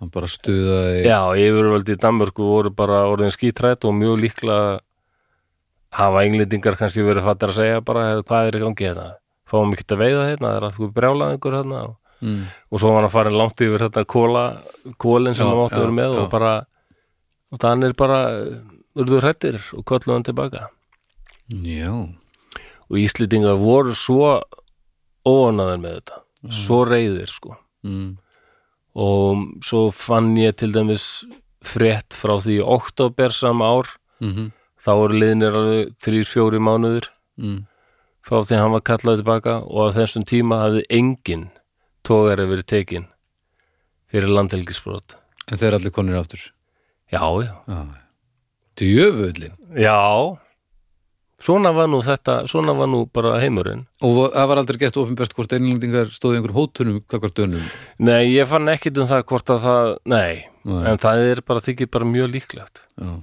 [SPEAKER 2] hann bara stuðaði
[SPEAKER 1] Já, yfirvöldi í Danmörku voru bara orðin skítrætt og mjög líklega hafa englendingar kannski verið fattir að segja bara "Heyrðu, hvað er í gangi hérna fáum ekki að veiða hérna, það er alltaf brjálað einhver hérna og,
[SPEAKER 2] mm,
[SPEAKER 1] og svo var hann farin langt yfir þetta kóla, kólin sem
[SPEAKER 2] Já,
[SPEAKER 1] hann átti að
[SPEAKER 2] já,
[SPEAKER 1] vera með og
[SPEAKER 2] já.
[SPEAKER 1] bara og hann er bara, urðu hrættir og köllu hann tilbaka
[SPEAKER 2] já,
[SPEAKER 1] og Íslendingar voru svo óanaður með þetta
[SPEAKER 2] Mhm.
[SPEAKER 1] svo reyðir sko
[SPEAKER 2] mm,
[SPEAKER 1] og svo fann ég til dæmis frétt frá því í oktober sam ár
[SPEAKER 2] mm -hmm,
[SPEAKER 1] þá voru liðnir alveg þrýr, fjóri mánuður
[SPEAKER 2] mm,
[SPEAKER 1] frá því hann var kallaði tilbaka og á þessum tíma hafði engin tógari verið tekin fyrir landhelgisbrot
[SPEAKER 2] en þeir eru allir konir aftur
[SPEAKER 1] já, já,
[SPEAKER 2] já, djöfullin
[SPEAKER 1] já svona var nú þetta svona var nú bara heimurinn
[SPEAKER 2] og vo- það var aldrei gert ofinbært hvort einlendingar stóðu einhver hótunum kakvar dönum
[SPEAKER 1] nei, ég fann ekkit um það hvort að það nei,
[SPEAKER 2] Nei.
[SPEAKER 1] en það er bara þykir bara mjög líklegt
[SPEAKER 2] já,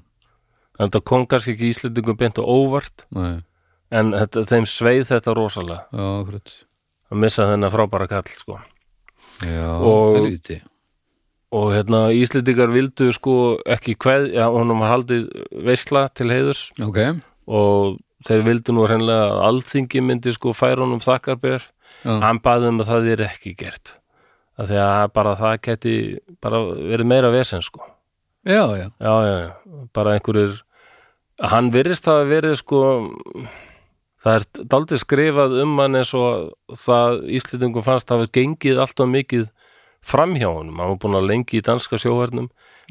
[SPEAKER 1] en það kom kannski ekki íslendingum beint og óvart
[SPEAKER 2] nei,
[SPEAKER 1] en þetta, þeim sveið þetta rosalega
[SPEAKER 2] já, akkurat
[SPEAKER 1] að missa þennan frábæra kall sko.
[SPEAKER 2] já,
[SPEAKER 1] Og-
[SPEAKER 2] helviti
[SPEAKER 1] og hérna Íslendingar vildu sko ekki kveð, já, honum var haldið veisla til heiðurs
[SPEAKER 2] ok,
[SPEAKER 1] og þeir vildu nú hreinlega að alþingi myndi sko færa honum þakkarbjör
[SPEAKER 2] já,
[SPEAKER 1] hann baði um að það er ekki gert af því að bara það geti bara verið meira vesen sko
[SPEAKER 2] já, já
[SPEAKER 1] já, já, já, bara einhverjir hann virðist það að verið sko það er daldið skrifað um hann eins og það Íslendingum fannst það hafa gengið alltaf mikið framhjá honum, hann var búin að lengi í danska sjóhernum,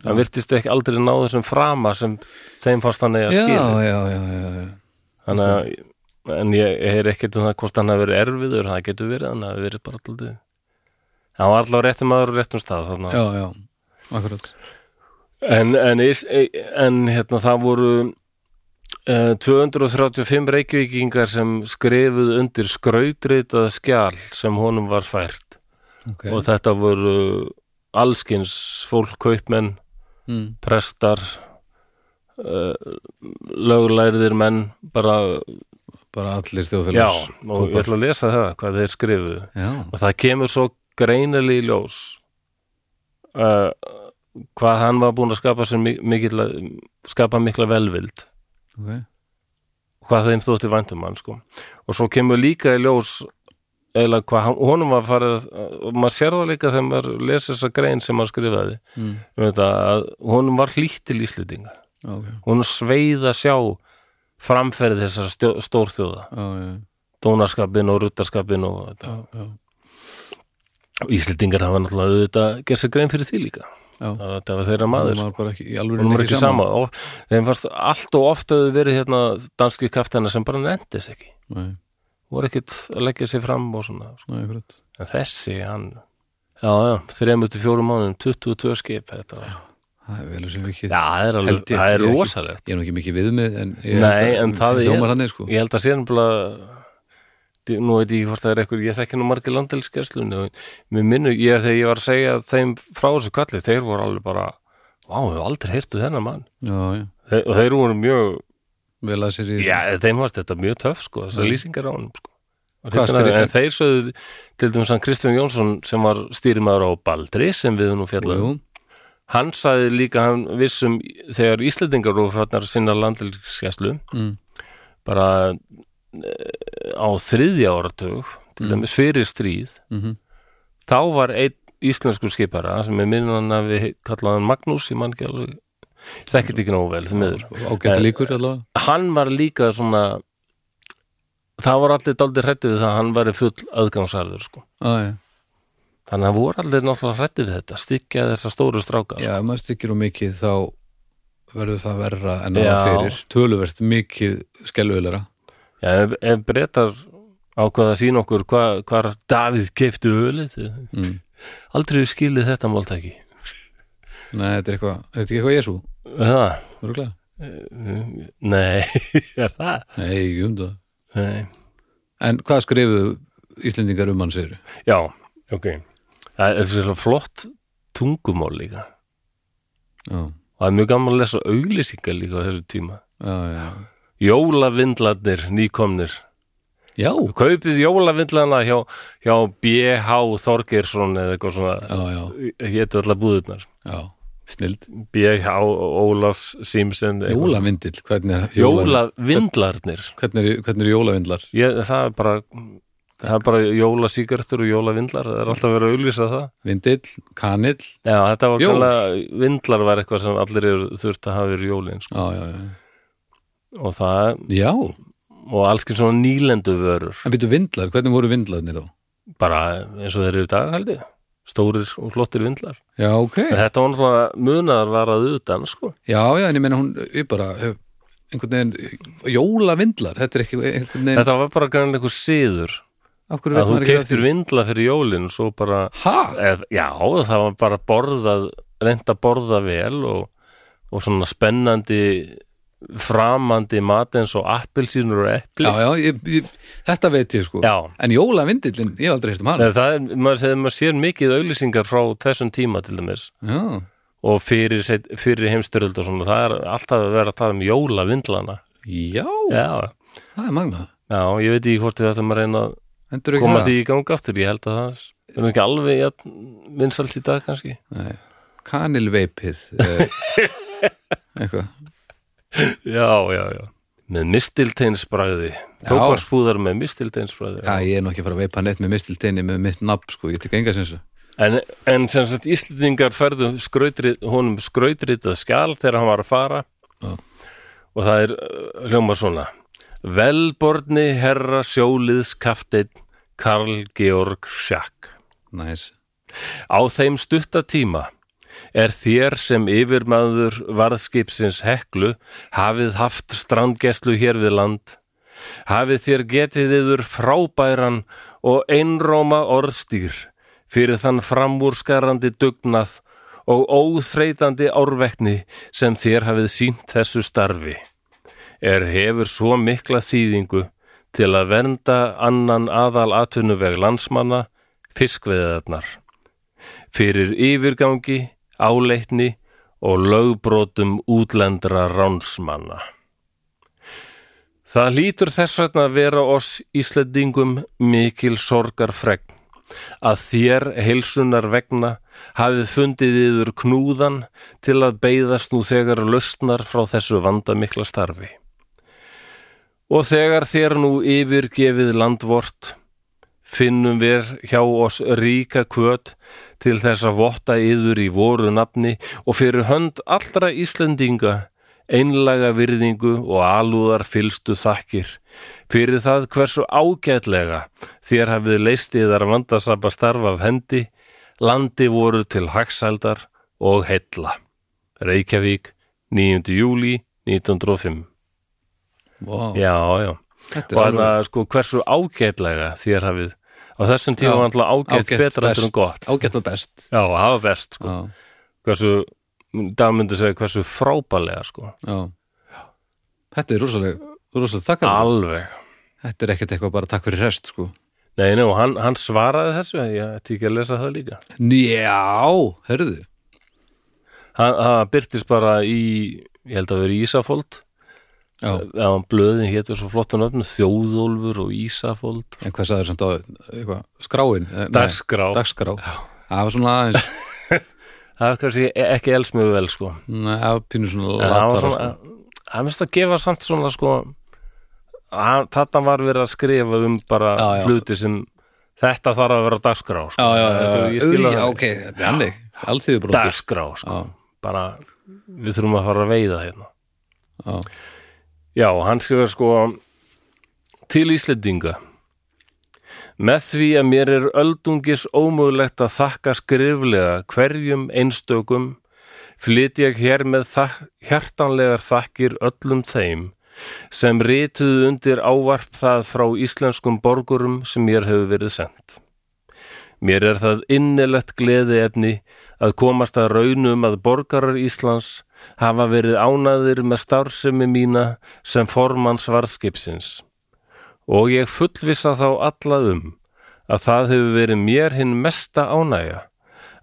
[SPEAKER 1] hann virtist ekki aldrei ná þessum frama sem þeim fannst hann eigi að
[SPEAKER 2] já,
[SPEAKER 1] skila,
[SPEAKER 2] já, já, já, já.
[SPEAKER 1] þannig að en ég er ekkert um það hvort hann hafi verið erfiður það getur verið, hann hafi verið bara daldið hann var allavega réttum maður og réttum stað þannig að
[SPEAKER 2] já, já, akkurat
[SPEAKER 1] En, en, is- en hérna, það voru uh, 235 reykvíkingar sem skrifuð undir skrautritað skjal sem honum var fært
[SPEAKER 2] okay.
[SPEAKER 1] og þetta voru allskins fólk, kaupmenn,
[SPEAKER 2] mm,
[SPEAKER 1] prestar, uh, lögulærðir menn, bara,
[SPEAKER 2] bara allir
[SPEAKER 1] já,
[SPEAKER 2] þjóðfélags
[SPEAKER 1] og ég ætla að lesa það, hvað þeir skrifuðu.
[SPEAKER 2] já,
[SPEAKER 1] Og það kemur svo greinilegi í ljós uh, hvað hann var búin að skapa sér mi- mikil, skapa mikla velvild
[SPEAKER 2] ok
[SPEAKER 1] hvað þeim þótti væntum hann sko. og svo kemur líka í ljós eða hvað hann, honum var farið og maður sér það líka þegar maður lesa þessa grein sem maður skrifaði
[SPEAKER 2] mm,
[SPEAKER 1] um þetta, að honum var hlýtt til Íslendinga
[SPEAKER 2] já, ok,
[SPEAKER 1] honum sveið að sjá framferði þessara stjó- stórþjóða
[SPEAKER 2] já, já,
[SPEAKER 1] dónaskapin og ruttaskapin og þetta
[SPEAKER 2] já, já.
[SPEAKER 1] og Íslendingar hafa náttúrulega auðvitað gerð sér grein fyrir því líka
[SPEAKER 2] Já.
[SPEAKER 1] að þetta var þeirra maður
[SPEAKER 2] Hún
[SPEAKER 1] sko.
[SPEAKER 2] var bara ekki, í
[SPEAKER 1] hún
[SPEAKER 2] alveg
[SPEAKER 1] var ekki sama og þeim fannst allt og oft hefðu verið hérna danski kaftana sem bara nefndis ekki
[SPEAKER 2] Nei,
[SPEAKER 1] voru ekkit að leggja sér fram og svona sko.
[SPEAKER 2] nei, akkurat
[SPEAKER 1] en þessi hann já já, þremur til fjórum mánum 22 skip þetta var já,
[SPEAKER 2] það er vel sem ekki
[SPEAKER 1] það er alveg,
[SPEAKER 2] Held ég-
[SPEAKER 1] það er
[SPEAKER 2] ég ekki.
[SPEAKER 1] rosalegt
[SPEAKER 2] ég er nú ekki mikið viðmið en ég
[SPEAKER 1] Nei,
[SPEAKER 2] held að-
[SPEAKER 1] en það er-
[SPEAKER 2] hljómar hann sko
[SPEAKER 1] ég held að sé nefnilega Di- nú veit ég ekki hvort það er eitthvað, ég þekki nú margir landelskerslunni og mér minnu, ég þegar ég var að segja þeim frá þessu kalli, þeir voru alveg bara vá, við hefur aldrei heyrtu þennan mann
[SPEAKER 2] já, já,
[SPEAKER 1] Þe, og þeir voru mjög,
[SPEAKER 2] vel að sér í
[SPEAKER 1] já, þeim varst þetta mjög töff sko, þessar lýsingar á honum sko. Og
[SPEAKER 2] Mm. Hvað
[SPEAKER 1] hrifnir af
[SPEAKER 2] skri-
[SPEAKER 1] þeim. en þeir sögðu til dæmis hann Kristján Jónsson sem var stýrimaður á Baldri sem við nú fjallaðum
[SPEAKER 2] jú,
[SPEAKER 1] hann sagði líka hann vissum þegar Íslendingar og frannar sinna landhelgisgæslu
[SPEAKER 2] Mm.
[SPEAKER 1] bara eh, á þriðja áratug
[SPEAKER 2] Mm.
[SPEAKER 1] til dæmis fyrir stríð
[SPEAKER 2] mhm,
[SPEAKER 1] þá var einn íslensku skipara sem er minnan að við kallaðan Magnús í mann ekki alveg þekkit ekki nógu vel því miður
[SPEAKER 2] ágæta
[SPEAKER 1] En-
[SPEAKER 2] líkur allavega
[SPEAKER 1] hann var líka svona það var allir dálítið hrættið við það að hann var full aðgangsarður sko
[SPEAKER 2] ah, já,
[SPEAKER 1] þannig að voru allir náttúrulega hrættið við þetta stykja þessa stóru stráka sko.
[SPEAKER 2] já, ef maður stykkir og mikið þá verður það verra en
[SPEAKER 1] Já.
[SPEAKER 2] aða fyrir töluvert mikið skelluðilega
[SPEAKER 1] Já, ef, ef breytar ákvaða að sína okkur hva, hvar Davíð keipti ölið
[SPEAKER 2] mm.
[SPEAKER 1] aldrei hefur skilið þetta máltæki
[SPEAKER 2] Nei, þetta er eitthvað, er þetta ekki eitthvað Jésu
[SPEAKER 1] Það,
[SPEAKER 2] Örgulega?
[SPEAKER 1] nei er það?
[SPEAKER 2] Nei, ég um það
[SPEAKER 1] Nei.
[SPEAKER 2] En hvað skrifuðu Íslendingar um hann segir?
[SPEAKER 1] Já, ok Það er svolítið flott tungumál líka
[SPEAKER 2] Já,
[SPEAKER 1] og það er mjög gaman að lesa auglýsingar líka á þessu tíma
[SPEAKER 2] já, já
[SPEAKER 1] Jólavindlarnir, nýkomnir
[SPEAKER 2] Já,
[SPEAKER 1] Kaupið jólavindlana hjá, hjá B.H. Þorgeirsson eða eitthvað svona eh,
[SPEAKER 2] já, já,
[SPEAKER 1] hétu allar búðurnar
[SPEAKER 2] já Snild
[SPEAKER 1] B.H. Ólafs Simpson eitthvað.
[SPEAKER 2] Jólavindill, hvernig er
[SPEAKER 1] Jólavindlarnir
[SPEAKER 2] Hvernig eru- hvernig eru jólavindlar?
[SPEAKER 1] Ég, það er bara það er bara jólasíkertur og jólavindlar það er alltaf verið að auglýsa það
[SPEAKER 2] Vindill, kanill
[SPEAKER 1] Já, þetta var
[SPEAKER 2] Jól.
[SPEAKER 1] kallað, vindlar var eitthvað sem allir eru þurft að hafa verið jólin sko.
[SPEAKER 2] Já, já, já
[SPEAKER 1] og það,
[SPEAKER 2] Já,
[SPEAKER 1] og alls kemur svona nýlendu vörur
[SPEAKER 2] en býtu vindlar, hvernig voru vindlarnir þá?
[SPEAKER 1] bara eins og þeir eru í dag held ég stórir og flottir vindlar
[SPEAKER 2] Já, ok
[SPEAKER 1] en þetta var náttúrulega munaðar var að utan sko.
[SPEAKER 2] Já, já, en ég meina hún, ég bara hef, einhvern veginn, jólavindlar þetta er ekki, einhvern veginn,
[SPEAKER 1] þetta var bara grann einhver siður
[SPEAKER 2] af hverju veit
[SPEAKER 1] að þú
[SPEAKER 2] maður ekki af
[SPEAKER 1] keiptir vindla fyrir jólin og svo bara
[SPEAKER 2] Ha?
[SPEAKER 1] eð, já, það var bara borðað reynd að borða vel og, og svona spennandi framandi mat eins og appelsínur og epli
[SPEAKER 2] Já, já, ég, ég, þetta veit ég sko
[SPEAKER 1] Já.
[SPEAKER 2] En jólavindillin, ég hef aldrei hýrt um hann
[SPEAKER 1] Nei, það er, maður, segir, maður sér mikið auglýsingar frá þessum tíma til dæmis
[SPEAKER 2] Já,
[SPEAKER 1] og fyrir, set- fyrir heimstyrjöld og svona, það er alltaf að vera að tala um jólavindlana
[SPEAKER 2] já,
[SPEAKER 1] Já,
[SPEAKER 2] það er magnað
[SPEAKER 1] já, ég veit ekki hvort við ætlum að reyna að
[SPEAKER 2] Endur ekki
[SPEAKER 1] koma
[SPEAKER 2] það
[SPEAKER 1] því í gang aftur, ég held að það er nú ekki alveg jafn vinsalt í dag kannski
[SPEAKER 2] Nei. Kanilveipið eh, Eitthvað
[SPEAKER 1] Já, já, já Með mistilteinsbræði Tókvarspúðar með mistilteinsbræði
[SPEAKER 2] Já, ég er nú ekki að fara að veipa neitt með mistiltinni með mitt nafn sko, ég tek enga sinns
[SPEAKER 1] En, en sem sagt Íslendingar færðu skrautrit, honum skrautritað skjal þegar hann var að fara
[SPEAKER 2] Já.
[SPEAKER 1] og það er uh, hljóma svona Velborni herra sjóliðs kafteinn Karl Georg Schack
[SPEAKER 2] Næs,
[SPEAKER 1] Á þeim stutta tíma er þér sem yfirmaður varðskipsins heklu hafið haft strandgeslu hér við land hafið þér getið yður frábæran og einróma orðstýr fyrir þann framúrskarandi dugnað og óþreytandi árvekni sem þér hafið sínt þessu starfi er hefur svo mikla þýðingu til að vernda annan aðal atvinnuveg landsmanna fiskveðarnar fyrir yfirgangi, áleitni og lögbrotum útlendra ránsmanna. Það lítur þess vegna að vera oss Íslendingum mikil sorgarfregn að þér heilsunar vegna hafið fundið yður knúðan til að beiðast nú þegar lausnar frá þessu vandamikla starfi. Og þegar þér nú yfirgefið landvort finnum við hjá oss ríka kvöt til þess að votta yður í voru nafni og fyrir hönd allra Íslendinga einlaga virðingu og alúðar fylstu þakkir fyrir það hversu ágætlega þér hafið leist yðar vandasapa starf af hendi landi voru til hagsældar og heilla Reykjavík, 9. júli 1905
[SPEAKER 2] vá,
[SPEAKER 1] Já, já
[SPEAKER 2] þetta er
[SPEAKER 1] og þannig
[SPEAKER 2] alveg
[SPEAKER 1] að sko hversu ágætlega þér hafið á þessum tíma
[SPEAKER 2] Já,
[SPEAKER 1] var alltaf ágætt, betra heldur en gott
[SPEAKER 2] Ágætt og best
[SPEAKER 1] já, það var best sko.
[SPEAKER 2] Já,
[SPEAKER 1] hversu, dagmyndu segja hversu frábælega sko,
[SPEAKER 2] já Þetta er rosalega, rosalega þakkar
[SPEAKER 1] alveg
[SPEAKER 2] Þetta er ekkert eitthvað bara takk fyrir rest sko
[SPEAKER 1] nei, nei, og hann, hann svaraði þessu ég ætti ekki að lesa það líka
[SPEAKER 2] Já, herðu
[SPEAKER 1] hann, hann byrtist bara í ég held að vera í Ísafold
[SPEAKER 2] Já,
[SPEAKER 1] eða hann blöðin hétur svo flottan öfnum Þjóðólfur og Ísafold
[SPEAKER 2] en hvað sagður samt á eitthvað, skráin? Eh, nei,
[SPEAKER 1] Dagskrá,
[SPEAKER 2] Dagskrá Það var svona aðeins,
[SPEAKER 1] það er kannski ekki els mjög vel sko
[SPEAKER 2] nei, það var pínu svona
[SPEAKER 1] En það var
[SPEAKER 2] latara
[SPEAKER 1] svona,
[SPEAKER 2] sko.
[SPEAKER 1] hann finnst að gefa samt svona sko hann, þetta var verið að skrifa um bara
[SPEAKER 2] Já, já.
[SPEAKER 1] hluti sem þetta þarf að vera á dagskrá sko.
[SPEAKER 2] Já, já, já,
[SPEAKER 1] ég
[SPEAKER 2] já,
[SPEAKER 1] skil
[SPEAKER 2] já,
[SPEAKER 1] það
[SPEAKER 2] ok, þetta er hannig Alþýðu bróndir
[SPEAKER 1] dagskrá sko.
[SPEAKER 2] Já.
[SPEAKER 1] bara við þurfum að fara að veiða hérna
[SPEAKER 2] Já,
[SPEAKER 1] já, hann skrifa sko til Íslendinga með því að mér er öldungis ómögulegt að þakka skriflega hverjum einstökum flyt ég hér með þak, hjartanlegar þakkir öllum þeim sem rituðu undir ávarp það frá íslenskum borgurum sem mér hefur verið sendt. Mér er það innilegt gleðiefni að komast að raunum að borgarar Íslands hafa verið ánaðir með starfsemi mína sem formann svarskipsins. Og ég fullvissa þá alla um að það hefur verið mér hinn mesta ánægja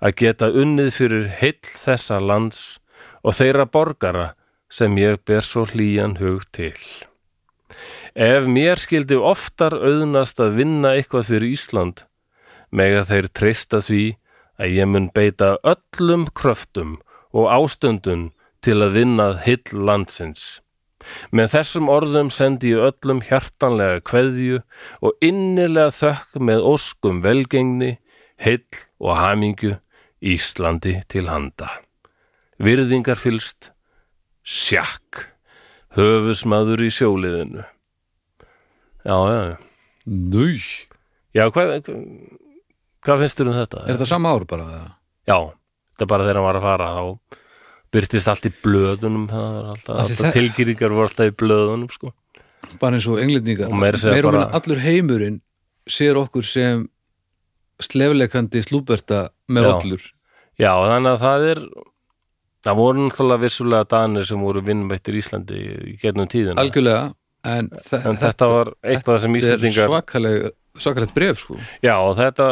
[SPEAKER 1] að geta unnið fyrir heill þessa lands og þeirra borgara sem ég ber svo hlýjan hug til. Ef mér skildi oftar auðnast að vinna eitthvað fyrir Ísland, mega þeir treysta því að ég mun beita öllum kröftum og ástundun til að vinnað hill landsins. Með þessum orðum sendi ég öllum hjartanlega kveðju og innilega þökk með óskum velgengni, heill og hamingju Íslandi til handa. Virðingar fylst, sjakk, höfusmaður í sjóliðinu. Já, já, já.
[SPEAKER 2] Nú,
[SPEAKER 1] Já, hvað, hvað finnst þér um þetta?
[SPEAKER 2] er þetta sama ár bara? eða?
[SPEAKER 1] Já, þetta er bara þegar hann var að fara þá byrtist allt í blöðunum það er alltaf,
[SPEAKER 2] Af því
[SPEAKER 1] alltaf
[SPEAKER 2] það-
[SPEAKER 1] tilgýringar voru alltaf í blöðunum sko.
[SPEAKER 2] Bara eins og englendingar
[SPEAKER 1] Og meira að segja
[SPEAKER 2] Meira og
[SPEAKER 1] bara-
[SPEAKER 2] minna allur heimurinn sér okkur sem slefleikandi slúberta með
[SPEAKER 1] Já.
[SPEAKER 2] allur
[SPEAKER 1] Já, þannig að það er það voru náttúrulega vissulega danir sem voru vinnmættir Íslandi í getnum tíðina
[SPEAKER 2] Algjörlega, en, þe
[SPEAKER 1] en þetta var eitthvað sem
[SPEAKER 2] þetta er
[SPEAKER 1] Íslandingar
[SPEAKER 2] svakaleg, svakalegt bref sko.
[SPEAKER 1] Já, og þetta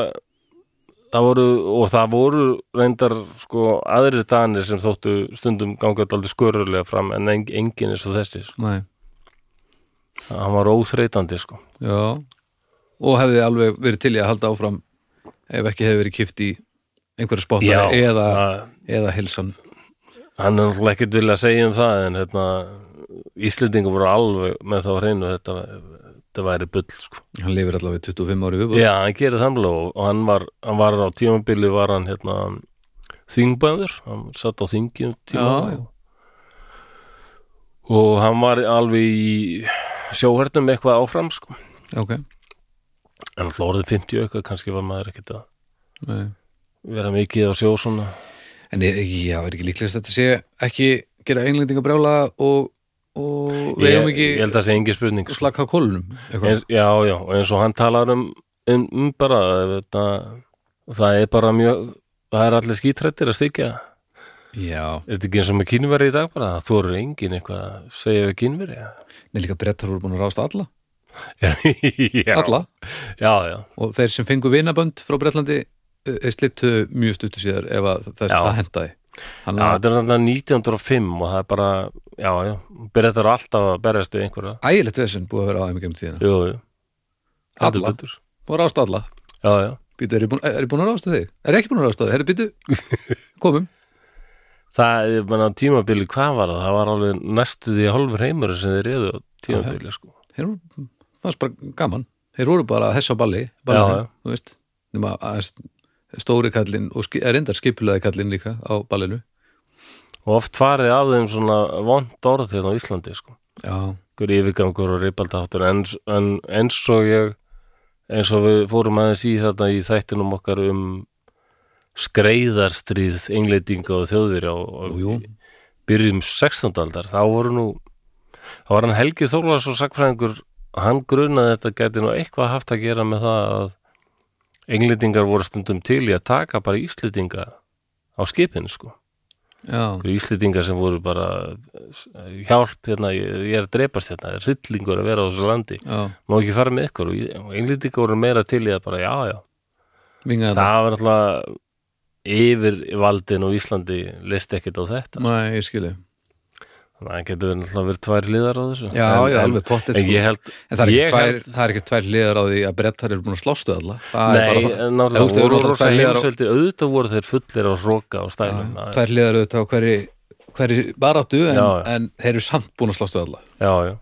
[SPEAKER 1] það voru, og það voru reyndar sko aðrir danir sem þóttu stundum gangaði aldrei skörulega fram en en- enginn er svo þessi sko.
[SPEAKER 2] Nei,
[SPEAKER 1] hann var óþreytandi sko
[SPEAKER 2] já og hefði alveg verið til í að halda áfram ef ekki hefði verið kift í einhverja spottar eða,
[SPEAKER 1] það-
[SPEAKER 2] eða hilsan
[SPEAKER 1] hann er náttúrulega ekkert vilja að segja um það en hérna, Íslendingur voru alveg með þá hreinu þetta, þetta væri bull sko.
[SPEAKER 2] hann lifir allavega í 25 ári viðbúð
[SPEAKER 1] já, hann gerir þamlega og, og hann var, hann var á tímabili var hann hérna, þingbæður hann satt á þingi um tíma
[SPEAKER 2] Já, já.
[SPEAKER 1] og hann var alveg í sjóhernum eitthvað áfram sko.
[SPEAKER 2] ok,
[SPEAKER 1] en alltaf orðið 50 eitthvað kannski var maður ekkert að
[SPEAKER 2] nei
[SPEAKER 1] vera mikið á sjó svona
[SPEAKER 2] En er, já, er ekki líklegast að þetta sé ekki gera englendinga brjála og, og við
[SPEAKER 1] ég,
[SPEAKER 2] hefum ekki
[SPEAKER 1] ég held að það sé engin spurning sko.
[SPEAKER 2] slaka á kólunum
[SPEAKER 1] eins, já, já, og eins og hann talar um, um, um bara þetta, það er bara mjög það er allir skítrættir að styggja er
[SPEAKER 2] Já,
[SPEAKER 1] þetta ekki eins og með kynveri í dag bara, þú eru engin eitthvað að segja við kynveri
[SPEAKER 2] en líka brettar voru búin að rásta alla,
[SPEAKER 1] já,
[SPEAKER 2] alla
[SPEAKER 1] já, já,
[SPEAKER 2] og þeir sem fengu vinabönd frá Bretlandi er slittu mjög stuttu síðar ef að það,
[SPEAKER 1] Já.
[SPEAKER 2] það hentaði
[SPEAKER 1] já,
[SPEAKER 2] Þannig að
[SPEAKER 1] þetta er þarna 1905 og það er bara, já, já byrja þetta alltaf að berjast við einhverja
[SPEAKER 2] ægilegt vesinn búið að vera á þeim ekki um tíðina
[SPEAKER 1] jú, jú, heldur
[SPEAKER 2] Alla.
[SPEAKER 1] betur.
[SPEAKER 2] Búin að rásta alla
[SPEAKER 1] já, já,
[SPEAKER 2] Býtu, er ég búin, er ég búin að rásta þig? Er ég ekki búin að rásta þig? Herri, býtu, komum
[SPEAKER 1] það, ég menna tímabili, hvað var það það var alveg næstu því hálfur heimur sem þeir reyðu á tímabili, sko
[SPEAKER 2] Þeir voru, fannst bara gaman Þeir voru bara að hessa á balli, balli
[SPEAKER 1] Já, já.
[SPEAKER 2] Þú veist, nema aðeins stóri kallinn og ski, er reyndar skipulaði kallinn líka á ballinu
[SPEAKER 1] og oft farið af þeim svona vond orð hérna á Íslandi, sko
[SPEAKER 2] Já,
[SPEAKER 1] einhver yfirgangur og reypaldaháttur en, en eins og ég eins og við fórum aðeins í þetta í þættinum okkar um skreiðarstríð englendinga og þjóðverja og,
[SPEAKER 2] jú, jú,
[SPEAKER 1] og byrjum 16. aldar þá voru nú þá var hann Helgi Þórlars og sagfræðingur hann grunaði að þetta gæti nú eitthvað haft að gera með það að englendingar voru stundum til í að taka bara íslendinga á skipinu sko
[SPEAKER 2] já
[SPEAKER 1] einhverju íslendingar sem voru bara eh, hjálp, hérna, ég, ég er að dreipast hérna, hryllingur að vera á þessu landi
[SPEAKER 2] Já,
[SPEAKER 1] má ekki fara með ykkur og í- og englendingar voru meira til í að bara, já, já
[SPEAKER 2] vingaði þetta
[SPEAKER 1] það var alltaf yfir valdin og Íslandi leist ekkert á þetta
[SPEAKER 2] Nei, ég skilji
[SPEAKER 1] þannig að það getur alltaf verið tvær liðar á þessu
[SPEAKER 2] Já,
[SPEAKER 1] en,
[SPEAKER 2] já,
[SPEAKER 1] en-
[SPEAKER 2] alveg pottið
[SPEAKER 1] en ég held,
[SPEAKER 2] En það er
[SPEAKER 1] sko. ég
[SPEAKER 2] ekki tvær,
[SPEAKER 1] held-
[SPEAKER 2] það er ekki tvær liðar á því að brettar eru búin að slástu alla það er
[SPEAKER 1] nei,
[SPEAKER 2] bara það. Ef
[SPEAKER 1] en
[SPEAKER 2] þú veist,
[SPEAKER 1] náttúrulega
[SPEAKER 2] þau eru
[SPEAKER 1] voru
[SPEAKER 2] alltaf
[SPEAKER 1] rosa
[SPEAKER 2] tvær liðar á-
[SPEAKER 1] heimsveldi auðvitað voru þeir fullir á roka og stælum
[SPEAKER 2] Já,
[SPEAKER 1] já,
[SPEAKER 2] Tvær liðar auðvitað á hverri, hverri baráttu en,
[SPEAKER 1] Já, já.
[SPEAKER 2] en þeir eru samt búin að slástu alla
[SPEAKER 1] já, já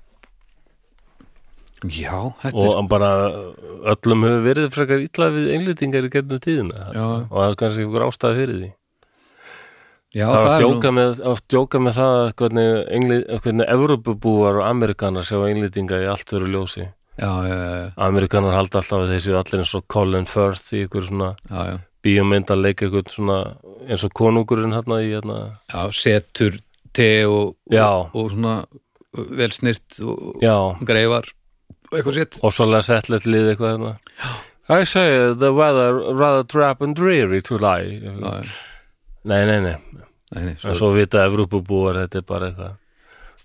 [SPEAKER 2] Já, þetta er
[SPEAKER 1] og bara öllum hefur verið frekar illa við englendingar í getnum tíðina
[SPEAKER 2] Já.
[SPEAKER 1] og það er kannski einhver ástæð fyrir því
[SPEAKER 2] Já,
[SPEAKER 1] það
[SPEAKER 2] er
[SPEAKER 1] var
[SPEAKER 2] nú-
[SPEAKER 1] djóka, með, það var djóka með það að hvernig, engli, hvernig Evrópubúar og Amerikanar sjá englendinga í allt veru ljósi
[SPEAKER 2] Já, já, já,
[SPEAKER 1] Amerikanar halda alltaf að þessi allir eins og Colin Firth í ykkur svona
[SPEAKER 2] já, já
[SPEAKER 1] bíómynd að leika eitthvað svona eins og konungurinn hérna í hérna
[SPEAKER 2] já, setur te og,
[SPEAKER 1] Já.
[SPEAKER 2] og, og svona uh, vel snirt og
[SPEAKER 1] Já,
[SPEAKER 2] greifar og eitthvað sétt
[SPEAKER 1] og svolítið settlegt lið eitthvað hérna I say the weather rather drab and dreary to lie
[SPEAKER 2] Já,
[SPEAKER 1] Nei, nei, nei,
[SPEAKER 2] nei, nei,
[SPEAKER 1] en
[SPEAKER 2] svo,
[SPEAKER 1] svo vita Evrópubúar, þetta er bara eitthvað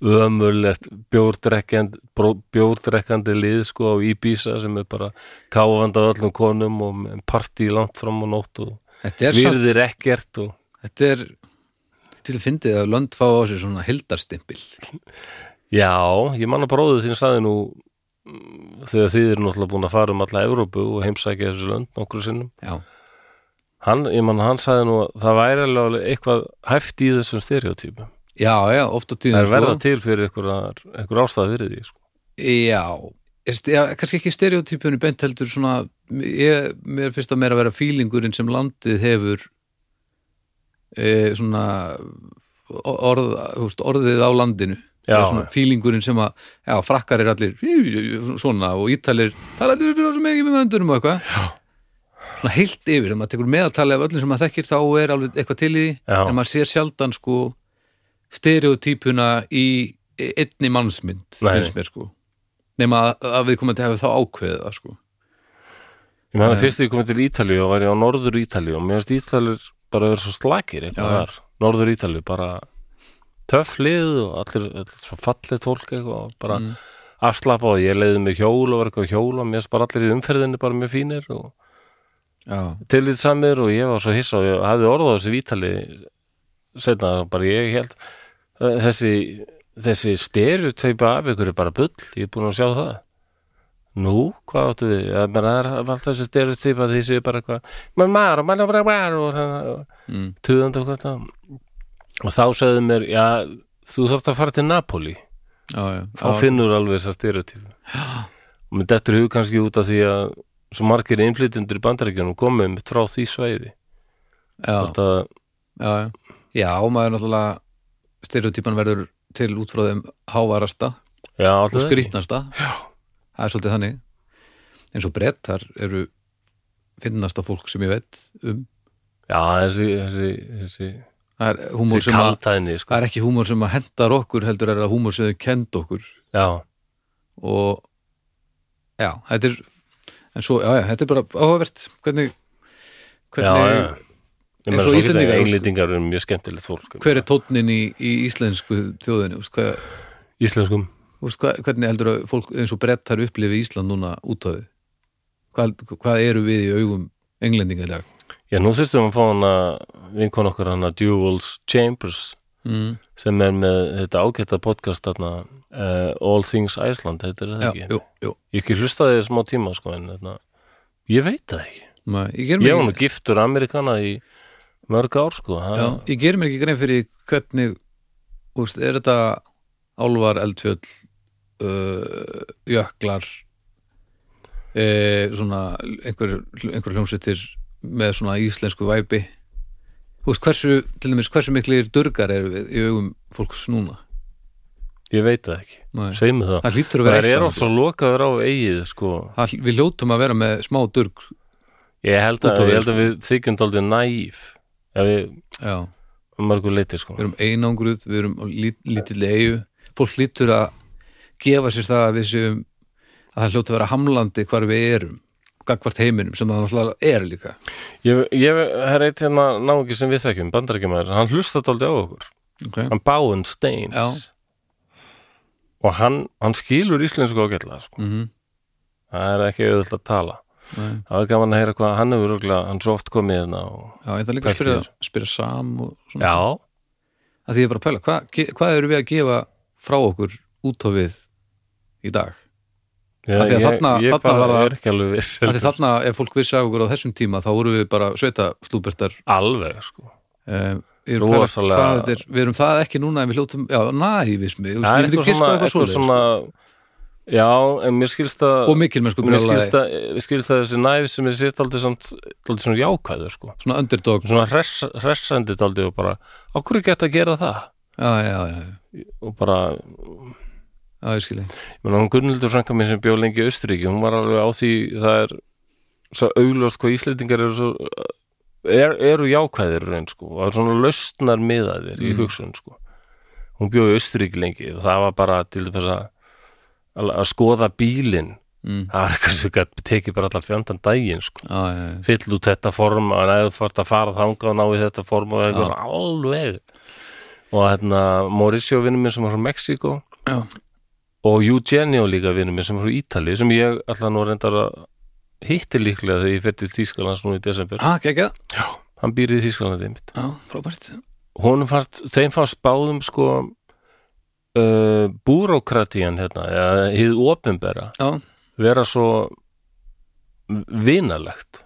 [SPEAKER 1] ömurlegt bjórdrekkandi bró- bjórdrekkandi lið sko á Ibiza sem er bara káfand af öllum konum og með partí langt fram á nótt og
[SPEAKER 2] þetta er samt
[SPEAKER 1] virðir ekkert og
[SPEAKER 2] þetta er til fyndið að lönd fá á sig svona hildarstimpil
[SPEAKER 1] Já, ég manna bróðið þín saði nú mm, þegar þið eru náttúrulega búin að fara um alla Evrópu og heimsækja þessu lönd nokkru sinnum.
[SPEAKER 2] já,
[SPEAKER 1] Hann, ég manna, hann saði nú að það væri alveg alveg eitthvað hæft í þessum stereotypum.
[SPEAKER 2] já, já, sko. oft á
[SPEAKER 1] Það
[SPEAKER 2] tíðum
[SPEAKER 1] er verða til fyrir einhver, einhver ástæð fyrir því, sko.
[SPEAKER 2] Já, Est- já, kannski ekki stereotypunni beint heldur svona ég, mér finnst að meira að vera fílingurinn sem landið hefur e, svona o- orð, þú veist, orðið á landinu
[SPEAKER 1] Já,
[SPEAKER 2] Eða svona fílingurinn sem að já, frakkar er allir svona og ítalir talaður fyrir þessum ekki með möndunum og eitthvað já. svona heilt yfir, þegar maður tekur meðaltalið af öllum sem maður þekkir þá er alveg eitthvað til í því
[SPEAKER 1] Já.
[SPEAKER 2] en maður sér sjaldan sko stereotypuna í einni mannsmynd
[SPEAKER 1] Nei.
[SPEAKER 2] finnst mér sko nema að, að við komandi hefur þá ákveðið það sko
[SPEAKER 1] Ég meðan fyrst þegar ég komið til Ítalíu og var ég á Norður Ítalíu og mér finnst Ítalir bara að vera svo slakir eitthvað
[SPEAKER 2] Já.
[SPEAKER 1] þar. Norður Ítalíu bara töff lið og allir, allir svo fallið fólk eitthvað og bara mm. afslapa og ég leiði mig hjól og var eitthvað á hjól og mér finnst bara allir í umferðinni bara mjög fínir og
[SPEAKER 2] já,
[SPEAKER 1] tillitsamir og ég var svo hissa og ég hafði orðað þessi vítali setna bara ég held eh, þessi, þessi stereotypa af ykkur er bara bull, ég er búin að sjá það Nú, hvað áttu við? Ég meina, það er alltaf þessi stereotypa því séu bara eitthvað mann maður og mann og bara maður og það
[SPEAKER 2] mm.
[SPEAKER 1] tuðandi og hvað það og þá sagði mér, já, þú þarft að fara til Napoli
[SPEAKER 2] já, já,
[SPEAKER 1] þá finnur alveg þessar stereotypu og mér dettur í hug kannski út af því að svo margir innflytjendur í bandaríkjunum komið mitt frá því svæði
[SPEAKER 2] já, já,
[SPEAKER 1] Hvort að,
[SPEAKER 2] já, já, maður er náttúrulega stereotypan verður til út frá þeim hávarasta
[SPEAKER 1] já,
[SPEAKER 2] og
[SPEAKER 1] alltaf ekki
[SPEAKER 2] skrýtnasta já. það er svolítið þannig eins og brettar eru finnasta fólk sem ég veit um
[SPEAKER 1] já, þessi, þessi, þessi,
[SPEAKER 2] það er húmór
[SPEAKER 1] þessi
[SPEAKER 2] sem að
[SPEAKER 1] kaltæðni sko.
[SPEAKER 2] það er ekki húmór sem að hendar okkur heldur er það húmór sem þau kend okkur
[SPEAKER 1] já,
[SPEAKER 2] og já, þetta er en svo, já, já, þetta er bara áhugavert hvernig,
[SPEAKER 1] já,
[SPEAKER 2] hvernig
[SPEAKER 1] já Ég
[SPEAKER 2] eins
[SPEAKER 1] meina,
[SPEAKER 2] og
[SPEAKER 1] svo geta
[SPEAKER 2] Íslendingar, sko.
[SPEAKER 1] englendingar eru mjög skemmtilegt fólk sko.
[SPEAKER 2] hver er tónnin í, í íslensku þjóðinu úst, hvað,
[SPEAKER 1] Íslenskum
[SPEAKER 2] úst, hvað, hvernig heldur að fólk eins og brettar upplifi Ísland núna út af því hvað, hvað eru við í augum englendinga í dag
[SPEAKER 1] Já, nú þurftum við að fá hana vinkon okkur hana Duels Chambers
[SPEAKER 2] mm,
[SPEAKER 1] sem er með þetta ágæta podcast þarna, uh, All Things Iceland heitir
[SPEAKER 2] já,
[SPEAKER 1] þetta ekki
[SPEAKER 2] jú, jú,
[SPEAKER 1] Ég hef ekki hlustaði í smá tíma sko en þarna, ég veit það ekki
[SPEAKER 2] ma, ég gerir
[SPEAKER 1] Ég
[SPEAKER 2] mér
[SPEAKER 1] var nú
[SPEAKER 2] ekki,
[SPEAKER 1] giftur Amerikana í mörg ár sko ha?
[SPEAKER 2] já, ég gerir mér ekki grein fyrir hvernig úst, er þetta álvar, eldfjöll uh, jöklar uh, svona einhver, einhver hljómsveitir með svona íslensku væpi úst, hversu, til dæmis hversu miklir durgar eru við í augum fólks núna
[SPEAKER 1] Ég veit það ekki,
[SPEAKER 2] Nei.
[SPEAKER 1] segjum það
[SPEAKER 2] það hlýtur að
[SPEAKER 1] Það
[SPEAKER 2] vera
[SPEAKER 1] er
[SPEAKER 2] eitthvað
[SPEAKER 1] oft svo lokaður á eigið sko
[SPEAKER 2] það, við ljótum að vera með smá durg
[SPEAKER 1] Ég held
[SPEAKER 2] Út
[SPEAKER 1] að,
[SPEAKER 2] á við,
[SPEAKER 1] ég held
[SPEAKER 2] sko.
[SPEAKER 1] að við þykjum daldið næf ef við
[SPEAKER 2] já,
[SPEAKER 1] mörgur leiti sko
[SPEAKER 2] við erum einangruð við erum á lít, lítill eigu fólk hlýtur að gefa sér það að við séum að það hljóta að vera hamlandi hvar við erum gagvart heiminum sem það náttúrulega er líka
[SPEAKER 1] Ég, ég það er eitt hérna náungi sem við þekkjum, bandarækjumæður hann hlusta daldið á okkur,
[SPEAKER 2] okay.
[SPEAKER 1] hann Báin Steins
[SPEAKER 2] Já.
[SPEAKER 1] og hann, hann skilur íslensku ágætlega sko.
[SPEAKER 2] mm -hmm.
[SPEAKER 1] það er ekki auðvitað að tala
[SPEAKER 2] Nei.
[SPEAKER 1] það er gaman að heyra hvað hann hefur örugglega- hann svo oft komið hérna og...
[SPEAKER 2] Já, ég þarf líka að spyrja,
[SPEAKER 1] Hvert
[SPEAKER 2] spyrja sam og svona,
[SPEAKER 1] Já,
[SPEAKER 2] að því ég er bara að pæla hvað, ge- hvað eru við að gefa frá okkur út á við í dag
[SPEAKER 1] ég,
[SPEAKER 2] Af því að
[SPEAKER 1] ég,
[SPEAKER 2] þarna-
[SPEAKER 1] ég
[SPEAKER 2] þarna
[SPEAKER 1] bara
[SPEAKER 2] var það-
[SPEAKER 1] er ekki alveg viss
[SPEAKER 2] að því
[SPEAKER 1] heldur.
[SPEAKER 2] þarna ef fólk vissi af okkur á þessum tíma þá voru við bara sveita slúbertar
[SPEAKER 1] alveg sko
[SPEAKER 2] um, ég er að pæla
[SPEAKER 1] Rosalega-
[SPEAKER 2] hvað þetta er, við erum það ekki núna en við hljótum, já, nævismi
[SPEAKER 1] Það er
[SPEAKER 2] eitthvað svona, eitthvað svona, svona
[SPEAKER 1] Já, en mér skilst að
[SPEAKER 2] og mikil mennsku
[SPEAKER 1] Mér skilst
[SPEAKER 2] brjálæði
[SPEAKER 1] að, mér skilst að þessi næf sem er sitt aldrei samt, aldrei svona jákvæður sko.
[SPEAKER 2] svona underdog já,
[SPEAKER 1] svona hress, hressandi aldrei og bara, á hverju geta að gera það
[SPEAKER 2] já, já, já,
[SPEAKER 1] og bara,
[SPEAKER 2] já, ég skilji
[SPEAKER 1] ég meina hún Gunnildur frænka minn sem bjó lengi í Austuríki, hún var alveg á því það er svo augljóst hvað Íslendingar eru svo er, eru jákvæðir í raun sko og það er svona lausnar miðaðir í hugsun sko hún bjóði austuríki lengi og það var bara til þess að að að skoða bílinn
[SPEAKER 2] Mm.
[SPEAKER 1] það var eitthvað sem gat tekið bara allar fjöndan daginn sko
[SPEAKER 2] Já, já, já.
[SPEAKER 1] fyll út þetta form að næðu fórt að fara þangað og náðu þetta form og eitthvað alveg og hérna Mauricio vinnur minn sem var frá Mexiko
[SPEAKER 2] Já.
[SPEAKER 1] og Eugenio líka vinnur minn sem var frá Ítali sem ég alltaf nú reyndar að hitti líklega þegar ég fer til Þýskalands nú í desember
[SPEAKER 2] Ah, geggjað.
[SPEAKER 1] Já. hann býr í Þýskalandi einmitt
[SPEAKER 2] Já, frábært.
[SPEAKER 1] honum fannst, þeim fannst báðum sko uh, búrókratían hérna, eða hið opinbera
[SPEAKER 2] Já,
[SPEAKER 1] vera svo vinalegt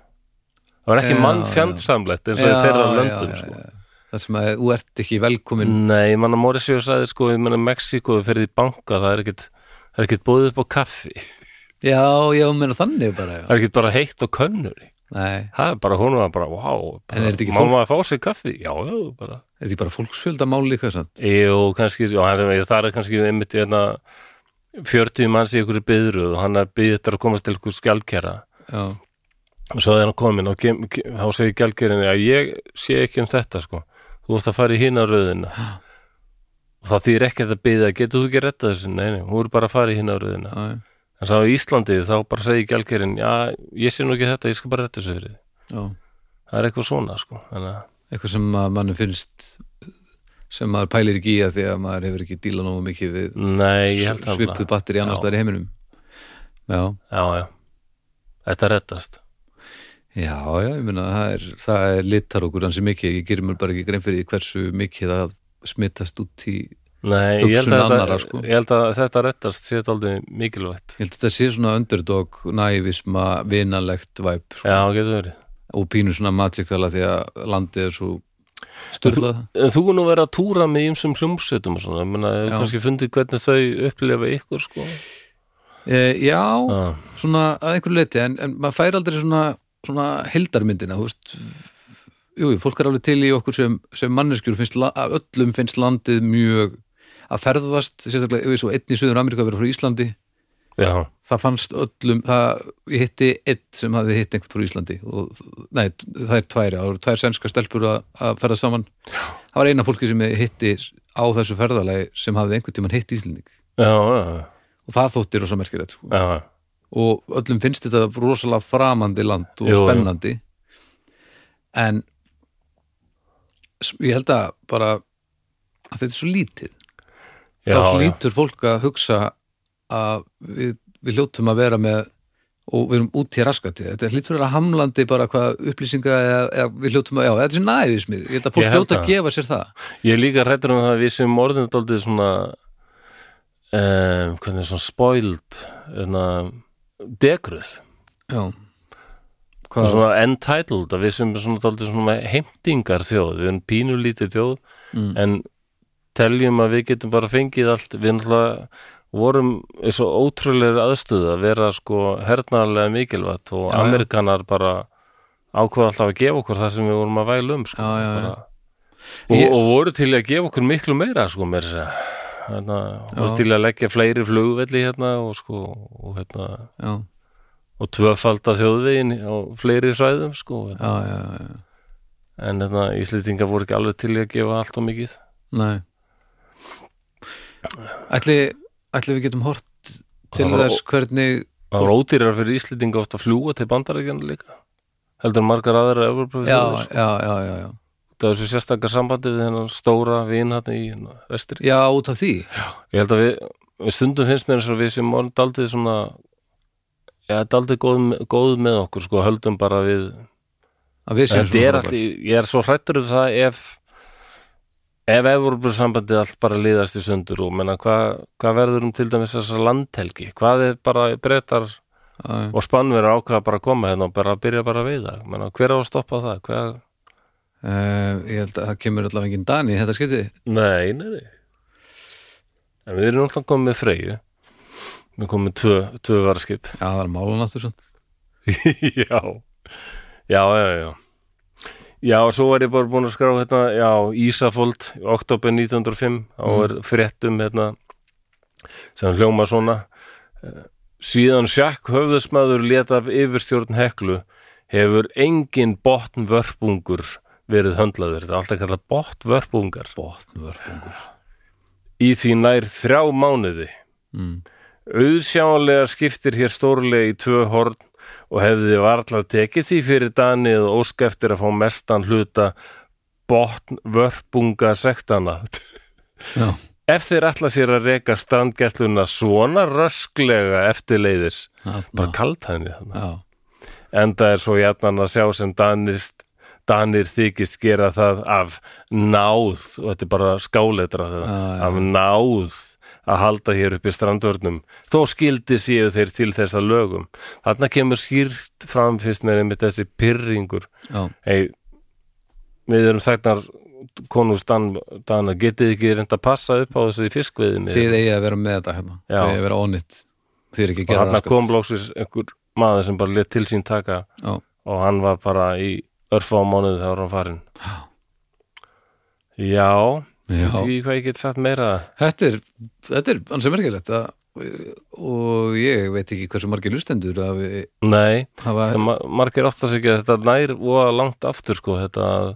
[SPEAKER 1] það var ekki
[SPEAKER 2] Já,
[SPEAKER 1] mannfjandsamlegt eins og í þeirra löndum sko. Mm.
[SPEAKER 2] Það sem að þú ert ekki velkomin
[SPEAKER 1] nei, manna Morisio sagði sko ég menna Mexiko fyrir í banka það er ekkit það er ekkit búið upp á kaffi það
[SPEAKER 2] Já, já, meina þannig bara já.
[SPEAKER 1] er ekkit bara heitt og könnur
[SPEAKER 2] Nei,
[SPEAKER 1] það er bara, hún var bara, wow
[SPEAKER 2] En er þetta ekki
[SPEAKER 1] má
[SPEAKER 2] fólk-
[SPEAKER 1] maður fá sér kaffi, já, já, bara
[SPEAKER 2] er þetta ekki bara fólksfjöldamál líka sant?
[SPEAKER 1] Jú, kannski, já, hann, það er kannski einmitt hérna 40 manns í einhverju byðru og hann er byðið þetta að komast til einhverju skjaldkera
[SPEAKER 2] Já,
[SPEAKER 1] og svo er hann komin og kem, kem, þá segir gjaldkerinni að ég sé ekki um þetta sko, þú vorst að fara í hina röðina og það þýr ekkert að byða getur þú ekki að retta þessu, nei, nei, hún er bara að fara í hina röðina
[SPEAKER 2] já,
[SPEAKER 1] en sá í Íslandi þá bara segir gjaldkerin já, ég sé nú ekki þetta, ég skal bara retta þessu fyrir þig."
[SPEAKER 2] já
[SPEAKER 1] það er eitthvað svona sko, þannig að
[SPEAKER 2] Eitthvað sem að mann finnst sem maður pælir ekki í að því að maður hefur ekki díla nógu mikið við
[SPEAKER 1] nei, ég held það
[SPEAKER 2] svipuð batteri annars
[SPEAKER 1] Já.
[SPEAKER 2] þar í heiminum Já,
[SPEAKER 1] bara. já, já, þetta rettast
[SPEAKER 2] já, já, ég meina það er, það er litar okkur hansi mikið ég gerir mér bara ekki grein fyrir því hversu mikið það smittast út í ég
[SPEAKER 1] Nei, ég held,
[SPEAKER 2] hugsun
[SPEAKER 1] að þetta,
[SPEAKER 2] annarra, sko.
[SPEAKER 1] ég held að þetta rettast sétt aldrei mikilvægt
[SPEAKER 2] held að þetta sé svona underdog nævisma vinalegt væp sko,
[SPEAKER 1] Já, getur verið
[SPEAKER 2] og pínu svona magicala því að landið er svo styrlað
[SPEAKER 1] En Eh, Þú er nú verið að túra með ýmsum hljómsveitum og svona, ég meina, hefur
[SPEAKER 2] Já.
[SPEAKER 1] kannski fundið hvernig þau upplefa ykkur, sko
[SPEAKER 2] e, Já,
[SPEAKER 1] Já,
[SPEAKER 2] svona að einhverju leiti en, en maður fær aldrei svona, svona heldarmyndina, þú veist Jú, jú, fólk er alveg til í okkur sem, sem manneskjur finnst, la- að öllum finnst landið mjög að ferðast, sérstaklega ef ég svo einn í Suður Ameríku að vera frá Íslandi
[SPEAKER 1] já,
[SPEAKER 2] það fannst öllum það, ég hitti einn sem hafði hitt einhvern frá Íslandi og, nei, það er tværi, það eru tvær sænska stelpur að, að ferða saman það var eina fólki sem ég hitti á þessu ferðalagi sem hafði einhvern tímann hitt Íslending
[SPEAKER 1] já, já,
[SPEAKER 2] og það þótti rosa merkilegt sko.
[SPEAKER 1] já,
[SPEAKER 2] og öllum finnst þetta rosalega framandi land og
[SPEAKER 1] Jú, jú.
[SPEAKER 2] spennandi en s- ég held að bara að þetta er svo lítið
[SPEAKER 1] já,
[SPEAKER 2] þá
[SPEAKER 1] já,
[SPEAKER 2] hlýtur fólk að hugsa að við, við hljótum að vera með og við erum út í raskati þetta hlýtur að vera hamlandi bara hvað upplýsinga eða, eða við hljótum að, já, þetta er næðismið ég held að fólk
[SPEAKER 1] Ég held
[SPEAKER 2] hljóta
[SPEAKER 1] það.
[SPEAKER 2] að gefa sér það
[SPEAKER 1] Ég er líka hrættur um það að við sem orðin daldið svona um, hvernig er svona spoiled hérna, degruð
[SPEAKER 2] já
[SPEAKER 1] og
[SPEAKER 2] hvað,
[SPEAKER 1] svona entitled að við sem svona þáldið svona heimtingar þjóð við erum pínulítið þjóð
[SPEAKER 2] Mm.
[SPEAKER 1] en teljum að við getum bara fengið allt við náttúrulega vorum í svo ótrúlega aðstöð að vera sko hernaðarlega mikilvægt og
[SPEAKER 2] Já, já.
[SPEAKER 1] amerikanar bara ákveða alltaf að gefa okkur það sem við vorum að væla um sko,
[SPEAKER 2] Já, já, já.
[SPEAKER 1] bara. Og,
[SPEAKER 2] Ég-
[SPEAKER 1] og voru til að gefa okkur miklu meira sko meira að segja hérna, voru
[SPEAKER 2] Já.
[SPEAKER 1] til að leggja fleiri flugvelli hérna og sko og hérna
[SPEAKER 2] já,
[SPEAKER 1] og tvöfalda þjóðvegin á fleiri svæðum sko
[SPEAKER 2] já, já, já, já.
[SPEAKER 1] en þetta Íslendingar voru ekki alveg til í að gefa allt og mikið
[SPEAKER 2] nei ætli, ætli við getum hort til
[SPEAKER 1] Það var-
[SPEAKER 2] þess hvernig
[SPEAKER 1] það var ódýrar fyrir Íslendinga oft að fljúa til bandarækjana líka heldur en margar aðra Evropröfið
[SPEAKER 2] já,
[SPEAKER 1] þjóðir, sko.
[SPEAKER 2] já, já, já, já
[SPEAKER 1] það er svo sérstakar sambandi við hennan stóra vin hann í hérna, vestri
[SPEAKER 2] já, út af því
[SPEAKER 1] ég held að við, við stundum finnst mér eins og við sem orðin daldið svona já, daldið góð, góð með okkur sko, höldum bara við
[SPEAKER 2] að við séum
[SPEAKER 1] þetta er
[SPEAKER 2] svona
[SPEAKER 1] allt, í- ég er svo hrættur um það ef ef Evrópusambandið allt bara liðast í sundur og menna hvað hva verður um til dæmis þessa landhelgi, hvað er bara breytar
[SPEAKER 2] Já, já.
[SPEAKER 1] og spannverður ákveða bara að koma hérna og bara byrja bara að veiða menna hver á að stoppa það, hvað
[SPEAKER 2] Eh, ég held að það kemur allavega engin Dani í þetta skipti
[SPEAKER 1] nei, nei, nei en við erum alltaf komið með freyju við komum með tvö, tvö varaskip
[SPEAKER 2] Já, það er málan áttur svo.
[SPEAKER 1] já, já, já, já Já, og svo er ég bara búin að skrá hérna, já, Ísafold, oktober 1905 og er fréttum hérna, sem hljóma svona eh, síðan sjakk höfðusmaður lét af yfirstjórn Heklu hefur engin botnvörpungur verið höndlaður, þetta er alltaf kallað botnvörpungar
[SPEAKER 2] Botnvörpungur
[SPEAKER 1] í því nær þrjá mánuði.
[SPEAKER 2] Mm.
[SPEAKER 1] Auðsjáanlega skiptir hér stórlega í tvö horn og hefði varla tekið því fyrir Danið og ósk eftir að fá mestan hluta botnvörpunga sektana.
[SPEAKER 2] Já,
[SPEAKER 1] Ef þeir ætla sér að reka strandgæsluna svona rösklega eftirleiðis, bara
[SPEAKER 2] þarna.
[SPEAKER 1] kalt henni þannig.
[SPEAKER 2] já,
[SPEAKER 1] Enda er svo hjarnan að sjá sem danist, danir þykist gera það af náð, og þetta er bara skáletra það,
[SPEAKER 2] Ah, Já, já.
[SPEAKER 1] af náð að halda hér upp í strandvörnum. Þó skildi séu þeir til þessa lögum. Þarna kemur skýrt fram fyrst með einmitt þessi pyrringur.
[SPEAKER 2] já,
[SPEAKER 1] Hey, við erum sagnar konus Dan, Dana, getið ekki reynda að passa upp á þessu í fiskveiðinni?
[SPEAKER 2] þið eigið að vera með þetta hérna
[SPEAKER 1] Já.
[SPEAKER 2] Þið eigið að vera onnit Þið er ekki að
[SPEAKER 1] og
[SPEAKER 2] gera
[SPEAKER 1] þarna
[SPEAKER 2] sko.
[SPEAKER 1] kom lóksins einhver maður sem bara let til sín taka
[SPEAKER 2] Já.
[SPEAKER 1] og hann var bara í örfa á mánuði þá var hann farin
[SPEAKER 2] Já.
[SPEAKER 1] já,
[SPEAKER 2] Já.
[SPEAKER 1] veit ekki hvað ég get sagt meira
[SPEAKER 2] Þetta er, þetta er ansið merkilegt að, og ég veit ekki hversu margir lustendur að við
[SPEAKER 1] nei,
[SPEAKER 2] hafa
[SPEAKER 1] það ma- margir áttast ekki að þetta nær og langt aftur sko þetta að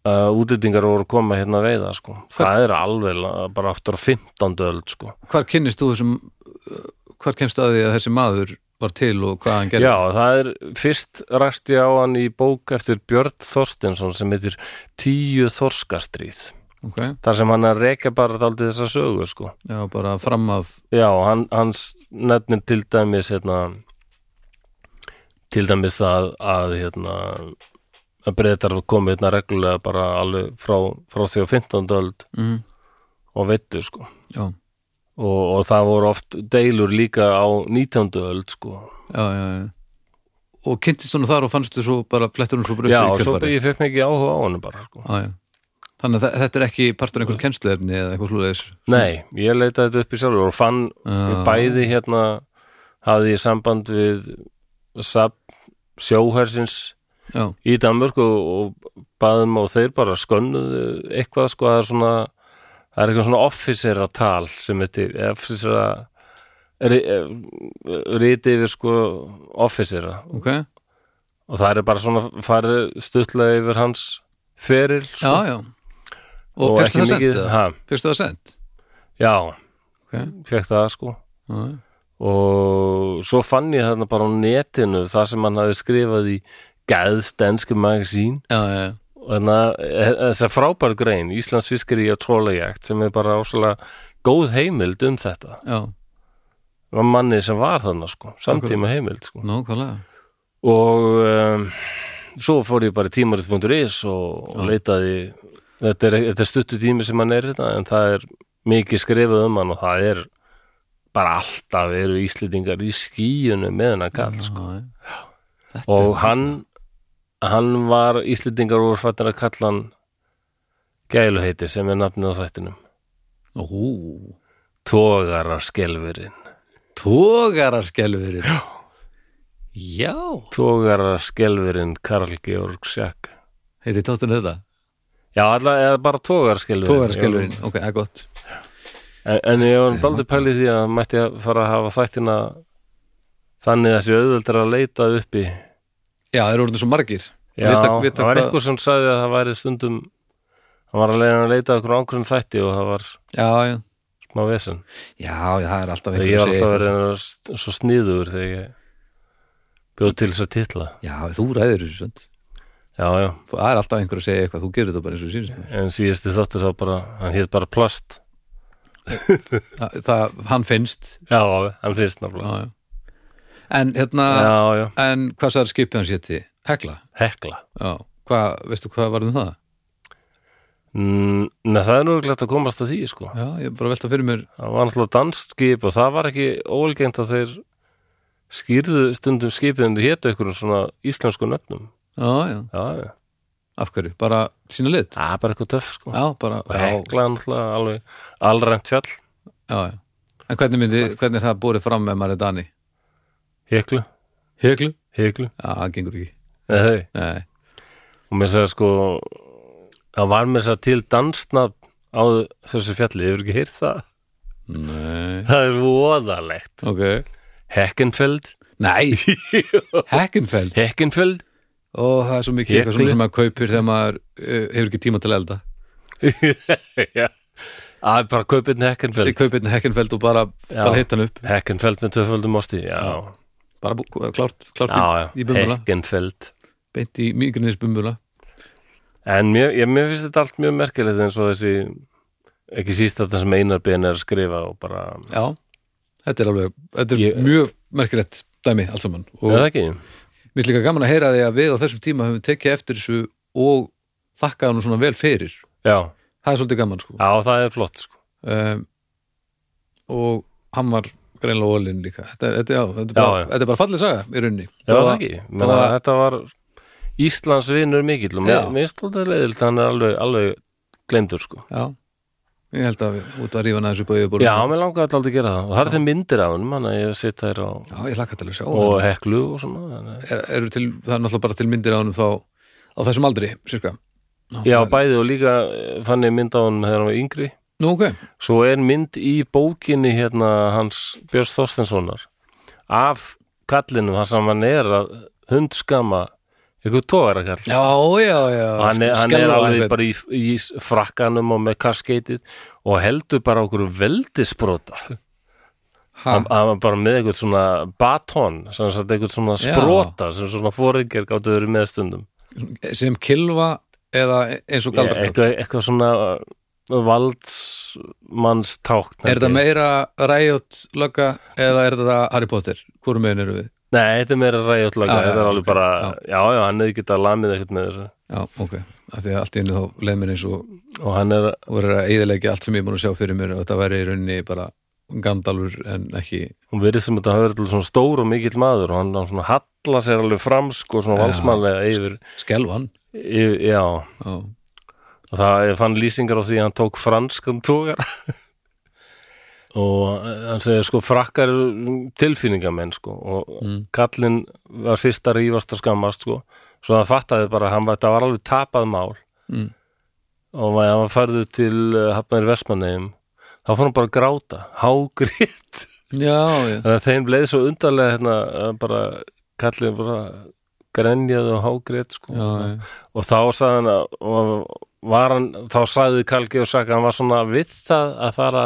[SPEAKER 1] Uh, útlendingar voru að koma hérna að veiða sko. það er alveg la- bara aftur á 15. öld sko.
[SPEAKER 2] hvar kynnist þú þessum eh, hvar kemst að því að þessi maður var til og hvað hann gerði
[SPEAKER 1] já, það er fyrst ræst ég á hann í bók eftir Björn Þorstinsson sem heitir Tíu Þorskastríð
[SPEAKER 2] Ok,
[SPEAKER 1] þar sem hann er að reka bara þáldið þessa sögu sko.
[SPEAKER 2] já bara fram að
[SPEAKER 1] Já, hann, hans nefnir til dæmis hérna, til dæmis það að hérna, að breytar komið hérna reglulega bara alveg frá, frá því á 15. öld
[SPEAKER 2] mm,
[SPEAKER 1] og veittu sko
[SPEAKER 2] já,
[SPEAKER 1] og, og það voru oft deilur líka á 19. öld sko
[SPEAKER 2] já, já, já og kynntist hún þar og fannst þú svo bara flettur hún svo bara upp
[SPEAKER 1] Já,
[SPEAKER 2] í
[SPEAKER 1] og svo
[SPEAKER 2] kjölfarið?
[SPEAKER 1] ég fekk mikið áhuga á honum bara sko
[SPEAKER 2] Já, já. Þannig að þe- þetta er ekki partur einhver kennsluefni eða eitthvað slúleis
[SPEAKER 1] Nei, ég leitaði þetta upp í sjálfur og fann
[SPEAKER 2] Já.
[SPEAKER 1] bæði hérna hafði ég samband við sab, sjóhersins
[SPEAKER 2] Já,
[SPEAKER 1] í Danmörku og, og baðum og þeir bara skönnuðu eitthvað sko það er svona það er eitthvað svona officera tal sem heitir officera ri- eh, riti yfir sko officera
[SPEAKER 2] ok,
[SPEAKER 1] og það er bara svona farið stuttlega yfir hans feril
[SPEAKER 2] já,
[SPEAKER 1] sko.
[SPEAKER 2] já Og fyrstu
[SPEAKER 1] ekki
[SPEAKER 2] það sent?
[SPEAKER 1] mikið- ha,
[SPEAKER 2] Fyrstu það sent?
[SPEAKER 1] já,
[SPEAKER 2] Ok, já,
[SPEAKER 1] fekk það sko
[SPEAKER 2] já.
[SPEAKER 1] og svo fann ég þarna bara á netinu það sem hann hafi skrifað í gæðstensku magasín
[SPEAKER 2] já, já, já.
[SPEAKER 1] og þannig að þess að frábær grein Íslands fiskari og trólajagt sem er bara óslega góð heimild um þetta
[SPEAKER 2] já,
[SPEAKER 1] var manni sem var þannig sko, samtíma heimild sko.
[SPEAKER 2] nákvæmlega
[SPEAKER 1] og um, svo fór ég bara í tímarit.is og, og leitaði þetta er, þetta er stuttu tími sem hann er þetta en það er mikið skrifað um hann og það er bara alltaf eru Íslendingar í skíunum með hennar kall sko.
[SPEAKER 2] sko. Þetta
[SPEAKER 1] og hann hann var Íslendingar voru fættir að kalla hann gæluheiti sem er nafnið á þættinum
[SPEAKER 2] Ú,
[SPEAKER 1] Tógaraskelfurinn
[SPEAKER 2] tógaraskelfurinn Já Já,
[SPEAKER 1] Tógaraskelfurinn Karl Georg Sjakk
[SPEAKER 2] heiti tóttun þetta
[SPEAKER 1] Já, allavega, eða bara Tógaraskelfurinn
[SPEAKER 2] Tógaraskelfurinn, ok, það er gott
[SPEAKER 1] En, en ég var daldi pælið því að hann mætti að fara að hafa þættina þannig að sé auðvöldur að leita uppi
[SPEAKER 2] Já, þeir eru orðin svo margir
[SPEAKER 1] Já,
[SPEAKER 2] Vita- vita
[SPEAKER 1] það var
[SPEAKER 2] hvað-
[SPEAKER 1] eitthvað sem sagði að það væri stundum hann var að leiða að leita að einhverjum ákvörðum þætti og það var
[SPEAKER 2] Já, já,
[SPEAKER 1] smá vesen
[SPEAKER 2] já, já, það er alltaf
[SPEAKER 1] Þegar
[SPEAKER 2] einhver
[SPEAKER 1] ég var
[SPEAKER 2] að segja
[SPEAKER 1] alltaf
[SPEAKER 2] eitthvað
[SPEAKER 1] verið að st- svo sniður þegar ég bjóð til þess að titla.
[SPEAKER 2] Já, þú ræður þessu svönd
[SPEAKER 1] Já, já,
[SPEAKER 2] Það er alltaf einhver að segja eitthvað, þú gerir þetta bara eins og sínst
[SPEAKER 1] en síðasti þáttur þá bara, hann hétt bara plast.
[SPEAKER 2] það, það, Hann finnst
[SPEAKER 1] Já, já, hann fyrst
[SPEAKER 2] já,
[SPEAKER 1] náttúrulega.
[SPEAKER 2] já. En hérna,
[SPEAKER 1] Já, já,
[SPEAKER 2] en hvað sagði skipið hans héti? Hekla?
[SPEAKER 1] hekla.
[SPEAKER 2] Já, hvað, veistu hvað varðum það?
[SPEAKER 1] Mm, Nei, það er nú glætt að komast að því, sko.
[SPEAKER 2] Já, ég er bara að velta fyrir mér
[SPEAKER 1] Það var náttúrulega danst skip og það var ekki óalgengt að þeir skýrðu stundum skipið en þau hétu einhverjum svona íslensku nöfnum.
[SPEAKER 2] Já, já,
[SPEAKER 1] Já, já.
[SPEAKER 2] af hverju, bara sína lit
[SPEAKER 1] Það er bara eitthvað töff, sko.
[SPEAKER 2] Já, bara,
[SPEAKER 1] Og
[SPEAKER 2] já,
[SPEAKER 1] hekla náttúrulega alveg allræmt fjall.
[SPEAKER 2] Já, já. En hvernig, myndi, hvernig er það borið fram með maður er Dani?
[SPEAKER 1] Heklu,
[SPEAKER 2] Heglu?
[SPEAKER 1] heklu.
[SPEAKER 2] Já, það gengur ekki.
[SPEAKER 1] Nei, hei.
[SPEAKER 2] Nei.
[SPEAKER 1] og mér segja sko það var mér segja til dansnafn á þessu fjalli, ég hefur ekki heyrt það
[SPEAKER 2] Nei.
[SPEAKER 1] það er voðalegt
[SPEAKER 2] Ok.
[SPEAKER 1] Heckenfeld
[SPEAKER 2] Nei. Hackenfeld.
[SPEAKER 1] Heckenfeld,
[SPEAKER 2] og það er svo mikið
[SPEAKER 1] Ég
[SPEAKER 2] eitthvað svona
[SPEAKER 1] gleym-
[SPEAKER 2] sem maður kaupir þegar maður uh, hefur ekki tíma til að elda
[SPEAKER 1] Já, það er bara kaupið
[SPEAKER 2] ég
[SPEAKER 1] Heckenfeld
[SPEAKER 2] kaupi einn Heckenfeld hérna og bara,
[SPEAKER 1] Já.
[SPEAKER 2] bara hitt hann upp
[SPEAKER 1] Heckenfeld með tvöföldum osti, já
[SPEAKER 2] bara bú- klárt, klárt
[SPEAKER 1] Já, já,
[SPEAKER 2] í, í bumbula,
[SPEAKER 1] Heckenfeld
[SPEAKER 2] beint í mýgrinnis bumbula
[SPEAKER 1] En mér, ég, mér finnst þetta allt mjög merkilegt eins og þessi ekki síst þetta sem Einar Ben er að skrifa og bara,
[SPEAKER 2] já, þetta er alveg þetta er
[SPEAKER 1] Ég-
[SPEAKER 2] mjög merkilegt dæmi allt saman og
[SPEAKER 1] er það ekki?
[SPEAKER 2] mér er líka gaman að heyra því að við á þessum tíma höfum tekið eftir þessu og þakkað hann svona vel fyrir
[SPEAKER 1] Já,
[SPEAKER 2] það er svolítið gaman sko
[SPEAKER 1] já, það er flott sko
[SPEAKER 2] um, og hann var greinlega ólinn líka þetta, þetta, já, þetta, er
[SPEAKER 1] Já,
[SPEAKER 2] bara,
[SPEAKER 1] já.
[SPEAKER 2] þetta er bara fallið saga í rauninni
[SPEAKER 1] Já,
[SPEAKER 2] Þó
[SPEAKER 1] það
[SPEAKER 2] að-
[SPEAKER 1] ekki,
[SPEAKER 2] þó
[SPEAKER 1] menn að
[SPEAKER 2] að-
[SPEAKER 1] þetta var Íslands vinur mikill og mér
[SPEAKER 2] Já.
[SPEAKER 1] mér finnst þetta leiðilt, hann er alveg, alveg glemdur sko
[SPEAKER 2] já, ég held að við út að rífa næðis upp á yfirbúru
[SPEAKER 1] Já, mér langaði alltaf að gera það og það er þeim myndir af honum, hann að ég sitt þær á
[SPEAKER 2] já, ég hlakka til að sjá
[SPEAKER 1] og
[SPEAKER 2] og,
[SPEAKER 1] heklu og svona þannig.
[SPEAKER 2] er, er til, það er náttúrulega bara til myndir á hann þá á þessum aldri, cirka Ná,
[SPEAKER 1] Já,
[SPEAKER 2] það er-
[SPEAKER 1] bæði og líka eh, fann ég mynd á honum þegar hann var yngri
[SPEAKER 2] Nú, ok,
[SPEAKER 1] Svo er mynd í bókinni hérna hans Björns Þorstenssonar af kallinum, hann sem hann er að hundskama ykkur tógar að kall
[SPEAKER 2] já, já, já
[SPEAKER 1] og hann er, hann er
[SPEAKER 2] skelfa
[SPEAKER 1] alveg
[SPEAKER 2] einhvern.
[SPEAKER 1] bara í, í frakkanum og með kaskeitið og heldur bara okkur veldisbrota
[SPEAKER 2] Ha,
[SPEAKER 1] hann hann var bara með eitthvað svona batón, sem sagt eitthvað svona
[SPEAKER 2] Já.
[SPEAKER 1] sprota sem svona fóringjar gáttu verið með stundum
[SPEAKER 2] sem kilva eða eins og
[SPEAKER 1] Ég-
[SPEAKER 2] galdra
[SPEAKER 1] eitthvað, eitthvað svona uh, valdsmannstákn
[SPEAKER 2] er þetta meira Riot lögga eða er þetta Harry Potter hvorum meginn eru við?
[SPEAKER 1] Nei, þetta er meira ræjóttlaga,
[SPEAKER 2] Ah, Já, já,
[SPEAKER 1] þetta er alveg
[SPEAKER 2] ok,
[SPEAKER 1] bara
[SPEAKER 2] já.
[SPEAKER 1] já, já, hann hefði getað lamið eitthvað með þessu
[SPEAKER 2] Já, ok, af því að allt í einu þá leið mér eins og
[SPEAKER 1] og hann er,
[SPEAKER 2] og verið að eyðilegja allt sem ég er búin að sjá fyrir mér og þetta væri í rauninni bara gandalfur en ekki
[SPEAKER 1] hún verið sem þetta hafa verið til svona stór og mikill maður og hann, hann svona halla sér alveg fram sko, svona
[SPEAKER 2] Já.
[SPEAKER 1] valsmanlega yfir,
[SPEAKER 2] skelvan
[SPEAKER 1] yfir, já
[SPEAKER 2] Já,
[SPEAKER 1] og það ég fann lýsingar á því að hann tók franskan tógar og hann segir sko frakkar eru tilfinningamenn sko og
[SPEAKER 2] Mm.
[SPEAKER 1] kallinn var fyrst að rífast og skammast sko svo hann fattaði bara að hann var, þetta var alveg tapað mál
[SPEAKER 2] Mm.
[SPEAKER 1] og var- hann var færður til uh, hafnir versmannegjum þá fór hann bara að gráta, hágrýtt
[SPEAKER 2] já, já,
[SPEAKER 1] þannig að þeim leið svo undarlega hérna að bara kallinn bara grenjaði og hágrýtt sko
[SPEAKER 2] já, já.
[SPEAKER 1] og þá sagði hann að, og var hann, þá sagði Kalki og sagði að hann var svona við það að fara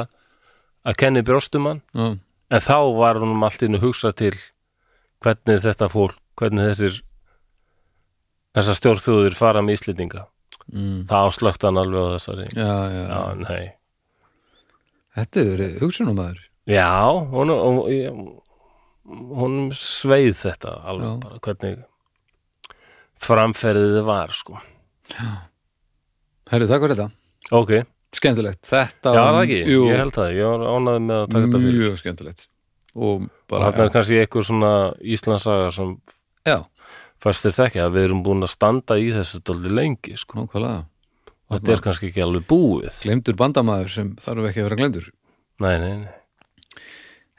[SPEAKER 1] að kenni brjóstum hann
[SPEAKER 2] já.
[SPEAKER 1] en þá var hann allt innu hugsað til hvernig þetta fólk, hvernig þessir þessar stjórþjóður fara með íslendinga
[SPEAKER 2] Mm.
[SPEAKER 1] þá slökti hann alveg á þessari
[SPEAKER 2] já, já,
[SPEAKER 1] já, nei
[SPEAKER 2] Þetta hefur verið hugsunum aður
[SPEAKER 1] já, hún, hún, hún sveið þetta alveg
[SPEAKER 2] Já.
[SPEAKER 1] bara hvernig framferðið var sko
[SPEAKER 2] Herru, takk fyrir þetta,
[SPEAKER 1] ok,
[SPEAKER 2] skemmtilegt Þetta
[SPEAKER 1] já
[SPEAKER 2] var
[SPEAKER 1] það ekki,
[SPEAKER 2] jú,
[SPEAKER 1] ég held það ég var ánæði með að taka þetta fyrir
[SPEAKER 2] mjög skemmtilegt og
[SPEAKER 1] bara
[SPEAKER 2] bara,
[SPEAKER 1] þarna er kannski einhver svona Íslandsaga sem
[SPEAKER 2] já,
[SPEAKER 1] fæst þér þekki að við erum búin að standa í þessu dóldi lengi sko.
[SPEAKER 2] nákvæmlega
[SPEAKER 1] og þetta er kannski ekki alveg búið
[SPEAKER 2] Glemdur bandamaður sem þarf ekki að vera glemdur
[SPEAKER 1] nei, nei, nei.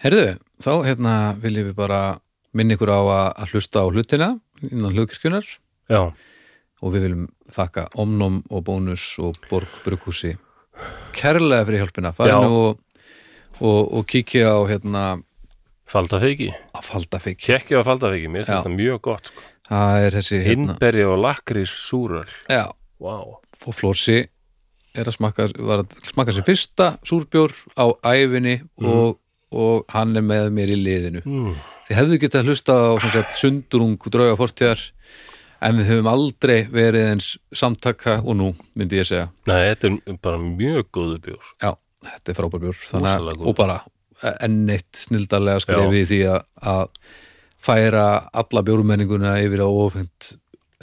[SPEAKER 2] Herðu, þá hérna viljum við bara minna ykkur á að, að hlusta á hlutina innan hlugkirkjunar
[SPEAKER 1] já,
[SPEAKER 2] og við viljum þakka Omnum og Bónus og Borg Brukhúsi kærlega fyrir hjálpina
[SPEAKER 1] Já.
[SPEAKER 2] farin og, og, og kíkja á hérna
[SPEAKER 1] faldafiki
[SPEAKER 2] að falda fikk
[SPEAKER 1] kekki á faldafiki, mér finnst
[SPEAKER 2] Já.
[SPEAKER 1] þetta mjög gott sko.
[SPEAKER 2] það er þessi hérna
[SPEAKER 1] innberja og lakrís súröl
[SPEAKER 2] já,
[SPEAKER 1] wow.
[SPEAKER 2] og Flósi er að smakka, var að smakka sér fyrsta súrbjór á æfinni og, og hann er með mér í liðinu
[SPEAKER 1] Mhm. mm.
[SPEAKER 2] þið hefðu getað hlusta á sem sagt, sundrung drauga fortíðar en við höfum aldrei verið eins samtaka og nú myndi ég segja
[SPEAKER 1] nei, þetta er bara mjög góðu bjór
[SPEAKER 2] Já, þetta er frábær bjór þannig,
[SPEAKER 1] Rosalega
[SPEAKER 2] að-
[SPEAKER 1] góð.
[SPEAKER 2] og bara e, enn eitt snildarlega skrifi í því að, að færa alla bjórumenninguna yfir á ofengt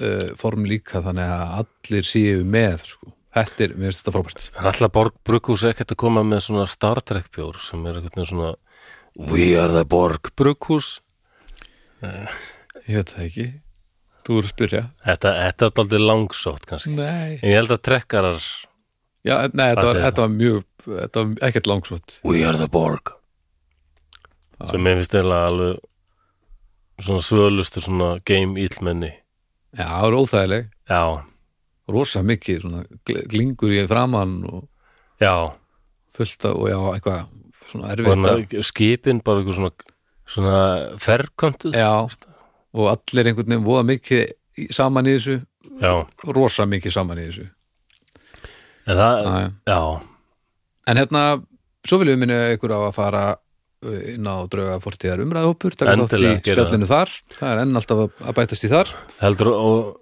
[SPEAKER 2] uh, form líka þannig að allir séu með sko. þetta er, mér finnst þetta frábært
[SPEAKER 1] en alltaf Borg Brukhús ekkert að koma með svona Star Trek bjór sem er eitthvað svona We are the Borg Brukhús
[SPEAKER 2] ég veit það ekki, þú eru að spyrja
[SPEAKER 1] þetta, þetta er dóldi langsótt kannski
[SPEAKER 2] nei,
[SPEAKER 1] en ég held að trekkarar
[SPEAKER 2] Já, nei þetta, var,
[SPEAKER 1] Þetta er
[SPEAKER 2] þetta var mjög þetta var ekkert langsvot
[SPEAKER 1] We are the Borg sem mér finnst eða alveg svona svölustur svona game illmenni
[SPEAKER 2] Já, það var óþægileg,
[SPEAKER 1] já,
[SPEAKER 2] rosa mikið svona, gl- glingur í framann og
[SPEAKER 1] já
[SPEAKER 2] fullt af, og já, eitthvað svona
[SPEAKER 1] og
[SPEAKER 2] erfitt að-
[SPEAKER 1] hana, skipin bara eitthvað svona svona ferköntuð
[SPEAKER 2] Já, og allir einhvern veginn voða mikið í- saman í þessu
[SPEAKER 1] já,
[SPEAKER 2] rosa mikið saman í þessu
[SPEAKER 1] en það,
[SPEAKER 2] Já, já.
[SPEAKER 1] já,
[SPEAKER 2] en hérna, svo viljum við minna ykkur á að fara uh, inn á drauga fortíðar umræðhópur, taka þátt í
[SPEAKER 1] Endilega, gera
[SPEAKER 2] spjallinu þar það er enn alltaf að- að bætast í þar
[SPEAKER 1] heldur og,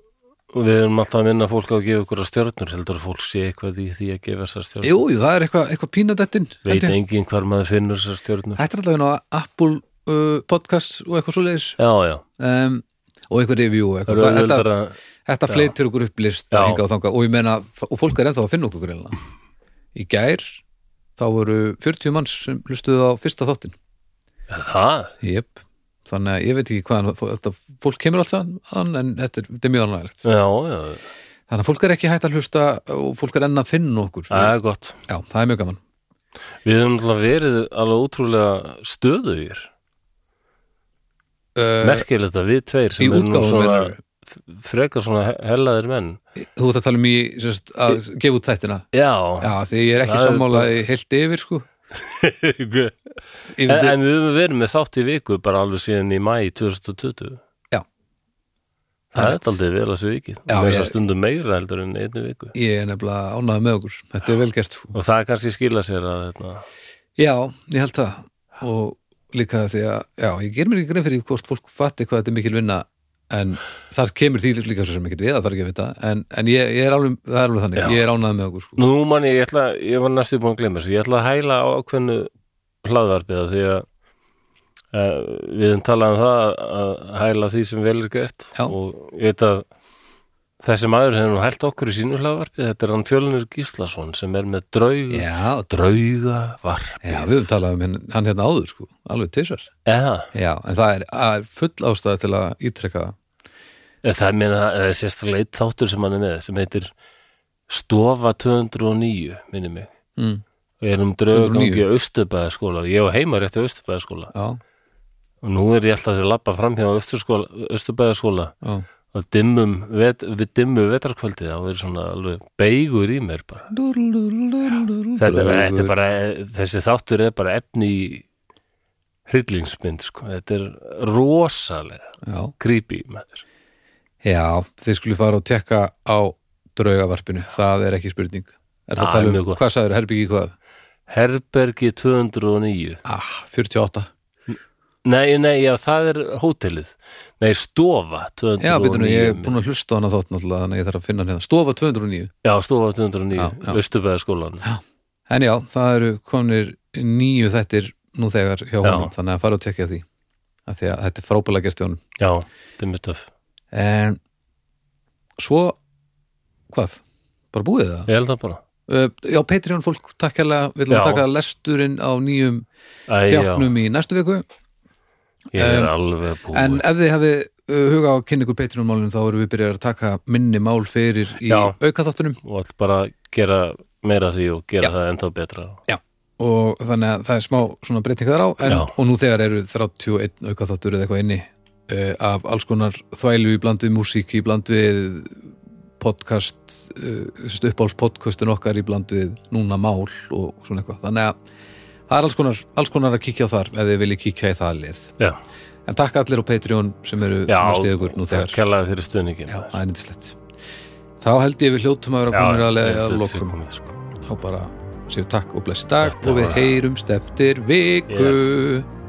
[SPEAKER 1] og við erum alltaf að vinna fólk á að gefa ykkur að stjörnur, heldur að fólk sé eitthvað í því að gefa þessar stjörnur,
[SPEAKER 2] jú, jú, það er eitthvað eitthva pínadettin
[SPEAKER 1] veit enginn hvar maður finnur þessar stjörnur,
[SPEAKER 2] Þetta er alltaf inn á Apple uh, podcast og eitthvað svoleiðis
[SPEAKER 1] já, já
[SPEAKER 2] um, og eitthvað review og
[SPEAKER 1] það
[SPEAKER 2] eitthvað.
[SPEAKER 1] er
[SPEAKER 2] Það-
[SPEAKER 1] auðveldara,
[SPEAKER 2] Þetta, þetta fleitir okkur upp list
[SPEAKER 1] Já.
[SPEAKER 2] og, þangað, og ég meina, og fólk er ennþá að finna okkur greinlega. Í gær þá voru 40 manns sem hlustuðu á fyrsta þáttin
[SPEAKER 1] það,
[SPEAKER 2] Jep. Þannig að ég veit ekki hvaðan fó- þetta, fólk kemur alltaf hann, en þetta er, þetta er mjög annaðlegt.
[SPEAKER 1] já, já
[SPEAKER 2] Þannig að fólk er ekki hægt að hlusta og fólk er enn að finna okkur. sko.
[SPEAKER 1] það er gott
[SPEAKER 2] Já, það er mjög gaman.
[SPEAKER 1] Við höfum alltaf verið alveg ótrúlega stöðugir
[SPEAKER 2] Uh,
[SPEAKER 1] Merkilegt að við tveir
[SPEAKER 2] í
[SPEAKER 1] sem erum nú
[SPEAKER 2] útgáfum
[SPEAKER 1] svona
[SPEAKER 2] meinarðu?
[SPEAKER 1] f- frekar svona he- hellaðir menn
[SPEAKER 2] þú ert að tala um í, sérst, að gefa út þættina.
[SPEAKER 1] Já,
[SPEAKER 2] Já, því ég er ekki
[SPEAKER 1] Það er
[SPEAKER 2] sammála í heilt yfir sko
[SPEAKER 1] en,
[SPEAKER 2] Ég veit,
[SPEAKER 1] en við höfum verið með þátt í viku bara alveg síðan í mæ 2020
[SPEAKER 2] Já.
[SPEAKER 1] Það
[SPEAKER 2] Rétt.
[SPEAKER 1] er aldrei vel að þessu viki
[SPEAKER 2] Já,
[SPEAKER 1] Það er
[SPEAKER 2] ég-
[SPEAKER 1] stundum meira heldur en einu viku
[SPEAKER 2] ég er nefnilega ánægð með okkur Þetta er vel gert sko
[SPEAKER 1] Og það kannski skila sér að hérna, þetta
[SPEAKER 2] Já, ég held það og líka því að, já, ég ger mér ekki grein fyrir hvort fólk fatti hvað þetta er mikil vinna en það kemur því líka svo sem ekki við það þarf ekki að vita, en, en ég, ég er alveg það er alveg þannig,
[SPEAKER 1] Já.
[SPEAKER 2] ég er ánægð með okkur sko
[SPEAKER 1] Nú man ég, ég ætla, ég var næstu búin að glemma þessu, ég ætla að hæla á ákveðnu hlaðvarpiða því að uh, við höfum talað um það að hæla því sem vel er gert
[SPEAKER 2] Já.
[SPEAKER 1] og ég veit að þessi maður hefur nú hælt okkur í sínu hlaðvarpið, þetta er hann Fjölnir Gíslason sem er með draug,
[SPEAKER 2] Já,
[SPEAKER 1] draugavarpið.
[SPEAKER 2] já, við höfum talað um henn- hann hérna áður sko, alveg tvisar
[SPEAKER 1] Eða,
[SPEAKER 2] Já, en það er, það er full ástæða til að ítrekka það.
[SPEAKER 1] eða það meina það er sérstaklega eitt þáttur sem hann er með sem heitir Stofa 209, minni mig.
[SPEAKER 2] mm,
[SPEAKER 1] Við erum draugagangi
[SPEAKER 2] 209.
[SPEAKER 1] á Östubæðaskóla, ég á heima rétt á Östubæðaskóla.
[SPEAKER 2] Já,
[SPEAKER 1] og nú er ég alltaf að labba fram hjá Östurbæðaskóla
[SPEAKER 2] já,
[SPEAKER 1] og dimmum, vet, við dimmu vetarkvöldið þá verið svona alveg beigur í mér bara. Þetta, þetta er bara, þessi þáttur er bara efni í hryllingsmynd sko, þetta er rosalega
[SPEAKER 2] já.
[SPEAKER 1] creepy maður.
[SPEAKER 2] Já, þið skulle fara og tekka á draugavarpinu, það er ekki spurning Er það
[SPEAKER 1] Ah,
[SPEAKER 2] að tala um,
[SPEAKER 1] mjög gott.
[SPEAKER 2] hvað sagður, herbyggi hvað?
[SPEAKER 1] Herbergi 209
[SPEAKER 2] Ah, 48
[SPEAKER 1] Nei, nei, já, það er hótelið Nei, stofa 209
[SPEAKER 2] Já, betur nú, ég er búin að hlusta á hana þátt náttúrulega, þannig að ég þarf að finna hann hérna Stofa 209,
[SPEAKER 1] Já, stofa
[SPEAKER 2] Já,
[SPEAKER 1] 209,
[SPEAKER 2] já.
[SPEAKER 1] Östurbæðaskólan
[SPEAKER 2] en já, það eru konir nýju þættir nú þegar hjá
[SPEAKER 1] Já.
[SPEAKER 2] honum, þannig að fara og tekja því af því að þetta er frábælega gert hjá honum
[SPEAKER 1] Já, þetta er mjög töff
[SPEAKER 2] En svo, hvað? Bara búið það?
[SPEAKER 1] Ég held það bara
[SPEAKER 2] Uh, já, Patreon fólk, takk hérlega, við ætlum að
[SPEAKER 1] Já.
[SPEAKER 2] taka lesturinn á nýjum
[SPEAKER 1] Æ, já,
[SPEAKER 2] djáknum í næstu viku
[SPEAKER 1] ég er alveg búin
[SPEAKER 2] En ef þið hafið uh, huga á að kynna ykkur Patreon-málinu þá erum við byrjað að taka minni mál fyrir í
[SPEAKER 1] Já.
[SPEAKER 2] aukaþáttunum
[SPEAKER 1] og all bara gera meira af því og gera það ennþá betra
[SPEAKER 2] og þannig að það er smá svona breyting þar á en,
[SPEAKER 1] Já.
[SPEAKER 2] og nú þegar eru 31 aukaþáttur eða eitthvað inni uh, af alls konar þvælu í bland við músík í bland við podcast uh, uppáls podcastin okkar í bland við núna mál og svona eitthvað þannig að það er alls konar, alls konar að kíkja á þar ef þið viljið kíkja í það lið
[SPEAKER 1] Já,
[SPEAKER 2] en takk allir á Patreon sem eru
[SPEAKER 1] já
[SPEAKER 2] að stiða ykkur nú þegar
[SPEAKER 1] Kjallaði fyrir stuðningin
[SPEAKER 2] Já, það er nýttislegt. Þá held ég við hljótum að vera komin að leiða að lokum.
[SPEAKER 1] sko.
[SPEAKER 2] Þá bara séu takk og blessi dag
[SPEAKER 1] Þetta
[SPEAKER 2] og við
[SPEAKER 1] var-
[SPEAKER 2] heyrumst eftir viku.
[SPEAKER 1] Yes.